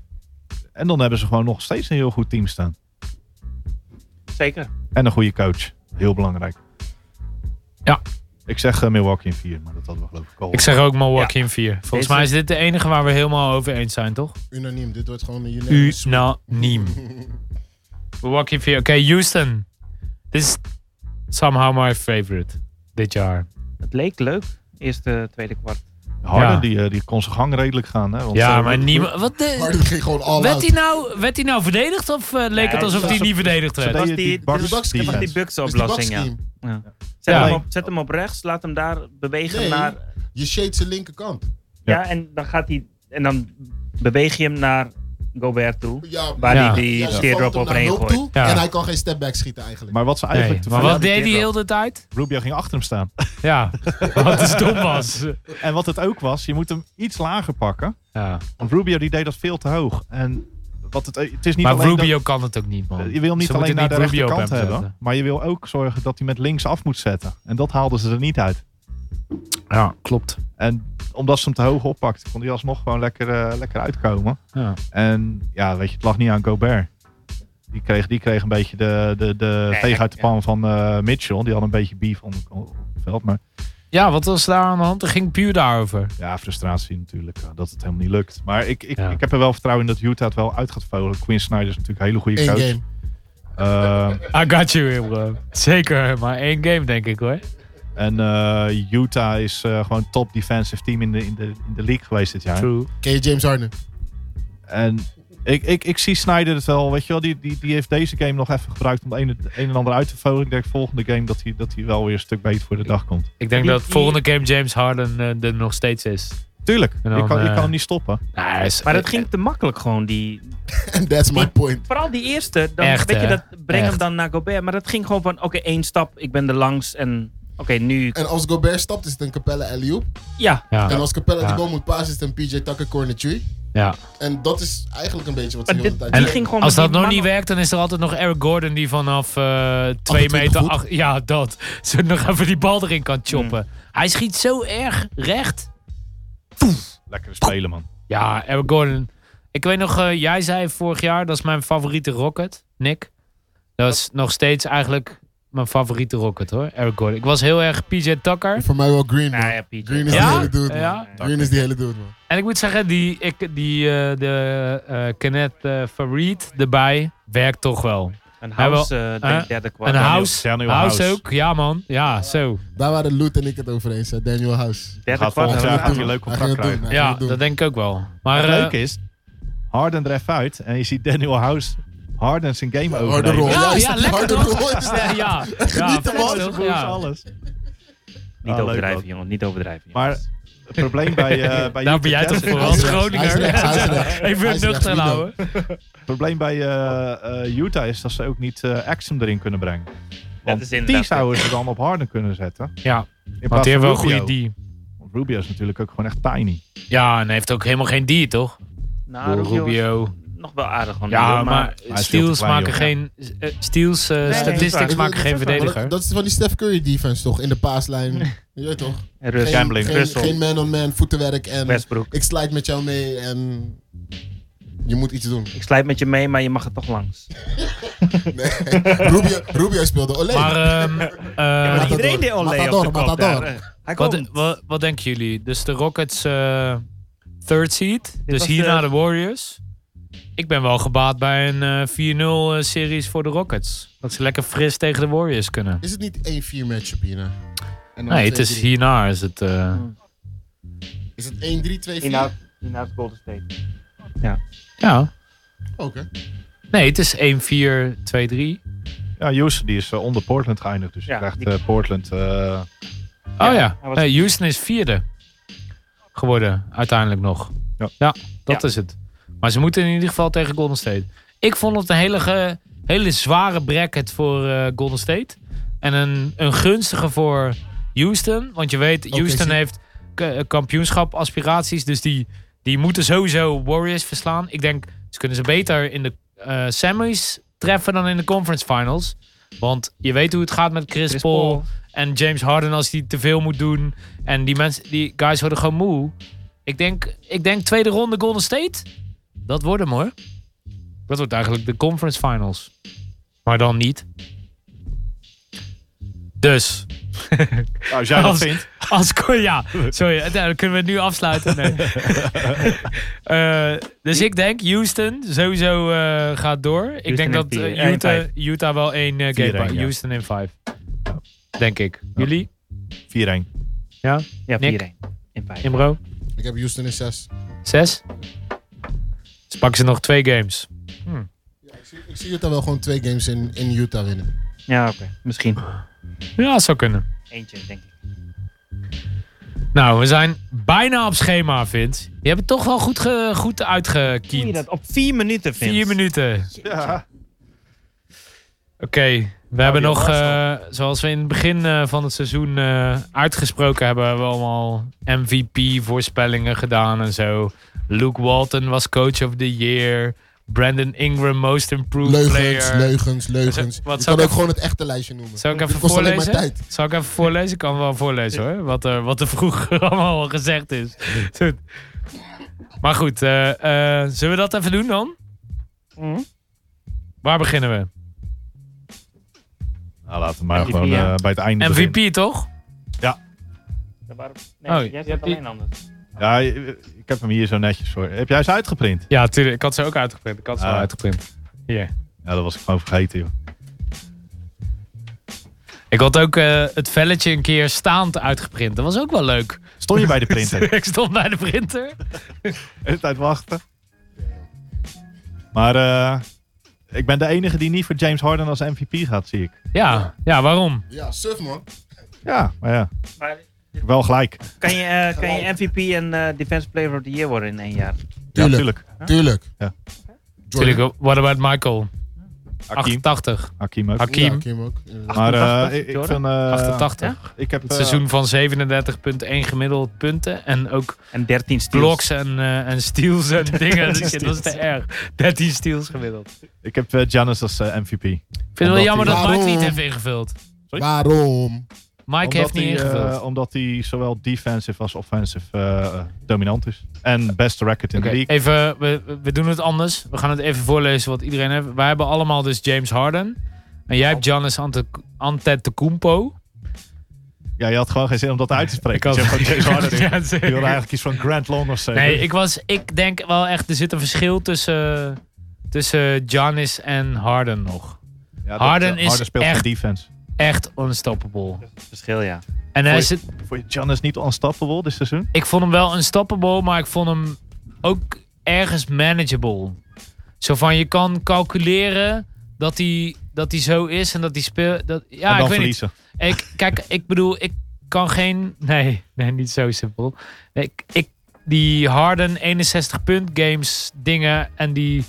En dan hebben ze gewoon nog steeds een heel goed team staan. Zeker. En een goede coach. Heel belangrijk. Ja. Ik zeg eh, Milwaukee in 4, maar dat hadden we geloof ik al. Ik zeg ook Milwaukee in 4. Volgens Deze- mij is dit de enige waar we helemaal over eens zijn, toch? Unaniem. Dit wordt gewoon een unaniem. Unaniem. Milwaukee in 4. Oké, Houston. Dit is somehow my favorite dit jaar. Het leek leuk. Eerste, tweede kwart. Harden, Ja. die, eh, die kon zijn gang redelijk gaan. Hè? Want, Ja, eh, maar niemand... Wat Maar de, dit ging gewoon all werd, out. hij nou, werd hij nou verdedigd of eh, leek Nee, het alsof dat hij was niet verdedigd Ze werd? was deden die- die Bucks de Bucks- Dat defense. was die Dus die Bucks-oplossing, ja. Bucks-team. Zet, Ja. hem op, zet hem op rechts, laat hem daar bewegen Nee. naar... Je shades de linkerkant. Ja. Ja. en dan gaat hij... En dan beweeg je hem naar Gobert toe. Ja, Waar Ja. hij die ja, ze teardrop vangt hem overheen naar Loop gooit. toe Ja. En hij kan geen stepback schieten eigenlijk. Maar wat ze eigenlijk te maar veel- wat deed hij wel. heel de tijd? Rubio ging achter hem staan. Ja, wat het stom was. En wat het ook was, je moet hem iets lager pakken. Ja. Want Rubio die deed dat veel te hoog. En wat het, het is niet Maar alleen dat- Rubio kan het ook Eh, niet, man. Je wil hem niet Ze alleen moeten naar de niet Rubio op rechterkant hem hebben, zetten. maar je wil ook zorgen dat hij met links af moet zetten. En dat haalden ze er niet uit. Ja, klopt. En omdat ze hem te hoog oppakte, kon hij alsnog gewoon lekker, eh, lekker uitkomen. Ja. En ja, weet je, het lag niet aan Gobert. Die kreeg, die kreeg een beetje de, de, de Nee, veeg uit de ja. pan van eh, Mitchell. Die had een beetje beef om op het veld. Maar Ja, wat was daar aan de hand? Er ging puur daarover. ja, frustratie natuurlijk. eh, dat het helemaal niet lukt. Maar ik, ik, Ja. ik heb er wel vertrouwen in dat Utah het wel uit gaat vogelen. Quinn Snyder is natuurlijk een hele goede Eén coach. game. Eh, I got you here, bro. Zeker, maar één game denk ik hoor. en eh, Utah is eh, gewoon top defensive team in de, in, de, in de league geweest dit jaar. True. Ken je James Harden? En ik, ik, ik zie Snyder het wel. Weet je wel, die, die, die heeft deze game nog even gebruikt om het een, het een en ander uit te vogelen. Ik denk volgende game dat hij, dat hij wel weer een stuk beter voor de dag komt. Ik denk Wie- dat wie- volgende game James Harden eh, er nog steeds is. Tuurlijk, En dan, je, kan, je eh, kan hem niet stoppen. Nou, hij is- Maar het ging te makkelijk gewoon, die... And that's my point. Vooral die eerste. Dan, Echt, weet je, hè? dat, breng hem Echt. dan naar Gobert. Maar dat ging gewoon van, oké, één stap, ik ben er langs. En oké, nu... En als Gobert stapt, is het een Capella alley Ja, Ja, En als Capella Ja. die goal moet passen, is het een PJ Tucker corner tree. ja. En dat is eigenlijk een beetje wat ze maar de hele dit, tijd die doen. ging gewoon... Als met dat die nog niet man- werkt, dan is er altijd nog Eric Gordon die vanaf eh twee 28 meter... voet. Ach, ja, dat. Zo nog even die bal erin kan choppen. Hmm. Hij schiet zo erg recht. Lekker spelen, man. Ja, Eric Gordon. Ik weet nog, eh, jij zei vorig jaar, dat is mijn favoriete Rocket, Nick. Dat is nog steeds eigenlijk mijn favoriete Rocket hoor, Eric Gordon. Ik was heel erg PJ Tucker. Voor mij wel Green, man. Nou ja, Pieter. Green is Ja? die hele dude, man. Ja? Green is die hele dude, man. En ik moet zeggen, die, ik, die eh, de eh Kenneth eh, Farid erbij werkt toch wel. Een house, eh, denk Eh, ik, derde kwart. Een house, Daniel house House. ook, ja man. Ja, zo. Daar waren Loot en ik het over eens, hè. Daniel House. Derde Gaat kwart. volgend Hij jaar ging gaat het hij doen. een leuk Hij contract ging krijgen. het doen. Hij ging Ja, het doen. dat denk ik ook wel. Maar het eh, leuke is, Harden er even uit en je ziet Daniel House Harden zijn game overnemen. Harde rol. ja, is ja, dat lekker harde toch? rol? Is dat- ja, ja, Geniet vet ervan, toch? ze Broers, ja. alles. Niet Ah, leuk, overdrijven, man. jongen. Niet overdrijven. jongen. Maar het probleem bij, eh bij Daar ben jij Nou, Utah toch Jazz- voor, Hij als is rechts, hij Groninger. is rechts, hij is rechts. Even Hij het is nuchter rechts, houden. Het probleem bij eh, eh, Utah is dat ze ook niet eh Axum erin kunnen brengen. Want is die inderdaad- zouden ze dan op Harden kunnen zetten. Ja, In want plaats die heeft van wel een Rubio. goede die. Want Rubio is natuurlijk ook gewoon echt tiny. Ja, en hij heeft ook helemaal geen die, toch? Nou, Rubio. Rubio is Nog wel aardig gewoon. Ja, Rubio, maar veel te Steels klein, maken joh. geen... eh, Steels, eh, nee, dat statistics is waar. maken geen Dat is waar. Maar verdediger. dat, dat is van die Steph Curry defense toch? In de paaslijn. Je weet toch? En Russell. Geen- Gambling. Geen, Russell. geen man-on-man voetenwerk en Westbrook. ik slide met jou mee en je moet iets doen. Ik slijt met je mee, maar je mag er toch langs. Nee. Rubio, Rubio speelde Olé. Maar, ehm, eh, maar die- iedereen deed Olé op de kop daar, hè. Hij wat, komt. wat, wat denken jullie? Dus de Rockets eh, third seed. dus was hierna de- de... Warriors. Ik ben wel gebaat bij een eh, 4-0 eh, series voor de Rockets. Dat ze lekker fris tegen de Warriors kunnen. is het niet 1-4 matchup hierna? En dan Nee, het is 2-3. hierna is het... eh, Is het 1-3, 2-4? Inhoud, inhoud Golden State. ja. Oh, Oké. Nee, het is 1-4-2-3. Ja, Houston die is eh, onder Portland geëindigd. Dus Ja, je krijgt die- eh, Portland. eh, Oh ja, hij was- Nee, Houston is vierde geworden uiteindelijk nog. Ja. dat Ja. is het. Maar ze moeten in ieder geval tegen Golden State. Ik vond het een hele, ge- hele zware bracket voor eh, Golden State. En een, een gunstige voor Houston. Want je weet, Houston zie- heeft k- eh, kampioenschap aspiraties. Dus die, die moeten sowieso Warriors verslaan. Ik denk, ze kunnen ze beter in de eh, semis treffen dan in de conference finals. Want je weet hoe het gaat met Chris, Chris Paul. Paul. En James Harden als hij te veel moet doen. En die mensen, die guys worden gewoon moe. Ik denk, ik denk tweede ronde Golden State. Dat wordt hem hoor. Dat wordt eigenlijk de conference finals. Maar dan niet. Dus, Nou, als jij dat Als- vindt. als ko- ja, sorry, eh, nou, dan kunnen we het nu afsluiten. Nee. Eh, dus ik denk Houston sowieso eh, gaat door. ik Houston denk dat in eh, vier- eh, in Utah, vijf. Utah wel één eh, game Vier-één, pakt. ja. Houston in vijf. Denk ik. Jullie? 4-1. Ja, Nick? 4-1. In vijf. Imro? Ik heb Houston in 6. Zes? Dus pakken ze nog twee games. ik, zie, ik zie Utah wel gewoon twee games in, in Utah winnen. Ja, oké. Misschien. Ja, zou kunnen. Eentje, denk ik. Nou, we zijn bijna op schema, Vince. Je hebt het toch wel goed, ge- goed Zie je uitgekiend. dat? Op vier minuten, Vince. Vier minuten. Ja. Oké, Nou, we hebben nog, Arsenal. eh, zoals we in het begin eh, van het seizoen eh, uitgesproken hebben, hebben we allemaal MVP-voorspellingen gedaan en zo. Luke Walton was coach of the year. Brandon Ingram, most improved Leugens, player. leugens, leugens. Wat zou je kan ik ook even- gewoon het echte lijstje noemen. Zal ik even Het kost alleen maar voorlezen? tijd. Zal ik even voorlezen? Ik kan wel voorlezen hoor. Wat er, wat er vroeger allemaal al gezegd is. Goed. Maar goed, eh, eh, zullen we dat even doen dan? Mhm. Waar beginnen we? Nou, laten we maar MVP, gewoon ja. eh, bij het einde beginnen. MVP toch? Ja, waarom- Oh, je Nee, jij hebt zegt die- alleen anders. Ja, eh, ik heb hem hier zo netjes voor. Heb jij ze uitgeprint? Ja, tuurlijk. Ik had ze ook uitgeprint. Ik had ze Ah. al uitgeprint. Hier. Ja, dat was ik gewoon vergeten, joh. Ik had ook eh, het velletje een keer staand uitgeprint. Dat was ook wel leuk. Stond je bij de printer? ik stond bij de printer. De hele tijd wachten. Maar eh, ik ben de enige die niet voor James Harden als MVP gaat, zie ik. Ja, ja waarom? Ja, surf man. Ja, maar ja, Maar wel gelijk. kan je, eh, kan je MVP en eh, Defense Player of the Year worden in één jaar? Ja, Tuurlijk, natuurlijk. tuurlijk. Ja. Jordan. Tuurlijk, what about Michael? Hakim. 88. Hakim ook. Hak- Hakim. Ja, Hakim ook. inderdaad. Maar eh, 88, ik, ik Jordan. vind... eh, 88. Ik heb Het eh, seizoen van 37,1 gemiddeld punten. En ook En 13 steals. blocks en, eh, en steals en dingen. Dus dat is te erg. 13 steals gemiddeld. Ik ik heb eh, Giannis als eh, MVP. vind het wel Omdat jammer hij- dat Mike niet Waarom? heeft ingevuld. Waarom? Mike heeft niet hij, eh, ingevuld. omdat hij zowel defensive als offensive eh, dominant is. En best record in Oké, de league. even, we, we doen het anders. We gaan het even voorlezen wat iedereen heeft. Wij hebben allemaal dus James Harden. En jij Oh. hebt Giannis Ante- Antetokounmpo. Ja, je had gewoon geen zin om dat uit te spreken. Ik had- Je hebt gewoon James Harden. Ja, Je wilde zeker. eigenlijk iets van Grant Long of zo. Nee, ik, was, ik denk wel echt, er zit een verschil tussen, tussen Giannis en Harden nog. Ja, dat- Harden is speelt geen echt- defense. Echt unstoppable. Verschil, ja. En hij Hoi. zit, Vond je Giannis niet unstoppable dit seizoen? ik vond hem wel unstoppable, maar ik vond hem ook ergens manageable. Zo van, je kan calculeren dat hij, dat hij zo is en dat hij speelt. Dat, ja, en ik dan weet niet. verliezen. Ik, kijk, ik bedoel, ik kan geen. Nee, nee niet zo simpel. Ik, ik, die Harden 61-punt games dingen en die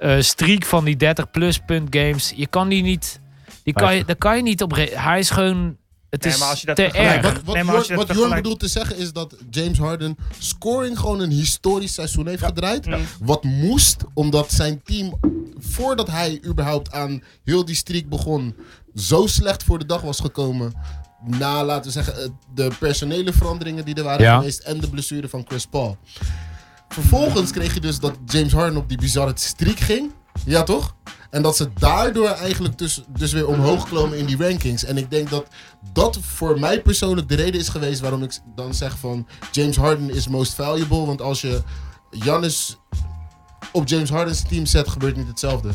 eh, streak van die 30-plus punt games, je kan die niet. Die kan je, daar kan je niet op. re- Hij is gewoon. Het Nee, is maar als je dat te vergelijkt- erg. Wat, wat, Nee, maar als je Jorn- dat wat Jorn vergelijkt- bedoelt te zeggen is dat James Harden scoring gewoon een historisch seizoen heeft gedraaid. Ja. Wat moest, omdat zijn team, voordat hij überhaupt aan heel die streak begon, zo slecht voor de dag was gekomen. Na, laten we zeggen, eh, de personele veranderingen die er waren Ja. geweest en de blessure van Chris Paul. Vervolgens kreeg je dus dat James Harden op die bizarre streak ging. Ja, toch? En dat ze daardoor eigenlijk dus, dus weer omhoog klommen in die rankings. En ik denk dat dat voor mij persoonlijk de reden is geweest waarom ik dan zeg van James Harden is most valuable. Want als je Jannis op James Harden's team zet, gebeurt niet hetzelfde.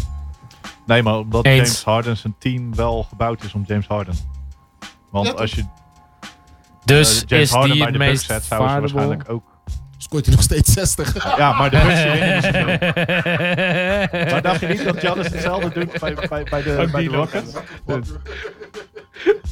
Nee, maar omdat Eens. James Harden zijn team wel gebouwd is om James Harden. Want Ja, toch? als je eh, Dus James is Harden die bij het de Bucks meest zet, zouden ze valuable? waarschijnlijk ook... Scoort hij nog steeds 60. Ja, maar de Bucks winnen dus wel. Maar dacht je niet dat Giannis hetzelfde doet bij, bij, bij de, bij de Rockets?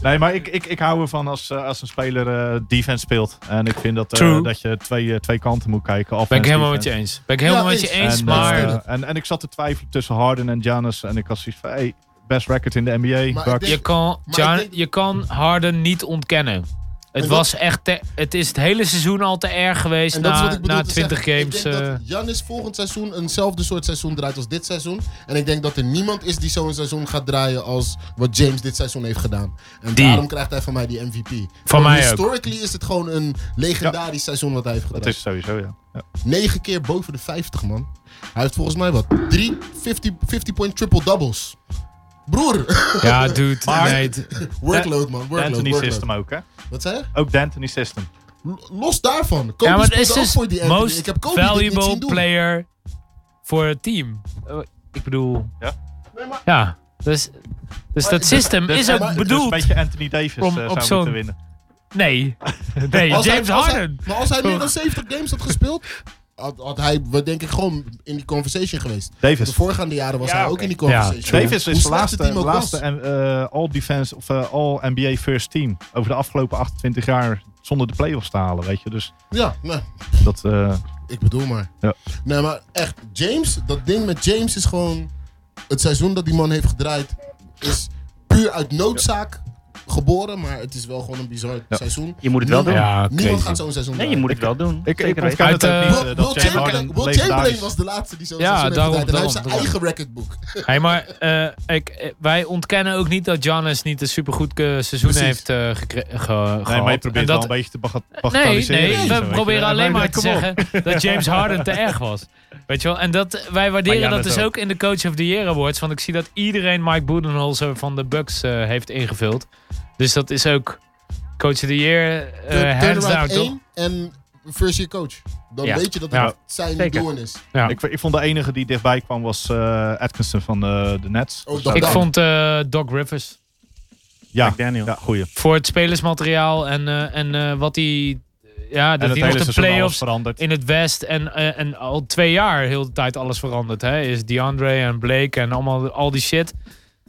Nee, maar ik, ik, ik hou ervan als, eh, als een speler eh, defense speelt. En ik vind dat, eh, True. dat je twee, eh, twee kanten moet kijken. Ben ik offense, helemaal met defense. je eens. Ben ik helemaal Ja, met je eens. eens, en, maar. eh, en, en ik zat te twijfelen tussen Harden en Giannis. En ik had zoiets van, hey, best record in de NBA. Maar ik Bucks. denk- Je kan, Maar Jan- ik denk- je kan Harden niet ontkennen. Het En was echt. te- het is het hele seizoen al te erg geweest En dat is na, wat ik bedoel na te 20 zeggen. games. Ik denk eh, dat Janis volgend seizoen eenzelfde soort seizoen draait als dit seizoen. En ik denk dat er niemand is die zo'n seizoen gaat draaien als wat James dit seizoen heeft gedaan. En Die. daarom krijgt hij van mij die MVP. Van mij ook. Historically is het gewoon een legendarisch seizoen wat hij heeft Dat gedaan. is sowieso, ja. ja. 9 keer boven de 50, man. Hij heeft volgens mij wat? 3 50-point triple-doubles. Broer, ja, dude. Ah, nee, het- workload man, workload, Anthony workload. System ook, hè? Wat zei je? Ook de Anthony System. L- Los daarvan, Kobe ja, maar het speelde is ook dus voor die Anthony. Ik most heb Kobe dit niet valuable zien doen. player voor het team. Eh, Ik bedoel. Ja. Ja. Dus, dus dat systeem Dus- is ook dus bedoeld. een beetje Anthony Davis eh, om- zou op moeten zo'n- winnen. Nee. Nee, Als James hij- als hij- Harden. Oh. maar als hij meer dan 70 games had gespeeld, had, had hij we denk ik gewoon in die conversation geweest. De Davis. voorgaande jaren was hij ook in die conversation. Davis Hoe is de slecht het laatste, team ook was. laatste eh, all-defense of eh, all-NBA first team over de afgelopen 28 jaar zonder de playoffs te halen, weet je. Dus Ja, nee, dat... eh, ik bedoel maar. Ja. Nee, maar echt, James, dat ding met James is gewoon... Het seizoen dat die man heeft gedraaid is puur uit noodzaak geboren, maar het is wel gewoon een bizar Ja. seizoen. Je moet het wel doen. Ja, Niemand crazy. gaat zo'n seizoen Nee, je draaien. moet het wel doen. ik ik Zeker weten. ontken het Uit, ook eh, niet. eh, Will, dat Will James Harden Chamberlain, Will legendarisch Chamberlain is. was de laatste die zo'n Ja, seizoen heeft daarom, gedraaid. En hij heeft zijn daarom, eigen recordboek. Hey, maar eh, ik, eh, wij ontkennen ook niet dat Giannis niet een supergoed eh, seizoen Precies. heeft eh gekre- ge- gehad. Nee, maar je probeert En dat, wel een beetje te baga- Nee, bagatelliseren. nee, en zo, we weet je. proberen Ja, alleen nee, maar te kom op. zeggen dat James Harden te erg was. Weet je wel? En dat, wij waarderen Maar dat Giannis dus ook. ook in de Coach of the Year Awards. Want ik zie dat iedereen Mike Budenholzer van de Bucks eh, heeft ingevuld. Dus dat is ook Coach of the Year eh, Turn- hands down, turnaround toch? één en first year coach. Dan Ja. weet je dat het Ja. zijn Zeker. doen is. Ja. Ik, ik vond de enige die dichtbij kwam was eh, Atkinson van eh, de Nets. Oh, Of dat- zo. Ik dan. vond eh, Doc Rivers ja, McDaniel. ja, goeie. voor het spelersmateriaal en, eh, en eh, wat hij... Ja, En dat het hij nog hele de seizoen alles playoffs veranderd. in het West en, eh, en al twee jaar heel de tijd alles veranderd. Hè? Is DeAndre en Blake en allemaal al die shit.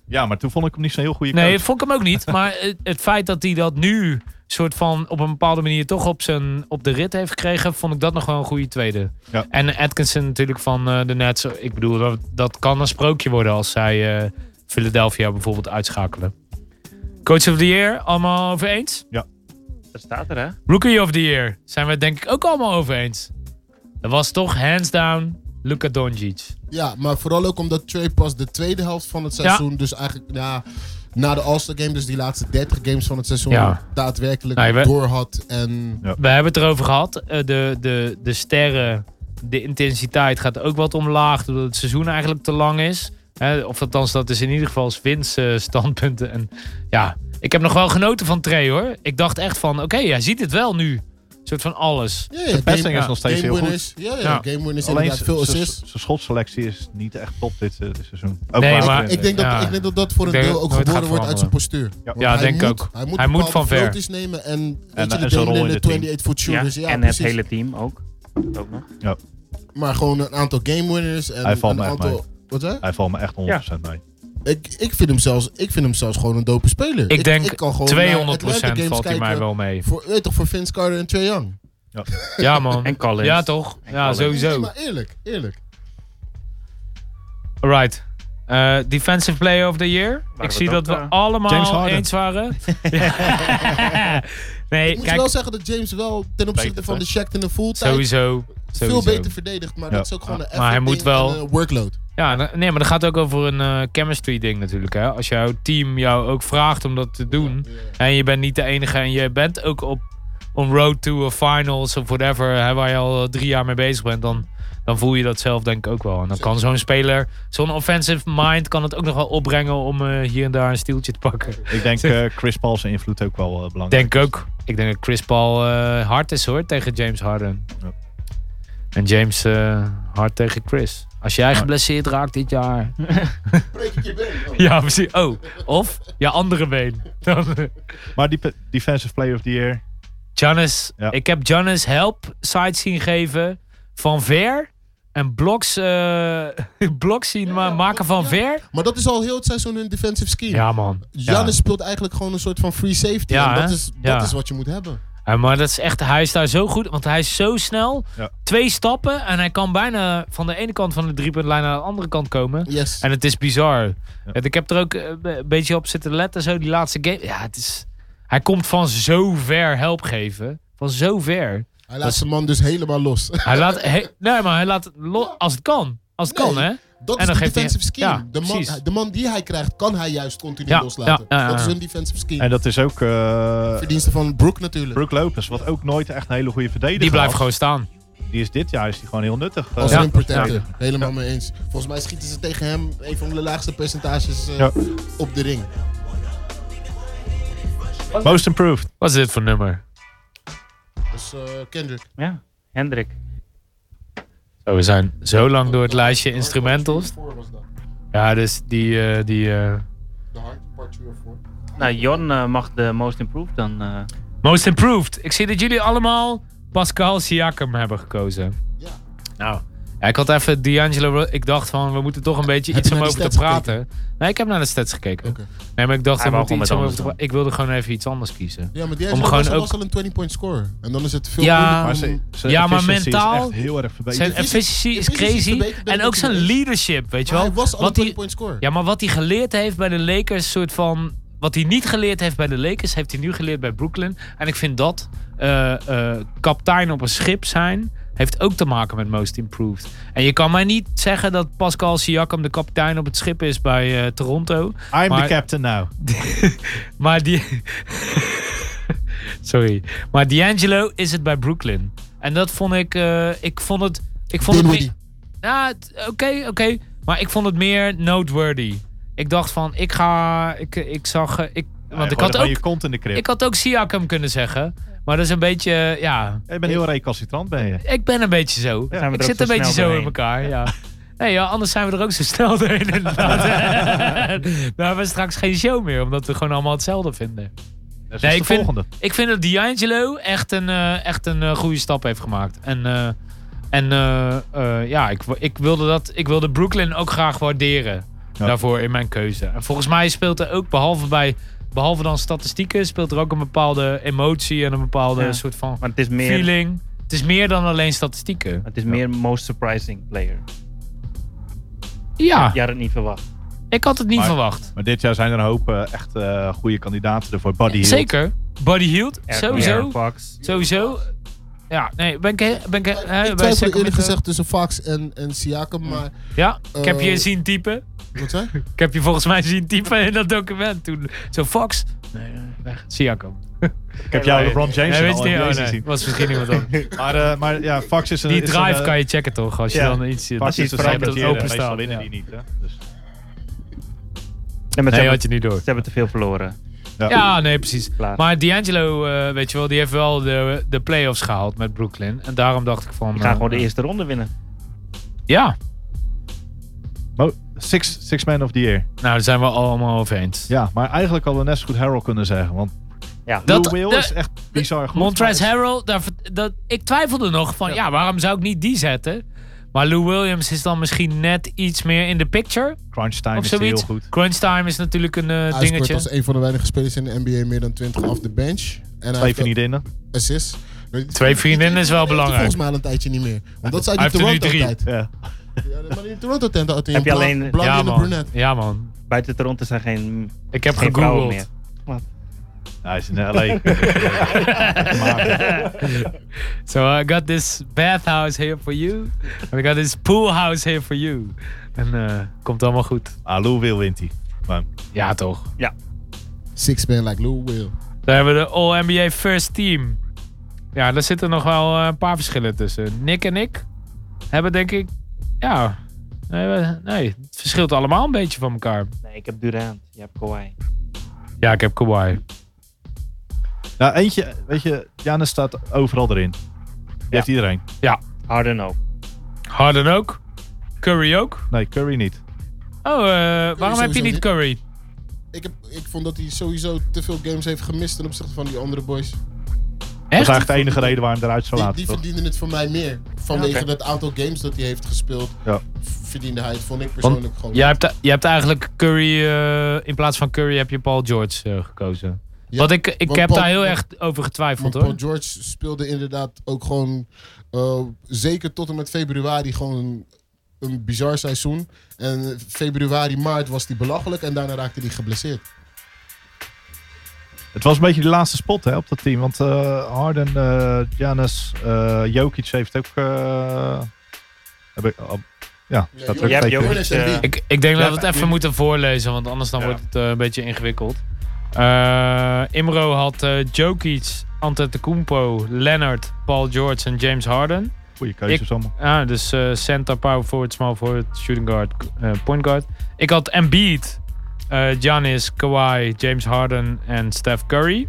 Ja, maar toen vond ik hem niet zo'n heel goede Nee, coach. vond ik hem ook niet. Maar het, het feit dat hij dat nu soort van op een bepaalde manier toch op, zijn, op de rit heeft gekregen, vond ik dat nog wel een goede tweede. Ja. En Atkinson natuurlijk van eh, de Nets. Ik bedoel, dat, dat kan een sprookje worden als zij eh, Philadelphia bijvoorbeeld uitschakelen. Coach of the Year, allemaal over eens. Dat staat er, hè? Rookie of the Year, zijn we het denk ik ook allemaal over eens. Dat was toch hands down Luka Doncic. Ja, maar vooral ook omdat Trey pas de tweede helft van het seizoen, dus eigenlijk ja, na de All-Star Game, dus die laatste 30 games van het seizoen, Ja. Nou, daadwerkelijk Nee, we- doorhad. En We hebben het erover gehad. Eh, De, de, de sterren, de intensiteit gaat ook wat omlaag. Doordat het seizoen eigenlijk te lang is. Hè, Of althans, dat is in ieder geval Wins standpunten. En ja, ik heb nog wel genoten van Trey hoor. Ik dacht echt van, oké, hij ziet het wel nu. Een soort van alles. ja, ja, Passing is nog steeds game heel goed. winners. Ja, ja, Ja. game winners Alleen inderdaad. Veel zijn assists. zijn schotselectie is niet echt top dit, eh, dit seizoen. Ook Nee, later maar- in- Ik denk, dat, Ja. ik denk dat dat voor een Ik denk deel dat ook het nooit geboren gaat wordt uit zijn postuur. Want Ja, denk moet, ook. Hij moet, Hij moet bepaalde van ver. floaties nemen en, weet je, en de zijn rol game in winner, het team. 28 foot Ja. shooters. Ja, en precies. het hele team ook. Dat Ook nog. Maar gewoon een aantal game winners en Hij valt een me echt aantal... Wat zei je? Hij valt me echt 100% mee. Ik, ik, vind hem zelfs, ik vind hem zelfs gewoon een dope speler. Ik denk kan gewoon 200% naar Atlanta games valt hij mij kijken wel mee. Voor, weet toch, voor Vince Carter en Trae Young. Ja man. En Collins. Ja toch? En Ja, Collins. Nee, sowieso. maar eerlijk, eerlijk. Alright. Eh, defensive Player of the Year. we ik zie het ook, dat we eh, James allemaal Harden. eens waren. Ja. nee, Ik moet je kijk, wel zeggen dat James wel ten opzichte Beter, van de Shaq in de full tijd sowieso. sowieso. veel beter verdedigt. Maar Ja. dat is ook gewoon een Maar hij effort moet ding wel- en een workload. Ja, na- nee, maar dat gaat ook over een eh, chemistry ding natuurlijk. Hè? Als jouw team jou ook vraagt om dat te doen. En je bent niet de enige. En je bent ook op on road to a finals of whatever. Hè, waar je al drie jaar mee bezig bent. Dan, dan voel je dat zelf denk ik ook wel. En dan kan zo'n speler, zo'n offensive mind kan het ook nog wel opbrengen om eh, hier en daar een stieltje te pakken. Ik denk eh, Chris Paul zijn invloed ook wel eh, belangrijk. Denk ook. Ik denk dat Chris Paul eh, hard is hoor tegen James Harden. Ja. En James eh, hard tegen Chris. Als jij geblesseerd raakt dit jaar. Breek ik je been. Oh. Ja, precies. Oh, of je andere been. Dan- Maar die pe- Defensive Player of the Year. Giannis, Ja. ik heb Giannis help sites zien geven van ver. En blocks, eh, blocks zien ma- maken van ver. Maar dat is al heel het seizoen een defensive scheme. Ja, man. Janis speelt eigenlijk gewoon een soort van free safety. Ja, en dat, hè? is, dat Ja. is wat je moet hebben. Ja, maar dat is echt, hij is daar zo goed, want hij is zo snel. Ja. Twee stappen en hij kan bijna van de ene kant van de driepuntlijn naar de andere kant komen. Yes. En het is bizar. Het- Ik heb er ook eh, een beetje op zitten letten, zo die laatste game. Ja, het is. Hij komt van zo ver help geven. Van zo ver. Hij laat zijn man dus helemaal los. Hij laat, he- nee, maar hij laat lo- als het kan. Als het Nee. kan, hè? Dat En is dan de geeft hij- defensive scheme. ja, de, man, precies. de man die hij krijgt, kan hij juist continu Ja, loslaten. ja, ja, ja, Dat is ja. een defensive scheme. En dat is ook eh Verdienste van Brook natuurlijk. Brook Lopez, wat ook nooit echt een hele goede verdediger Die blijft was. gewoon staan. Die is dit jaar is die gewoon heel nuttig. Als Eh, een protector. ja. Helemaal mee eens. Volgens mij schieten ze tegen hem een van de laagste percentages eh, Ja. op de ring. Most improved. Wat is dit voor nummer? Dus eh, Kendrick. Ja, Hendrik. Oh, we zijn zo lang door het lijstje instrumentals. Four was dat. Ja, dus die... eh, die eh, De hard, part 3 of 4. Nou, Jon eh, mag de most improved dan. eh, Most improved. Ik zie dat jullie allemaal Pascal Siakam hebben gekozen. Ja. Nou, ja, ik had even D'Angelo. Ru- Ik dacht van, we moeten toch een beetje Heb iets je om naar over die te stats praten. Nee, ik heb naar de stats gekeken. Oké. Nee, maar ik dacht, Hij we wou moeten gewoon iets om over te met anders dan. praten. Ik wilde gewoon even iets anders kiezen. Ja, maar die Om was, gewoon al- ook- was al een 20-point score. En dan is het veel Ja. moeilijker Maar om- ze- ze Ehm, Ja, maar efficiency is mentaal echt heel erg verbeterd. Zijn visie- efficiency de is visie is crazy. verbeterd, ben En ik ook het zijn mee eens. leadership, weet je Maar hij wel. was al een Wat hij, 20-point score. ja, maar wat hij geleerd heeft bij de Lakers, soort van. Wat hij niet geleerd heeft bij de Lakers, heeft hij nu geleerd bij Brooklyn. En ik vind dat eh, eh, kapitein op een schip zijn, heeft ook te maken met Most Improved. En je kan mij niet zeggen dat Pascal Siakam de kapitein op het schip is bij eh, Toronto. I'm maar- the captain now. Maar die. Sorry. Maar D'Angelo is het bij Brooklyn. En dat vond ik. eh, ik vond het. Ik vond het. Dinwiddie. meer- Ja, het- oké, oké. Maar ik vond het meer noteworthy. Ik dacht van, ik ga. Ik, ik zag. eh, Ik, want ik had, Je ook, kont in de krip. ik had ook Siakam kunnen zeggen. Maar dat is een beetje. eh, ja. Je bent heel recalcitrant, ben je. Ik ben een beetje zo. zijn we ik er zit ook een zo beetje snel zo in doorheen. elkaar, ja. Nee, ja, anders zijn we er ook zo snel doorheen inderdaad. Dan hebben we straks geen show meer, omdat we gewoon allemaal hetzelfde vinden. Dat is Nee, de ik vind- volgende. Ik vind dat D'Angelo echt een, eh, echt een eh, goede stap heeft gemaakt. En, eh, en eh, eh, ja, ik, w- ik, wilde dat, ik wilde Brooklyn ook graag waarderen Ja. daarvoor in mijn keuze. En volgens mij speelt er ook, behalve, bij, behalve dan statistieken, speelt er ook een bepaalde emotie en een bepaalde Ja. soort van maar het is meer, feeling. Het is meer dan alleen statistieken. het is meer most surprising player. Ja, Je had het niet verwacht. ik had het niet Maar- verwacht. Maar dit jaar zijn er een hoop eh, echt eh, goede kandidaten ervoor. Buddy Hield. Zeker. Body Hield, sowieso. Aaron Fox. Sowieso. Ja, nee, ben ik... he- Ben ik, he- hè, Ik ben ik twijfel zeker eerlijk met- gezegd tussen Fox en, en Siakam, maar... Ja, ik heb je eh, zien typen. Wat zei? Ik heb je volgens mij zien typen in dat document toen. Zo, Fox. Nee, nee, weg. Siakam. Ik heb jou LeBron James Nee, weet je en alle niet? Oh, Blazers nee. zien. Was misschien iemand anders. Maar, eh, maar ja, Fox is een... Die is een, drive eh, kan je checken toch? Als je ja. dan iets... Fox is dat een je hebt saboteur, dat open Meestal staat. winnen die Ja. niet. Hè? Dus, Nee, maar ze, Nee, hebben, had je niet door. ze hebben te veel verloren. Dus, ja. Ja, nee, precies. Klaar. Maar D'Angelo, eh, weet je wel, die heeft wel de, de play-offs gehaald met Brooklyn. En daarom dacht ik van... Die gaan eh, gewoon de eerste ronde winnen. Ja, Nou, Mo- Six, six Man of the Year. nou, daar zijn we allemaal over eens. Ja, maar eigenlijk hadden we net zo goed Harold kunnen zeggen. Want Ja, Dat- Lou Will de- is echt bizar goed. Montrezl Harrell, daar, dat, ik twijfelde nog van, ja. waarom zou ik niet die zetten? Maar Lou Williams is dan misschien net iets meer in de picture. Crunch Time of is die zoiets. heel goed. Crunch time is natuurlijk een eh, Hij scoort dingetje. als een van de weinige spelers in de NBA meer dan 20 off the bench. En hij Twee heeft ook vriendinnen. assist. Twee vriendinnen is wel belangrijk. Volgens mij al een tijdje niet meer. Want dat zei Hij die heeft er nu Toronto drie. tijd. Ja. Ja, maar in Toronto tent had hij Heb je een bla- alleen- blauw ja, en een man. brunette. ja, man. Buiten Toronto zijn geen, Ik heb geen vrouwen meer. gegoogeld. Hij is in LA. Maar- So I got this bathhouse here for you. And I got this poolhouse here for you. En eh, komt allemaal goed. Ah, Lou Will wint hij. Maar Ja, toch. Six man like Lou Will. Daar hebben we de All-NBA First Team. Ja, daar zitten nog wel eh, een paar verschillen tussen. Nick en ik hebben denk ik... Ja, nee, we- nee, het verschilt allemaal een beetje van elkaar. Nee, ik heb Durant. Je hebt Kawhi. Ja, ik heb Kawhi. Nou, eentje, weet je, Janis staat overal erin. Die heeft iedereen. Harden ook. Harden ook. Curry ook. Nee, Curry niet. Oh, eh, waarom heb je sowieso niet niet. Curry? Ik, heb, ik vond dat hij sowieso te veel games heeft gemist ten opzichte van die andere boys. Dat Echt? is eigenlijk de enige reden waarom hij eruit zou Die, laten. die toch? verdienden het voor mij meer. Vanwege Oké. het aantal games dat hij heeft gespeeld, Ja. verdiende hij het, vond ik persoonlijk gewoon. Jij hebt, jij hebt eigenlijk Curry, eh, in plaats van Curry heb je Paul George eh, gekozen. Ja, Want ik, ik want heb Paul- daar heel erg over getwijfeld Want hoor. Paul George speelde inderdaad ook gewoon, eh, zeker tot en met februari, gewoon een bizar seizoen. En februari, maart was hij belachelijk en daarna raakte hij geblesseerd. Het was een beetje de laatste spot hè, op dat team. Want eh, Harden, eh Giannis, eh, Jokic heeft ook... eh, heb ik, al- ja, staat er ook Jij hebt een Jokic. beetje- Jonas en eh, Embiid. Ik, ik denk Ja, dat we het maar- even moeten voorlezen, want anders dan Ja. wordt het eh, een beetje ingewikkeld. Eh, Imro had eh Jokic, Antetokounmpo, Leonard, Paul George en James Harden. Goeie keuzes allemaal. Ah, dus eh, center, power forward, small forward, shooting guard, eh, point guard. Ik had Embiid, eh Giannis, Kawhi, James Harden en Steph Curry.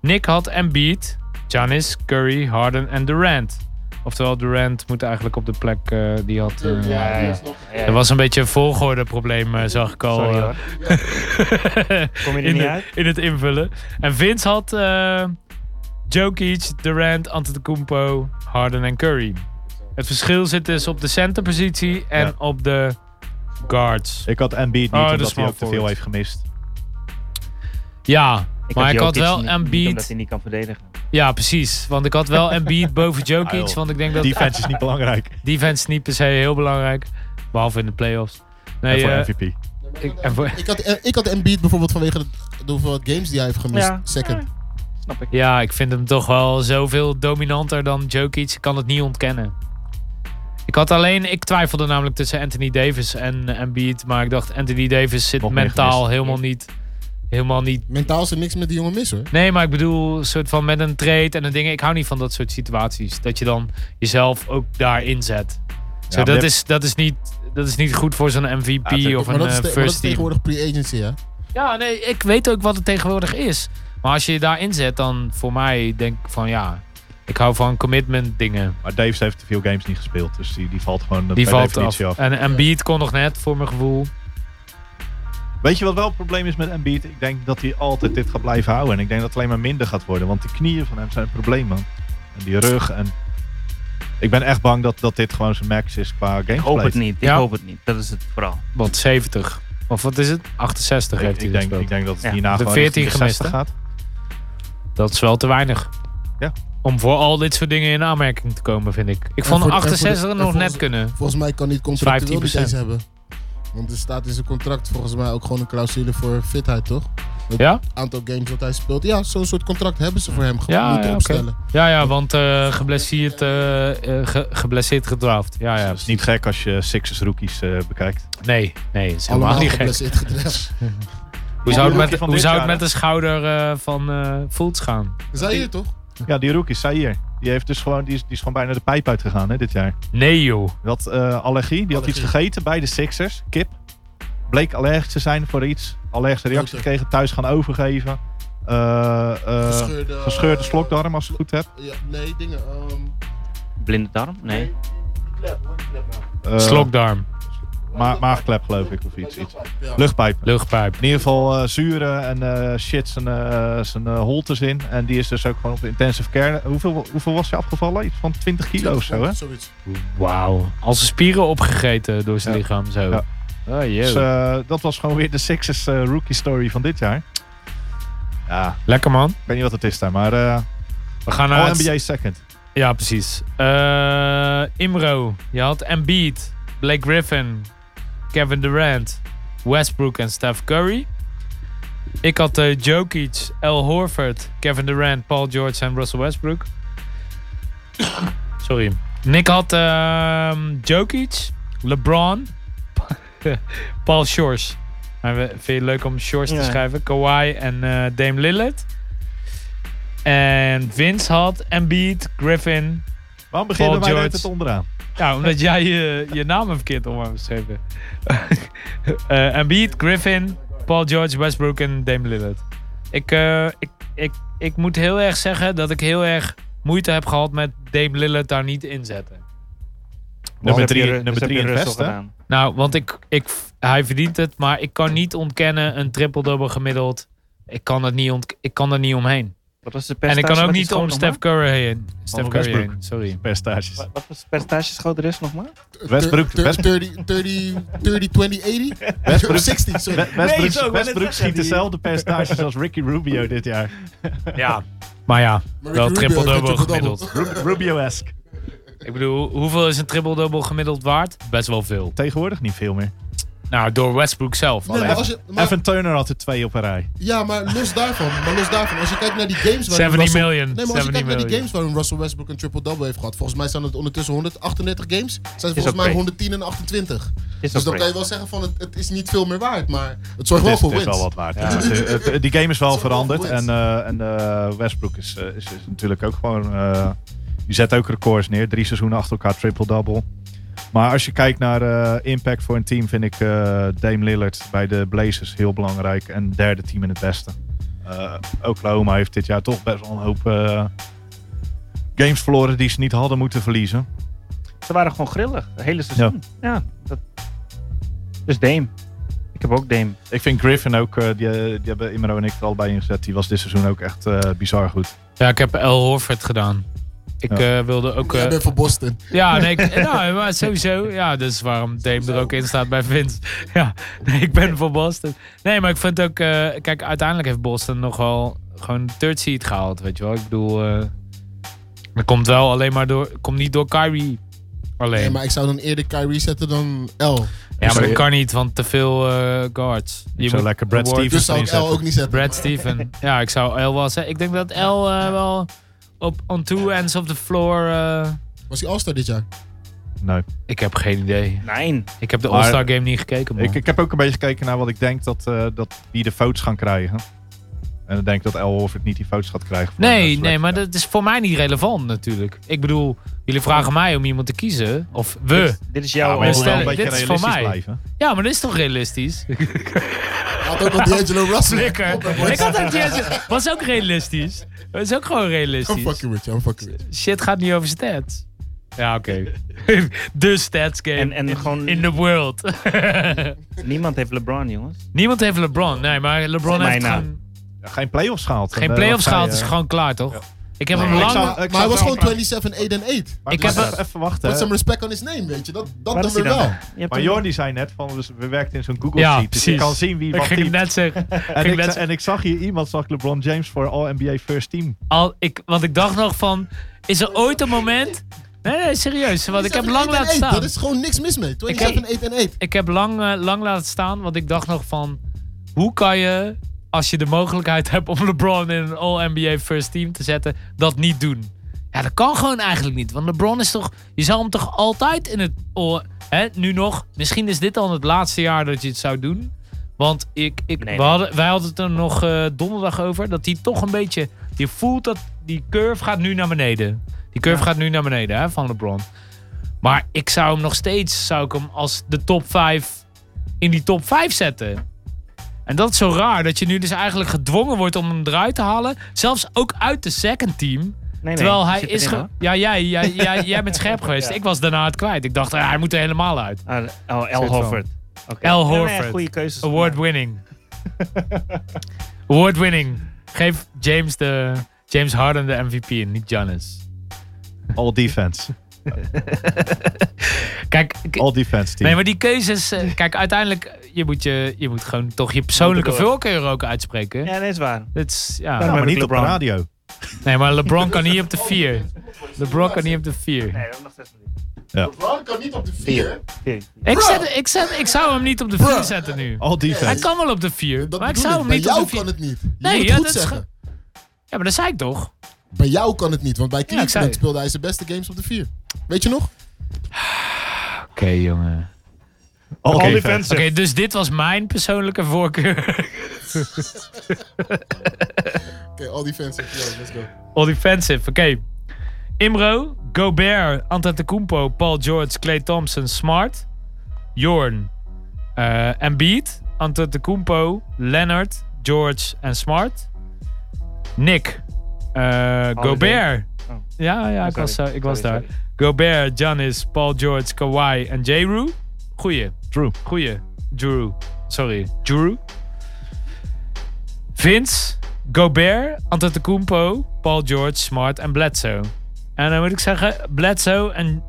Nick had Embiid, Giannis, Curry, Harden en Durant. Oftewel, Durant moet eigenlijk op de plek eh, die had. eh, Ja, ja. die is nog- Ja, Er was een beetje een volgordeprobleem, eh, zag ik al. Sorry eh, hoor. Kom je er in, niet de- uit? in het invullen. En Vince had eh Jokic, Durant, Antetokounmpo, Harden en Curry. Het verschil zit dus op de centerpositie en Ja. op de guards. Ik had Embiid niet, Oh, de omdat hij small ook te veel forward. heeft gemist. Ja, maar ik had Jokic wel niet- Niet omdat Embiid. hij niet kan verdedigen. Ja, precies. Want ik had wel Embiid boven Ah, Jokic. joh. Want ik denk dat Defense is niet belangrijk. defense niet per se heel belangrijk. Behalve in de playoffs. Nee, en voor eh, MVP. ik, en voor- Ik had, ik had Embiid bijvoorbeeld vanwege de, de hoeveelheid games die hij heeft gemist. Ja. Second. Snap ik. Ja, ik vind hem toch wel zoveel dominanter dan Jokic. Ik kan het niet ontkennen. Ik had alleen, ik twijfelde namelijk tussen Anthony Davis en eh, Embiid. Maar ik dacht, Anthony Davis zit Nog meer mentaal gemist. helemaal niet, helemaal niet. Mentaal is er niks met die jongen mis hoor. Nee, maar ik bedoel, soort van met een trade en een ding. Ik hou niet van dat soort situaties. Dat je dan jezelf ook daarin zet. Zo, maar dat, je- is, dat, is niet, dat is niet goed voor zo'n MVP Ja, of maar een dat is, eh, te- maar dat is first team. tegenwoordig pre-agency hè. Ja, nee, ik weet ook wat het tegenwoordig is. Maar als je je daarin zet, dan voor mij denk ik van ja, ik hou van commitment dingen. Maar Davis heeft te veel games niet gespeeld. Dus die, die valt gewoon eh, Die per valt af. definitie af. En Embiid kon nog net, voor mijn gevoel. Weet je wat wel het probleem is met Embiid? Ik denk dat hij altijd dit gaat blijven houden. En ik denk dat het alleen maar minder gaat worden. Want die knieën van hem zijn een probleem, man. En die rug. En... Ik ben echt bang dat, dat dit gewoon zijn max is qua Ik hoop gameplay. het niet. Ik Ja. hoop het niet. Dat is het vooral. Wat, 70? Of wat is het? 68 Ik, heeft hij dus ik, denk, gespeeld. ik denk dat het Ja, hierna de gewoon 14 richting de 60 gemist, gaat. Dat is wel te weinig. Ja. Om voor al dit soort dingen in aanmerking te komen, vind ik. Ik En vond voor de- en voor de- 68 en nog voor net de- kunnen. Volgens mij kan niet contractueel niet 15%. eens hebben. Want er staat in zijn contract volgens mij ook gewoon een clausule voor fitheid toch? Ja? Aantal games dat hij speelt. Ja, zo'n soort contract hebben ze voor hem gewoon Ja, moeten ja, oké. opstellen. Ja, ja, want eh, geblesseerd, eh, eh, ge- geblesseerd gedraft. Ja, ja. Het is niet gek als je Sixers rookies eh, bekijkt. Nee, nee, is helemaal Allemaal niet gek. geblesseerd gedrept. Hoe zou het Rookie met, van hoe dit zou het jaar, met de schouder eh, van eh Fultz gaan? Zij hier toch? Eh, Ja, die rookie, Saïr. Die, heeft dus gewoon, die, is, die is gewoon bijna de pijp uitgegaan hè, dit jaar. Nee joh. Dat eh, allergie. Die had iets Allergie. gegeten bij de Sixers. Kip. Bleek allergisch te zijn voor iets. Allergische reactie Groente. gekregen. Thuis gaan overgeven. Eh, eh, Gescheurde, gescheurde eh, slokdarm als ik het goed heb. Ja, nee, dingen. ehm, Blinde darm? Nee. die klep, hoor, die klep nou. Eh, Slokdarm, ma- maagklep geloof ik of iets. iets. Ja. Luchtpijp. luchtpijp. In ieder geval eh, zuren en eh, shit zijn, eh, zijn eh, holtes in. En die is dus ook gewoon op de intensive care. Hoeveel, hoeveel was je afgevallen? Iets van 20 kilo of zo hè? Zoiets. Wauw. Als zijn spieren opgegeten door zijn Ja. lichaam zo. Ja. Oh jee. Dus eh, dat was gewoon weer de Sixers eh, rookie story van dit jaar. Ja, Lekker man. ik weet niet wat het is daar, maar... eh We gaan naar all het- NBA second. Ja, precies. Eh, Imro, je had Embiid, Blake Griffin, Kevin Durant, Westbrook en Steph Curry. Ik had eh, Jokic, Al Horford, Kevin Durant, Paul George en Russell Westbrook. Sorry. Nick had ehm, Jokic, LeBron, Paul Shores. Maar we- vind je het leuk om Shores Ja. te schrijven? Kawhi en eh, Dame Lillard. En Vince had Embiid, Griffin. Waarom beginnen Paul wij net George. het onderaan? Ja, omdat jij je, je namen verkeerd om hebt geschreven. Eh, Embiid, Griffin, Paul George, Westbrook en Dame Lillard. Ik, eh, ik, ik, ik moet heel erg zeggen dat ik heel erg moeite heb gehad met Dame Lillard daar niet inzetten. Nummer heb je drie, Ru- nummer dus heb drie je in het Russell Westen. gedaan. Nou, want ik, ik, hij verdient het, maar ik kan niet ontkennen een triple-double gemiddeld. Ik kan, het niet ont, ik kan er niet omheen. Wat was de En ik percentage kan ook wat hij niet schoot om nog Steph Curry heen. Steph Curry Westbrook. heen, sorry. Percentages. maar? Wat- Wat was het percentage schoot de rest nog maar? Westbrook- Thir- Westbrook- 30, 30, 30, 20, 80? Westbrook. 60, sorry. We- Westbrook, ik wou net Westbrook zeggen, schiet die- dezelfde percentages als Ricky Rubio dit jaar. Ja, maar ja, Maar wel Ricky Rubio heeft triple-double een eh, triple-double. gemiddeld. Ru- Rubio-esque. Ik bedoel, hoeveel is een triple-double gemiddeld waard? Best wel veel. Tegenwoordig niet veel meer. Nou, door Westbrook zelf. Nee, maar alleen. als je, maar- Evan Turner had er twee op een rij. ja, maar los daarvan. Maar los daarvan. Als je kijkt naar die games waarin 70 Russell, million. Nee, maar als 70 je kijkt naar die million. games waarin Russell Westbrook een triple-double heeft gehad. Volgens mij zijn het ondertussen 138 games. Zijn het volgens mij oké. 110 en 28. Is Dus ook dan kan je prima. wel zeggen van het, het is niet veel meer waard. Maar het Het zorgt wel is, voor het is wins. wel wat waard. Het is- het- het- die game is wel Het is wel veranderd. wat En, wins. eh, en eh, Westbrook is, eh, is, is natuurlijk ook gewoon... eh, die zet ook records neer. Drie seizoenen achter elkaar triple-double. Maar als je kijkt naar eh, impact voor een team... vind ik eh, Dame Lillard bij de Blazers heel belangrijk. En derde team in het beste. Eh, Oklahoma heeft dit jaar toch best wel een hoop... eh, games verloren die ze niet hadden moeten verliezen. Ze waren gewoon grillig. Het hele seizoen. Ja. dat... Dus Dame. Ik heb ook Dame. Ik vind Griffin ook, eh, die, eh, die hebben Imro en ik er al bij ingezet. Die was dit seizoen ook echt eh, bizar goed. Ja, ik heb El Horford gedaan. Ik Ja. eh, wilde ook... eh, Ik ben van Boston. Ja, nee, ik, nou, maar sowieso. Ja, dus waarom Dame er ook in staat bij Vince. Ja, nee, ik ben voor Boston. Nee, maar ik vind ook... eh, kijk, uiteindelijk heeft Boston nogal gewoon de third seed gehaald, weet je wel. Ik bedoel, eh dat komt wel alleen maar door... komt niet door Kyrie alleen. Nee, maar ik zou dan eerder Kyrie zetten dan L. Dus ja, maar Sorry. dat kan niet, want te veel eh, guards. Je zou lekker Brad Award- Stevens Dus zou ik L erin zetten. ook niet zetten. Brad Steven. Ja, ik zou L wel zeggen. Ik denk dat L eh, wel op on two ends of the floor... eh, Was hij All-Star dit jaar? Nee. ik heb geen idee. Nee. Ik heb de Maar- All-Star Game niet gekeken, man. Ik, ik heb ook een beetje gekeken naar wat ik denk dat, eh, dat wie de votes gaan krijgen. En ik denk dat L. Horford niet die votes gaat krijgen. voor de Nee, selectie. nee, maar dat is voor mij niet relevant natuurlijk. Ik bedoel, jullie vragen mij om iemand te kiezen. Of Dit we. is- Dit is Ja, jouw maar je moet wel Stel- een beetje dit is voor realistisch mij. blijven. Ja, maar dat is toch realistisch? Had ook nog D'Angelo Russell. Flikker. Kom op, boys. Ik had ook die eerste- Was ook realistisch. Dat is ook gewoon I'm fucking realistisch. with you, I'm fucking with you. Shit gaat niet over stats. Ja, oké. De stats game En, en gewoon in the world. niemand heeft LeBron, jongens. Niemand heeft LeBron. Nee, maar LeBron heeft Mijna. gewoon Ja, geen playoffs gehaald. En, geen eh, playoffs wat zei gehaald. je? Is gewoon klaar, toch? Ik heb Nee, hem ik lang... zou- Maar, ik maar hij was zou- gewoon 27, 8 en 8. Maar ik het heb was- even wachten. Put hè. some respect on his name, weet je. Dat, dat Waar doen is hij we dan? wel. Je hebt Maar hem- Jordi zei net van, dus we werken in zo'n Google Ja, Sheet. Dus je precies. kan zien wie Ik wat ging het team- net zeggen. En ging net ik, za- zeggen. en ik zag hier iemand, zag LeBron James voor All-NBA First Team. al, ik, want ik dacht nog van, is er ooit een moment... Nee, nee, serieus. Want ik heb 27, lang 8, laten staan. Dat is gewoon niks mis mee. 27, 8 en 8. Ik heb lang, eh, lang laten staan, want ik dacht nog van... Hoe kan je, als je de mogelijkheid hebt om LeBron in een All-NBA First Team te zetten, dat niet doen? Ja, dat kan gewoon eigenlijk niet. Want LeBron is toch... Je zou hem toch altijd in het... All, hè, nu nog. Misschien is dit al het laatste jaar dat je het zou doen. Want ik, ik, Nee, we nee. hadden, wij hadden het er nog eh, donderdag over. Dat hij toch een beetje... Je voelt dat die curve gaat nu naar beneden. Die curve gaat nu naar beneden hè, van LeBron. Maar ik zou hem nog steeds... Zou ik hem als de top 5... In die top 5 zetten. En dat is zo raar. Dat je nu dus eigenlijk gedwongen wordt om hem eruit te halen. Zelfs ook uit de second team. Nee, nee, Terwijl die hij zit is. erin, ge- hoor. Ja, jij, jij, jij, jij bent scherp geweest. Ja. Ik was daarna het kwijt. Ik dacht, ah, hij moet er helemaal uit. Ah, oh, L. Horford. Oké. Al Nee, nee, Horford. Goede keuzes. Award winning. Award winning. Geef James, de, James Harden de MVP en niet Giannis. All defense. Kijk, ik- All defense team. nee, maar die keuzes. eh, Kijk, uiteindelijk, eh, je moet, je, je moet gewoon toch je persoonlijke Moet er door. voorkeur ook uitspreken. Ja, dat is waar. Dit is, ja. Ja, maar maar niet op de LeBron. radio. Nee, maar LeBron kan niet op de 4. LeBron kan niet op de 4. Nee, we hebben nog zes minuten. LeBron kan niet op de 4. Oké. Ik, zet, ik, zet, ik zou hem niet op de 4 Bruh. Oh, zetten nu. All Hij defense. kan wel op de 4, Dat maar ik bedoel zou hem Bij niet op de jou 4. kan het niet. Je Nee, moet ja, het goed dat is zeggen. Ja, maar dat zei ik toch? Bij jou kan het niet, want bij zei Cleveland het. speelde hij zijn beste games op de 4. Weet je nog? Oké, jongen. All All defense. Oké, dus dit was mijn persoonlijke voorkeur. Oké, all defensive. Yo, let's go. All defensive, oké. Imro, Gobert, Antetokounmpo, Paul George, Clay Thompson, Smart, Jorn, eh Embiid, Antetokounmpo, Leonard, George en Smart. Nick, eh, Gobert. Oh. Ja, ja, ik Sorry, was, daar- ik was sorry, daar. Gobert, Giannis, Paul George, Kawhi en J-Roo. Goeie. Drew. Goeie. Drew. Sorry. Drew. Vince, Gobert, Antetokounmpo, Paul George, Smart en Bledsoe. En dan moet ik zeggen, Bledsoe en...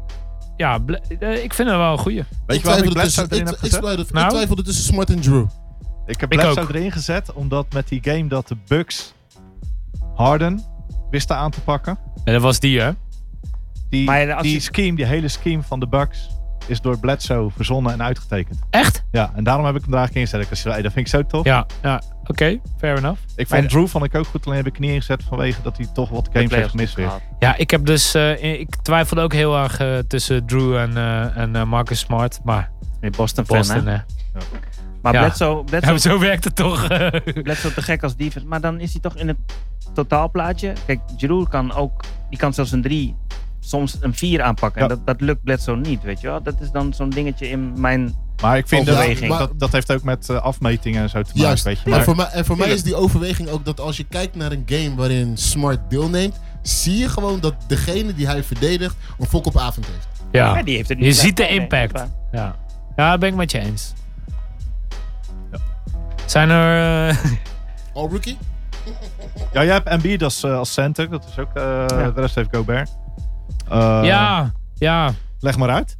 Ja, Ble- eh, ik vind hem wel een goeie. Weet Ik je waarom ik twijfelde Bledsoe tussen- erin ik- heb ik gezet? twijfelde- ik Nou? twijfelde tussen Smart en Drew. Ik heb Ik Bledsoe ook. erin gezet omdat met die game dat de Bucks Harden wisten aan te pakken. En dat was die, hè? Die, Maar als die je- scheme, die hele scheme van de Bucks is door Bledsoe verzonnen en uitgetekend. Echt? Ja, en daarom heb ik hem er eigenlijk in gezet. Ik zei, hey, dat vind ik zo tof. Ja, ja. oké. fair enough. Ik vond Drew vond ik ook goed, alleen heb ik niet ingezet vanwege dat hij toch wat games heeft playoffs gemist weer. gehad. Ja, ik heb dus. eh, ik twijfelde ook heel erg eh, tussen Drew en, eh, en eh, Marcus Smart. Maar Nee, Boston, Boston, fan, hè? hè. Maar Ja. Bledsoe, Bledsoe, Ja, zo werkt het toch? Bledsoe te gek als defense. Maar dan is hij toch in het totaalplaatje. Kijk, Giroud kan ook, die kan zelfs een 3, soms een 4 aanpakken. En Ja. dat, dat lukt Bledsoe niet, weet je wel. Dat is dan zo'n dingetje in mijn... Maar ik vind Van dat, beweging. dat, dat heeft ook met eh, afmetingen en zo te maken, Juist. weet je. en Maar voor, mij, en voor mij is Tuurlijk. die overweging ook dat als je kijkt naar een game waarin Smart deelneemt, zie je gewoon dat degene die hij verdedigt een fok op avond heeft. Ja, ja. die heeft het Je niet. ziet de Nee, nee, impact. dat is waar. ja. Ja, dat ben ik met je eens. Zijn er. eh, All Oh, rookie? Ja, jij hebt Embiid als, eh, als center. Dat is ook, eh, De rest heeft Gobert. Eh, ja, ja. Leg maar uit.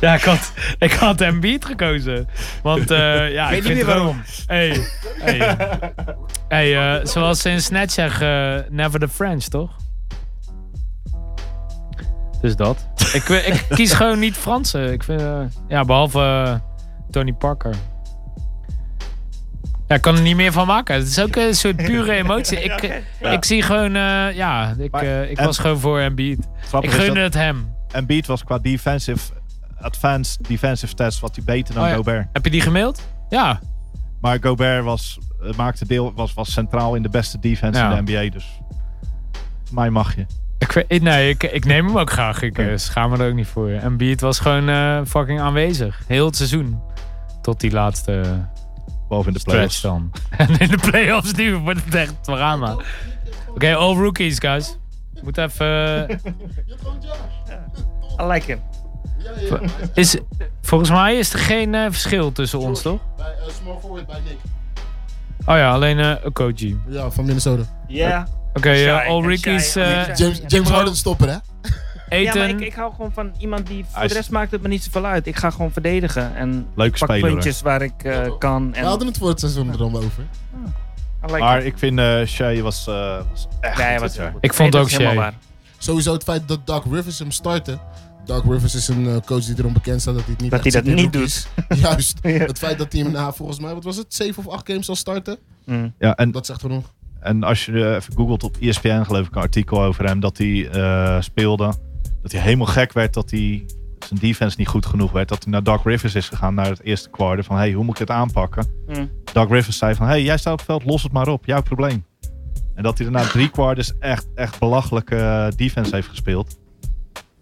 Ja, ik had, ik had Embiid gekozen. Want eh ja, ik, niet vind meer het ook- waarom. Hey, hey. hey eh, zoals ze in Snatch zeggen, eh, never the French, toch? Dus dat. ik, wi- ik kies gewoon niet Fransen. Ik vind, eh, ja, behalve eh, Tony Parker. Ja, ik kan er niet meer van maken. Het is ook een soort pure emotie. Ik, ik zie gewoon, eh, ja, ik, Maar- eh, ik en- was gewoon voor Embiid. Het Ik grappige is gun dat het hem. Embiid was qua defensive, advanced defensive stats wat hij beter dan Oh ja. Gobert. Heb je die gemaild? Ja. Maar Gobert was, eh, maakte deel, was, was centraal in de beste defense Ja. in de NBA. Dus voor mij mag je. Ik, weet- ik- nee, ik, ik neem hem ook graag. Ik eh, Ja. schaam me er ook niet voor. En Beat was gewoon eh, fucking aanwezig. Heel het seizoen. Tot die laatste Behalve in de stretch playoffs. dan. En in de playoffs nu wordt het echt drama. Oké, all rookies, guys. Moet even... eh, Je hebt gewoon Josh. I like him. Ja, ja, ja. Hij is- is, volgens mij is er geen eh, verschil tussen ons, toch? Bij eh, small forward bij Nick. Oh ja, alleen eh Okoji. Oké, Ja, van Minnesota. Ja. eh, Shy en all rookies... shy en eh, shy. James, ja. James Harden stopper, hè? Ja, maar Eten. ik, ik hou gewoon van iemand die... Voor Hij de is- rest maakt het me niet zoveel uit. Ik ga gewoon verdedigen. En Leuke pak speler, puntjes waar ik eh, toch? kan. We En hadden het voor het seizoen erom over. I like him. Maar ik vind eh Shea was, eh, was echt Ja, hij goed was dit heel jaar. goed. Ik vond Nee, ook dat is helemaal waar. Sowieso het feit dat Doc Rivers hem startte. Doc Rivers is een eh, coach die erom bekend staat dat hij het niet Dat hij echt dat zit in niet rookies. doet. Juist. Ja. Het feit dat hij hem na, volgens mij, wat was het, 7 of 8 games zal starten. Mm. Ja, en, Dat zegt genoeg. en als je eh, even googelt op ESPN geloof ik een artikel over hem dat hij eh, speelde. Dat hij helemaal gek werd dat hij zijn defense niet goed genoeg werd. Dat hij naar Doc Rivers is gegaan naar het eerste kwartier van hey, hoe moet ik het aanpakken? Mm. Doc Rivers zei van hey, jij staat op het veld, los het maar op, jouw probleem. En dat hij daarna drie quarters echt, echt belachelijke eh, defense heeft gespeeld.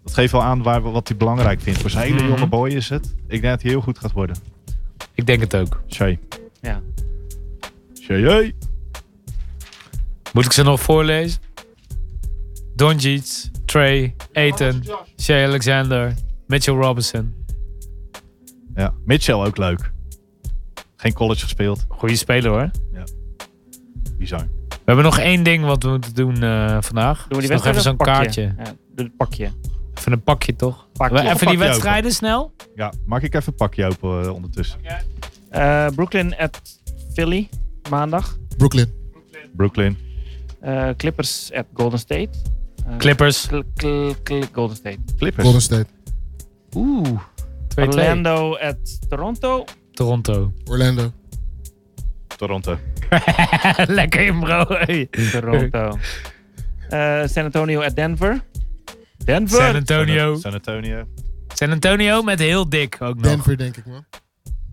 Dat geeft wel aan waar, wat hij belangrijk vindt. Voor zijn hele Mhm. jonge boy is het. Ik denk dat hij heel goed gaat worden. Ik denk het ook. Shay. Ja. Shay, hey. Moet ik ze nog voorlezen? Don Dietz, Trey, Eten, Shea Alexander, Mitchell Robinson. Ja. Mitchell ook leuk. Geen college gespeeld. Goeie speler hoor. Bizar. We hebben nog één ding wat we moeten doen eh, vandaag. Doen we Is die nog even wedstrijd zo'n of pak kaartje. je? Ja, doe het pakje. Even een pakje toch? pakje. even pakje die wedstrijden snel. Ja, maak ik even een pakje open eh, ondertussen. Eh, Brooklyn at Philly, maandag. Brooklyn. Brooklyn. Eh, Clippers at Golden State. Eh, Clippers. Cl- cl- cl- Golden State. Clippers. Golden State. Oeh. 2-2. Orlando at Toronto. Toronto. Orlando. Toronto. Lekker in bro. hey. Toronto. Eh, San Antonio at Denver. Denver. San Antonio. San Antonio. San Antonio met heel dik ook nog. Denver, denk ik, man.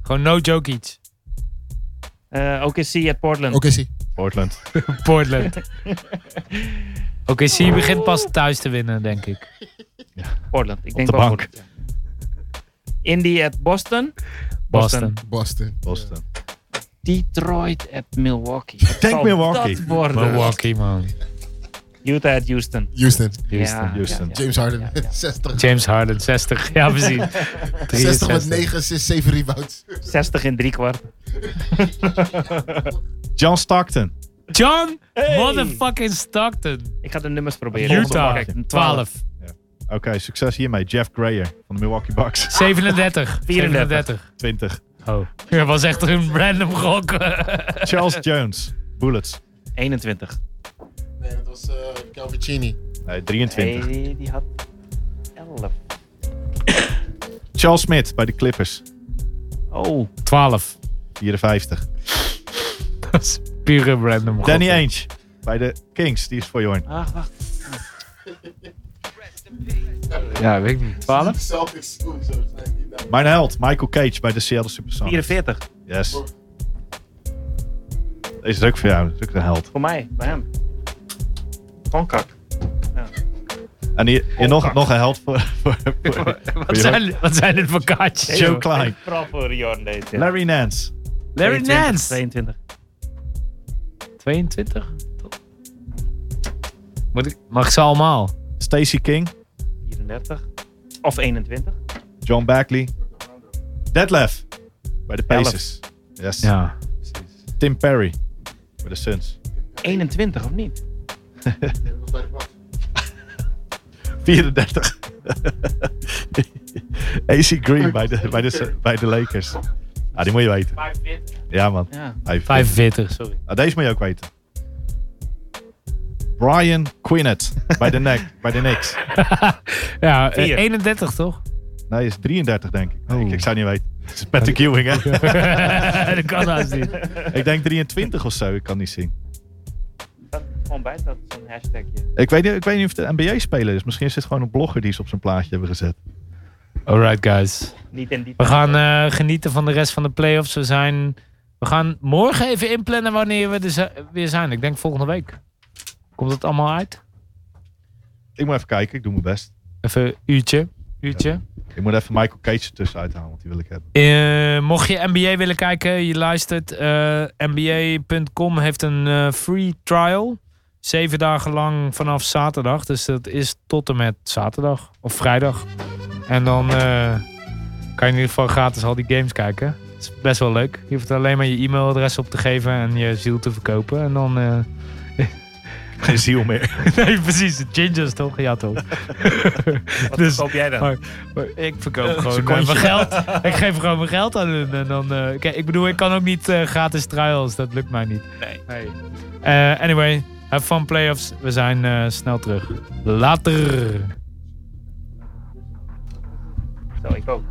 Gewoon no joke iets. Eh, OKC at Portland. Oké, zie. Portland. Portland. Oké, zie je begint pas thuis te winnen denk ik. Portland. Ik denk de wel bank. Portland, ja. Indy at Boston. Boston. Boston. Boston. Detroit at Milwaukee. Wat denk zal Milwaukee. Dat worden. Milwaukee man. Utah at Houston. Houston. Houston. Ja, Houston. ja, ja. James Harden. Ja, ja. 60. James Harden, 60. Ja, precies. 60 63. met 9, 6, 7 rebounds. 60 in drie kwart. John Stockton. John Hey! motherfucking Stockton. Ik ga de nummers proberen. Utah, Kijk, een 12. Oké, succes hiermee. Jeff Grayer van de Milwaukee Bucks. 37. 34. 20. Oh. Dat was echt een random gok. Charles Jones. Bullets. 21. Nee, dat Dat is eh Galvicini. Nee, 23. Nee, die had 11. Charles Smith bij de Clippers. Oh, 12. 54. Dat is pure random. Danny Ainge bij de Kings. Die is voor Jorn. ah, wacht. Ja, weet ik niet. 12? Celtics. Oeh, zo zijn die daar. Mijn held, Michael Cage bij de Seattle Supersonics. 44. Yes. Deze is ook voor jou. Dat is ook een held. Voor mij, bij hem. Konkak. En hier, hier nog, nog een held voor, voor, voor, voor Wat Jorn. zijn, wat zijn dit voor kaartjes? Joe joh? Klein. Vooral voor Jorn deze. Larry Nance. Larry Nance. 22. 22? Moet ik, mag ik ze allemaal? Stacey King. 34. Of 21. John Bagley. Detlef. Bij de Pacers. Yes. Ja. Tim Perry. Bij de Suns. 21 of niet? Dat was bij de Bucks. 34. AC Green bij de, bij, de, bij de Lakers. Ah, die moet je weten. 45. Ja, man. Ja. Hij- 45, sorry. Ah, deze moet je ook weten. Brian Quinnett bij de, nek, bij de Knicks. Ja, eh, Vier. 31 toch? Nee, hij is 33, denk ik. Nee, Oeh. ik. Ik zou niet weten. Het is Patrick Ewing, hè? dat kan haast niet. ik denk 23 of zo. Ik kan niet zien. Dat gewoon bij dat zo'n hashtagje. Ik weet, niet- ik weet niet of het een NBA-speler is. Misschien is dit gewoon een blogger die ze op zijn plaatje hebben gezet. Alright, guys. Niet in die. We gaan eh, genieten van de rest van de playoffs. We, zijn, we gaan morgen even inplannen wanneer we er zi- weer zijn. Ik denk volgende week. Komt dat allemaal uit? Ik moet even kijken. Ik doe mijn best. Even een uurtje. uurtje. Ik moet even Michael Cage ertussen uithalen, want die wil ik hebben. Eh, mocht je NBA willen kijken, je luistert. eh, NBA.com heeft een eh, free trial. Zeven dagen lang vanaf zaterdag. Dus dat is tot en met zaterdag of vrijdag. En dan eh, kan je in ieder geval gratis al die games kijken. Het is best wel leuk. Je hoeft alleen maar je e-mailadres op te geven en je ziel te verkopen. En dan. eh, Geen ziel meer. nee, precies. de Gingers toch? Ja, toch? Wat dus- koop jij dan? Maar- Maar Ik verkoop gewoon eh, secondje. mijn geld. ik geef gewoon mijn geld aan hun. En dan, eh, kijk, ik bedoel, ik kan ook niet eh, gratis trials. Dat lukt mij niet. Nee. Eh, anyway, have fun playoffs. We zijn eh, snel terug. Later. Zo, ik ook.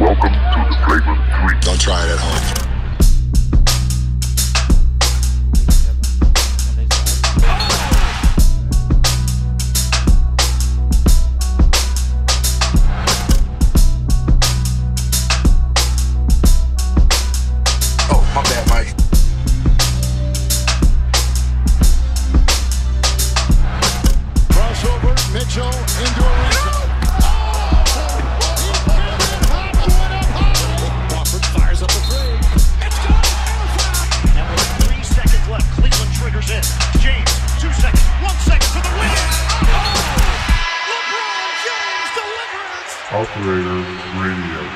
Welcome to the Flagrant 3. Don't try it at home. Oh, my bad, Mike. Crossover, Mitchell into a rebound. Crawford fires up the three. It's good. And with three seconds left, Cleveland triggers in. James, two seconds, one second to the win. Oh! LeBron James delivers. Operator Radio.